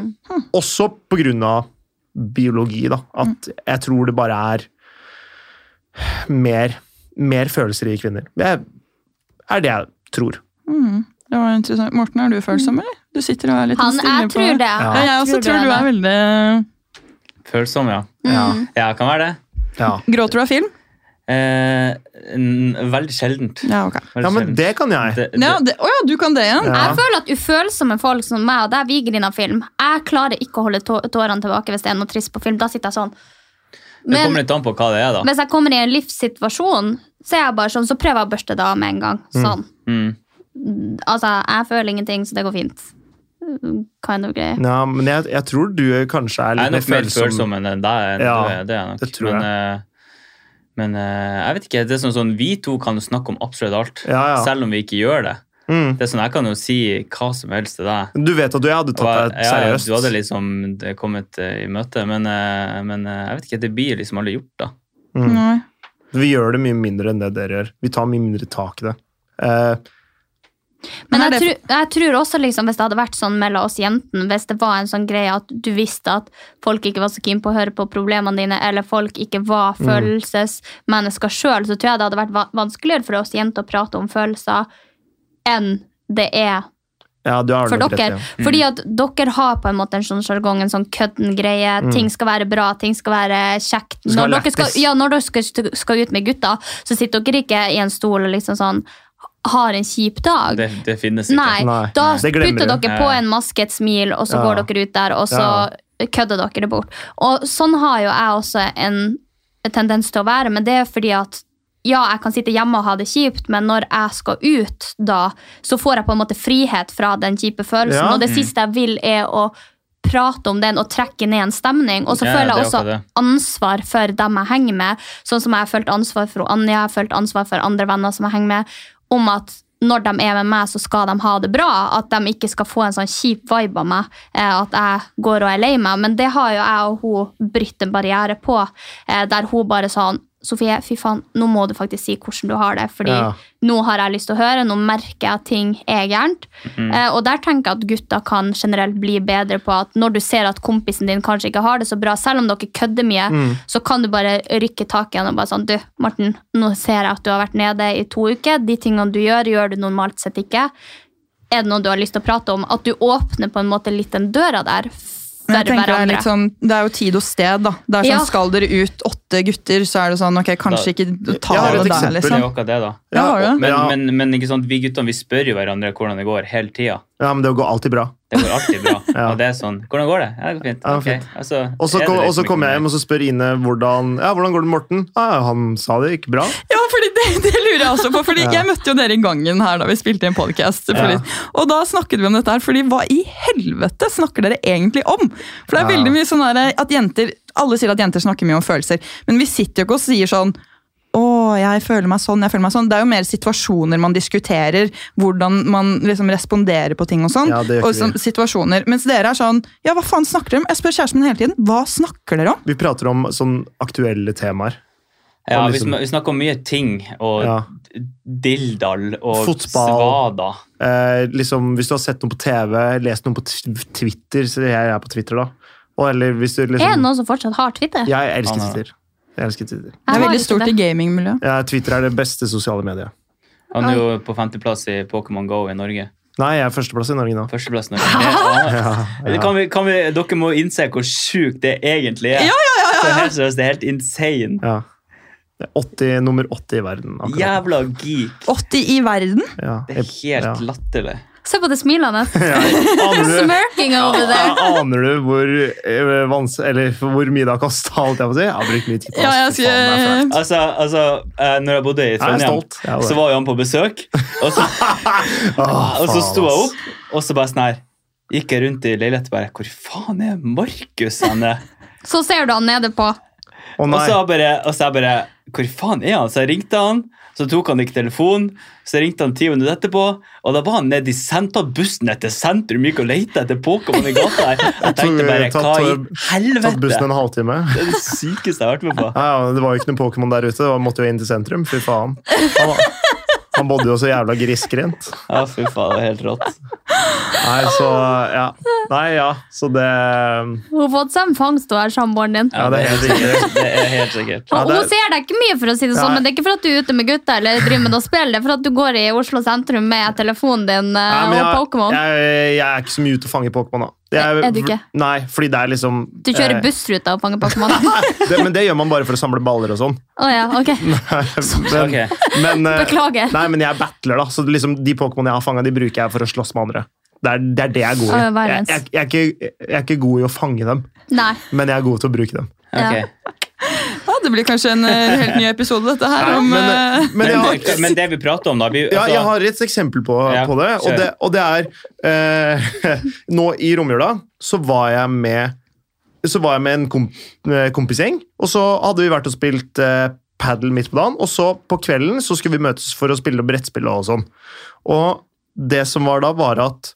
S5: også på grunn av biologi, da. At jeg tror det bare er mer, mer følelser i kvinner. Det er- er det jeg tror.
S3: Mm, det var interessant. Morten, er du følsom, eller? Du sitter og er litt
S4: Mm.
S3: sånn
S4: Han-
S3: stille
S4: jeg
S3: på
S4: tror det.
S3: Ja,
S4: Jeg
S3: jeg også
S4: tror det
S3: tror
S4: er
S3: du er veldig
S6: Følsom, ja.
S3: Ja.
S6: Ja, kan være det.
S3: Gråter du av film?
S6: Eh, n- veldig sjeldent.
S3: Ja, ok.
S6: Ja, men
S5: det kan jeg.
S6: Det,
S3: Ja, det, å ja, du kan det igjen?
S4: Jeg føler at ufølsomme folk som meg og deg, vi griner av film. Jeg klarer ikke å holde tå- tårene tilbake hvis det er noe trist på film. Da sitter jeg sånn.
S6: det kommer litt an på hva det er, da.
S4: Hvis jeg kommer i en livssituasjon, så, er jeg bare sånn, så prøver jeg å børste det av med en gang. Sånn.
S6: Mm.
S4: Altså, jeg føler ingenting, så det går fint. Kind of greie.
S5: Ja, men jeg, jeg tror du kanskje er
S6: Jeg
S5: litt
S6: er nok mer følsom enn deg. enn
S5: Ja,
S6: du er, det er jeg nok.
S5: det tror jeg.
S6: Men, eh, men eh, jeg vet ikke, det er sånn, sånn, vi to kan jo snakke om absolutt alt,
S5: Ja, ja.
S6: selv om vi ikke gjør det.
S5: Mm.
S6: Det er sånn, Jeg kan jo si hva som helst til deg.
S5: Du vet at du, jeg hadde tatt
S6: Og
S5: deg
S6: jeg- ja,
S5: seriøst.
S6: Du hadde liksom det kommet eh, i møte, men, eh, men eh, jeg vet ikke, det blir liksom aldri gjort, da.
S5: Mm. Vi gjør det mye mindre enn det dere gjør. Vi tar mye mindre tak i det. Eh,
S4: Men jeg, tror- jeg tror også liksom, hvis det hadde vært sånn mellom oss jentene, hvis det var en sånn greie at du visste at folk ikke var så keen på å høre på problemene dine, eller folk ikke var
S7: Mm.
S4: følelsesmennesker sjøl, så tror jeg det hadde vært va- vanskeligere for oss jenter å prate om følelser enn det er
S5: ja, du har
S4: for
S5: nok rett,
S4: dere.
S5: ja. Mm.
S4: Fordi at dere har på en måte en sånn sjargong, en sånn kødden greie.
S5: Mm.
S4: Ting skal være bra, ting skal være kjekt.
S5: Det skal
S4: Når
S5: være
S4: dere skal,
S5: lættis.
S4: ja, når dere skal, skal ut med gutta, så sitter dere ikke i en stol og liksom sånn har en kjip dag.
S6: Det, det finnes ikke.
S4: Nei, da putter dere på en maske, et smil, og så
S6: Ja.
S4: går dere ut der, og så kødder dere det bort. Og sånn har jo jeg også en tendens til å være, men det er fordi at ja, jeg kan sitte hjemme og ha det kjipt, men når jeg skal ut, da, så får jeg på en måte frihet fra den kjipe følelsen.
S7: Ja.
S4: Og det
S7: Mm.
S4: siste jeg vil, er å prate om den og trekke ned en stemning. Og så
S7: Ja,
S4: føler
S7: det
S4: jeg
S7: er
S4: også
S7: akkurat det.
S4: ansvar for dem jeg henger med, sånn som jeg har følt ansvar for Anja, jeg har følt ansvar for andre venner som jeg henger med, om at når de er med meg, så skal de ha det bra. At de ikke skal få en sånn kjip vibe av meg. eh, At jeg går og er lei meg. Men det har jo jeg og hun brytt en barriere på. eh, Der hun bare sa Sofie, fy faen, nå må du faktisk si hvordan du har det. Fordi
S7: Ja.
S4: nå har jeg lyst til å høre, nå merker jeg at ting er gærent.
S7: Mhm.
S4: Eh, Og der tenker jeg at gutta kan generelt bli bedre på at når du ser at kompisen din kanskje ikke har det så bra, selv om dere kødder mye,
S7: Mm.
S4: så kan du bare rykke tak i han og bare sånn Du, Morten, nå ser jeg at du har vært nede i to uker. De tingene du gjør, gjør du normalt sett ikke. Er det noe du har lyst til å prate om? At du åpner på en måte litt den døra der for
S3: Men jeg tenker det er,
S4: hverandre.
S3: litt sånn, det er jo tid og sted, da. Det er sånn,
S4: Ja.
S3: Skal dere ut åtte gutter, så er det sånn ok, kanskje ikke ta det der,
S6: Det er jo
S3: liksom.
S6: akkurat det, da.
S3: Ja, har du det?
S6: men,
S3: Ja.
S6: men, men ikke sant, vi guttene vi spør jo hverandre hvordan det går hele tida.
S5: ja, men det går alltid bra.
S6: Det går alltid bra. Og det er sånn Hvordan går det? Ja, det går fint.
S5: Ja,
S6: Ok,
S5: fint.
S6: altså,
S5: Og så
S6: er det
S5: kom-
S6: liksom
S5: og så
S6: ikke
S5: kommer jeg hjem og så spør Ine hvordan, ja, hvordan går det med Morten. Ah, han sa det gikk bra.
S3: Ja, fordi det, det lurer jeg også på. fordi
S5: Ja.
S3: Jeg møtte jo dere i gangen her da vi spilte en podkast.
S5: Ja.
S3: Og da snakket vi om dette her, fordi hva i helvete snakker dere egentlig om? For det er
S7: Ja.
S3: veldig mye sånn der at jenter Alle sier at jenter snakker mye om følelser, men vi sitter jo ikke og sier sånn å, jeg føler meg sånn, jeg føler meg sånn. Det er jo mer situasjoner man diskuterer. Hvordan man liksom responderer på ting og sånn.
S5: Ja, det gjør ikke
S3: og sånn,
S5: vi.
S3: situasjoner. Mens dere er sånn Ja, hva faen snakker dere om? Jeg spør kjæresten min hele tiden. Hva snakker dere om?
S5: Vi prater om sånn aktuelle temaer.
S6: Ja,
S5: Og
S6: vi,
S5: liksom-
S6: sn- vi snakker om mye ting, og
S5: Ja.
S6: dilldall og
S5: Fotball.
S6: svada.
S5: Eh, liksom, hvis du har sett noe på TV, lest noe på t- Twitter så Jeg er på Twitter, da. Og, eller hvis du
S4: Er det
S5: liksom
S4: noen som fortsatt har Twitter?
S5: Jeg elsker
S4: Han er-
S5: Twitter. Jeg elsker Twitter.
S3: Det er
S4: har
S3: veldig
S4: ikke
S3: stort i
S4: det.
S3: gamingmiljøet.
S5: Ja, Twitter er det beste sosiale mediet.
S6: Han er jo på femteplass i Pokémon Go i Norge.
S5: Nei, jeg er førsteplass i Norge nå.
S6: Førsteplass i Norge. Ja.
S5: ja.
S6: Kan vi, kan vi, dere må innse hvor sjukt det egentlig er.
S5: Ja, ja, ja, ja, ja.
S6: Så helt seriøst, det er helt insane.
S5: Ja. Det er 80, nummer 80 i verden. akkurat.
S6: Jævla geek.
S3: 80 i verden?
S5: Ja.
S6: Det er helt latterlig.
S4: Se på det smilende.
S5: Aner du,
S4: Smirking over there.
S5: aner du hvor, eh, vans, eller, hvor mye det har kosta? Holdt jeg på å si? Jeg har brukt mye tid på det. ass. Fy faen, det er fælt.
S6: Altså, altså, eh, når jeg bodde i
S5: er
S6: Trondheim,
S5: stolt. Jeg er det.
S6: så var jo han på besøk. Og så, Ah, og
S5: Ah,
S6: så
S5: faen,
S6: sto jeg
S5: ass.
S6: opp, og så bare sånn her Gikk jeg rundt i leiligheten og bare Hvor faen er Markus? hen, eh?»
S4: Så ser du han nede på.
S6: og så jeg bare, og så jeg bare Hvor faen er han? Så jeg ringte han, så tok han ikke telefonen. Så jeg ringte han ti minutter etterpå, og da var han nede i sent, på bussen etter sentrum gikk og lette etter Pokémon i gata her. Jeg tenkte bare
S5: Tatt-
S6: Hva i
S5: Tatt bussen en
S6: helvete?
S5: halvtime.
S6: Det er det sykeste jeg har vært med på.
S5: Ja, ja, det var jo ikke noen Pokémon der ute. Da måtte jo inn til sentrum. Fy faen. Han, var- han bodde jo så jævla grisgrendt.
S6: Ja, fy faen, det var helt rått.
S5: Nei, så ja. Nei, ja. Så det
S4: Hun har fått seg en fangst, hun her, samboeren din.
S5: Ja, det er helt sikkert.
S6: Det er helt sikkert.
S4: Og
S5: det-
S4: Hun ser deg ikke mye, for å si det sånn,
S5: Nei.
S4: men det er ikke for at du er ute med gutta eller driver med å spille, det er for at du går i Oslo sentrum med telefonen din eh,
S5: Nei, men
S4: og
S5: jeg-
S4: Pokémon.
S5: Jeg, jeg er ikke så mye ute og fange Pokémon, da. Jeg-
S4: Er du ikke?
S5: Nei, fordi det er liksom
S4: Du kjører
S5: eh,
S4: bussruta og fanger Pokémon. Å
S5: Det, men det gjør man bare for å samle baller og sånn.
S4: ja, ok.
S5: Men, men, eh,
S4: Beklager.
S5: Nei, men jeg battler, da. Så det liksom, de Pokémon jeg har fanga, de bruker jeg for å slåss med andre. Det er det, er det jeg er god i.
S4: Å, ja, hver
S5: Jeg,
S4: ens.
S5: jeg, jeg, er ikke, jeg er ikke god i å fange dem,
S4: Nei.
S5: men jeg er god til å bruke dem.
S4: Ja.
S6: Ok.
S3: Ja, det blir kanskje en eh, helt ny episode, dette her.
S5: Nei,
S3: om,
S5: men,
S3: eh,
S5: eh, men jeg har
S6: det, men det vi prater om, da vi,
S5: Ja,
S6: altså,
S5: jeg har et eksempel på,
S6: Ja,
S5: på det, og
S6: kjør.
S5: det, og det er eh, Nå i romjula så var jeg med Så var jeg med en komp eh, kompisgjeng, og så hadde vi vært og spilt eh, padel midt på dagen, og så på kvelden så skulle vi møtes for å spille brettspill og sånn. Og det som var da, var at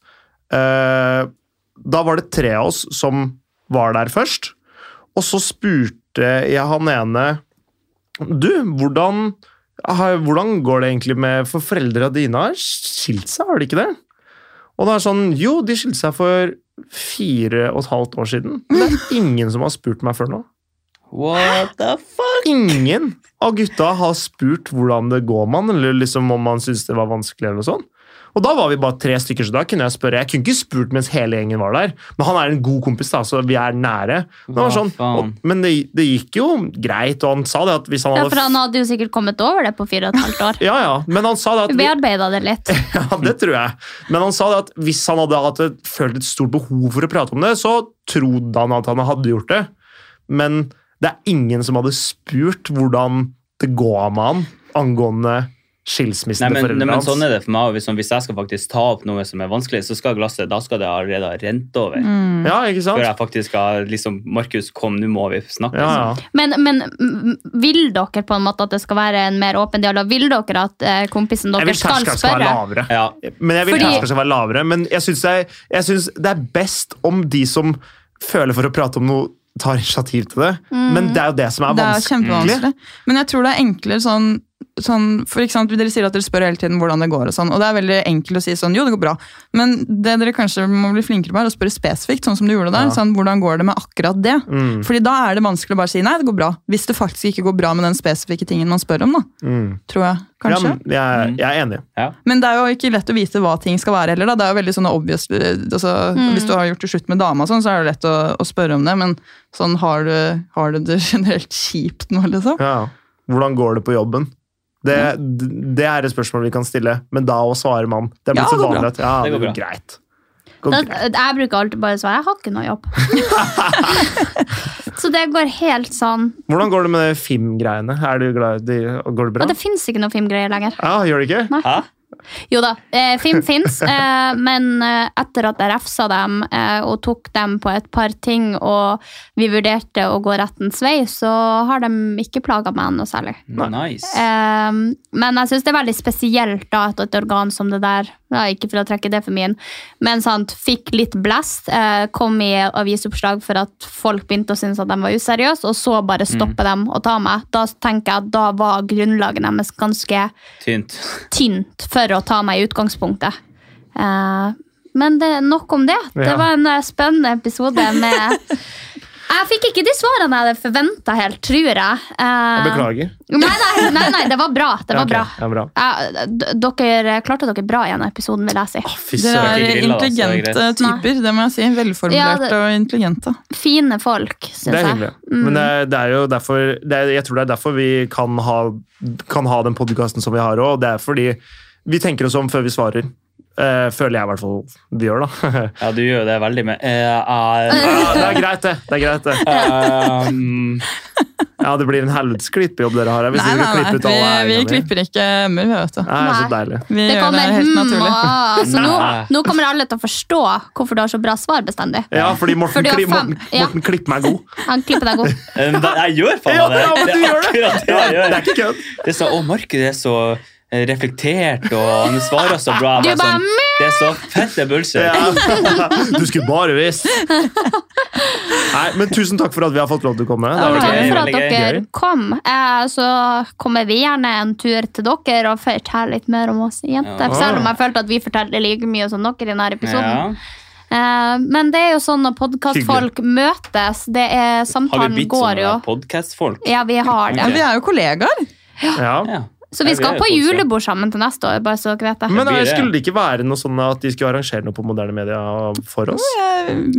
S5: eh, Da var det tre av oss som var der først, og så spurte jeg han ene du, hvordan, ah, hvordan går det egentlig med For foreldra dine har skilt seg, har de ikke det? Og det er sånn Jo, de skilte seg for fire og et halvt år siden. Men det er ingen som har spurt meg før nå.
S6: What the fuck?
S5: Ingen av gutta har spurt hvordan det går man, eller liksom om man syns det var vanskelig. eller noe sånt. Og da var vi bare tre stykker, så da kunne jeg spørre. Jeg kunne ikke spurt mens hele gjengen var der, men han er en god kompis, da, så vi er nære. Men, det var
S6: Hva
S5: sånn, og,
S6: faen?
S5: men det, det gikk jo greit, og han sa det at hvis han
S4: Ja,
S5: hadde
S4: for han hadde jo sikkert kommet over det på fire og et halvt år.
S5: ja, ja, men han sa det at
S4: Vi bearbeida det litt.
S5: ja, det tror jeg. Men han sa det at hvis han hadde hatt et, følt et stort behov for å prate om det, så trodde han at han hadde gjort det. Men det er ingen som hadde spurt hvordan det går med han angående skilsmissen
S6: Nei,
S5: til
S6: men, nei,
S5: foreldrene
S6: men
S5: hans.
S6: sånn er det for meg. og Hvis, hvis jeg skal faktisk ta opp noe som er vanskelig, så skal glasset da skal det allerede ha rent over.
S4: Mm.
S5: Ja, ikke
S6: Før
S5: sant?
S6: jeg faktisk har liksom Markus, kom, nå må vi snakke.
S5: Ja,
S6: liksom.
S5: ja.
S4: Men, men m- vil dere på en måte at det skal være en mer åpen dialog? Vil dere at eh, kompisen
S5: Jeg
S4: dere
S5: vil
S4: skal
S5: terskelen skal være
S4: spørre?
S5: lavere.
S6: Ja.
S5: Men jeg vil
S4: Fordi-
S5: terskelen skal være lavere. Men jeg syns det, er- jeg synes det er best om de som føler for å prate om noe, tar initiativ til det. Men det er jo det som er
S3: Det er
S5: vanskelig.
S3: kjempevanskelig. Men jeg tror det er enklere sånn, sånn for eksempel, Dere sier at dere spør hele tiden hvordan det går, og sånn, og det er veldig enkelt å si sånn, jo, det går bra. Men det dere kanskje må bli flinkere på, er å spørre spesifikt, sånn som du gjorde der. sånn, Hvordan går det med akkurat det?
S5: Mm.
S3: Fordi da er det vanskelig å bare si nei, det går bra. Hvis det faktisk ikke går bra med den spesifikke tingen man spør om, da. Tror jeg,
S5: Mm. Ja,
S3: kanskje.
S5: men jeg, jeg er enig.
S3: Men det er jo ikke lett å vite hva ting skal være heller. Da. Det er jo veldig sånn obvious, eh, altså,
S4: Mm.
S3: Hvis du har gjort det slutt med dama, og sånn, så er det lett å, å spørre om det. Men sånn, har du, har du det generelt kjipt nå, liksom?
S5: Ja. Hvordan går det på jobben? Det, d- det er et spørsmål vi kan stille, men da òg svarer man. Det er
S3: Ja,
S5: blitt
S3: det
S5: så
S3: går bra.
S5: vanlig at ja,
S6: Det
S5: det
S6: går
S5: går
S6: bra.
S5: greit. Går
S4: Da,
S5: greit.
S4: jeg bruker alltid bare å svare 'jeg har ikke noe jobb'. så det går helt sånn.
S5: Hvordan går det med de FIM-greiene? Er du glad i de, og Går det bra?
S4: Og det fins ikke noe filmgreier lenger.
S5: Ja, gjør det ikke?
S6: Hæ?
S4: Jo da, eh, film fins, eh, men eh, etter at jeg refsa dem eh, og tok dem på et par ting, og vi vurderte å gå rettens vei, så har de ikke plaga meg noe særlig.
S6: Nice.
S4: Eh, men jeg syns det er veldig spesielt da, at et organ som det der, ja, ikke for å trekke det for mye inn, men sant, fikk litt blest, eh, kom i avisoppslag for at folk begynte å synes at de var useriøse, og så bare stoppe dem og ta meg. Da tenker jeg at da var grunnlaget deres ganske
S6: Tynt.
S4: tynt for å ta meg i utgangspunktet. Eh, men det, nok om det. Det
S5: Ja.
S4: var en eh, spennende episode med Jeg fikk ikke de svarene jeg hadde forventa helt, tror jeg. Eh,
S5: Jeg beklager.
S4: Nei nei, nei, nei, det var bra. Det
S5: Ja,
S4: var
S5: ok,
S4: bra.
S5: Ja, bra.
S4: Eh, d- dere klarte dere bra i en episode, vil jeg si.
S6: Fy
S3: Dere
S6: søren, ikke grilla,
S3: er
S6: altså, det er
S3: intelligente
S6: greit.
S3: typer, det må jeg si.
S4: Ja,
S3: Velformulerte
S4: det-
S3: og intelligente.
S4: Fine folk, syns jeg. Mm.
S5: Det er hyggelig. Men det, er- det er jo derfor det er, Jeg tror det er derfor vi kan ha, kan ha den podkasten som vi har òg. Det er fordi vi tenker oss om før vi svarer. Eh, føler jeg i hvert fall de gjør, da.
S6: ja, du gjør jo det veldig med Eh,
S5: Ja, det er greit, det. det, er greit, det.
S6: um,
S5: ja, det blir en helvetes klippejobb dere har her. Hvis
S3: Nei,
S5: dere
S3: nei,
S5: skal klippe ut alle
S3: nei. Vi, vi
S5: eierne.
S3: klipper ikke emmer, vi, vet du.
S5: Nei, så deilig.
S3: Vi
S4: Det
S3: gjør det
S4: kommer
S3: helt
S4: hmm,
S3: naturlig.
S4: ah, så nå,
S5: Nei.
S4: nå kommer alle til å forstå hvorfor du har så bra svar bestandig.
S5: Ja, fordi Morten,
S4: du har
S5: kli,
S4: fem-
S5: Morten,
S4: ja,
S5: Morten klipper meg god.
S4: han klipper deg god.
S6: Jeg gjør faen
S5: Ja,
S6: meg det!
S5: ja, men du
S6: er
S5: gjør det.
S6: akkurat det jeg gjør.
S5: Det er ikke kødd.
S6: Det er så, å, Markus er så eh, reflektert, og han svarer så bra.
S4: Du
S6: Jeg
S4: bare,
S6: sånn, det er så fette bullshit.
S5: Ja. Du skulle bare visst. Nei, men tusen takk for at vi har fått lov til å komme. Det har vært
S4: Takk
S5: gøy.
S4: for at dere
S5: Gøy.
S4: kom. Eh, Så kommer vi gjerne en tur til dere og forteller litt mer om oss jenter.
S5: Ja.
S4: Selv om jeg følte at vi forteller like mye som dere i denne episoden. Eh, Men det er jo sånn når podkastfolk møtes. Det er,
S6: Har vi
S4: samtalen
S6: blitt sånne
S4: går jo.
S6: podcastfolk?
S4: Ja, vi har det.
S6: Ja, vi er
S3: jo kollegaer.
S5: Ja.
S4: Så vi skal på julebord sammen til neste år. bare så dere vet det.
S5: Men eh, skulle det ikke være noe sånn at de skulle arrangere noe på moderne media for oss?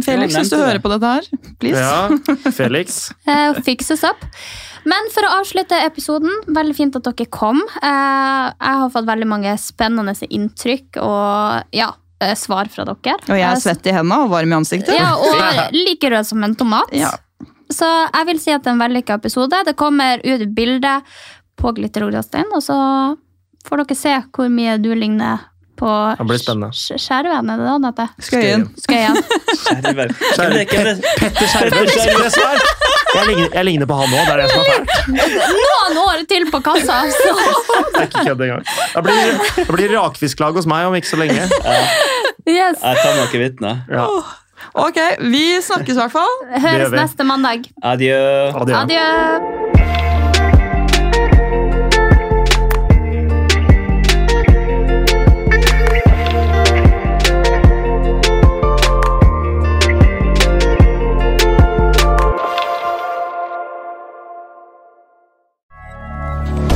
S3: Felix, hvis du hører på dette her, please.
S5: Ja, Felix.
S4: Eh, fixes up. Men for å avslutte episoden, veldig fint at dere kom. Eh, jeg har fått veldig mange spennende inntrykk og ja, eh, svar fra dere.
S3: Og jeg er
S4: Eh,
S3: svett i hendene og varm i ansiktet.
S4: Ja, og like rød som en tomat. Så jeg vil si at det er en vellykka episode. Det kommer ut et bilde på Glitter og Glastein, og så får dere se hvor mye du ligner på
S5: Det blir spennende.
S4: Skjerven, er det da han heter?
S5: Skøyen.
S4: Skøyen.
S6: Skjerver.
S5: Skjerver. Petter Skjerver. Skjerver som er- Jeg ligner, jeg ligner på han òg, det er det som er fælt.
S4: Noen år til på kassa, så
S5: Det er ikke kødd engang. Det blir, det blir rakfisklag hos meg om ikke så lenge.
S4: yes.
S6: Jeg tar meg ikke vitne.
S3: Ok, vi snakkes i hvert fall.
S4: Høres neste mandag.
S6: Adjø.
S4: Adjø.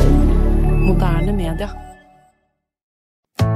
S7: Moderne media.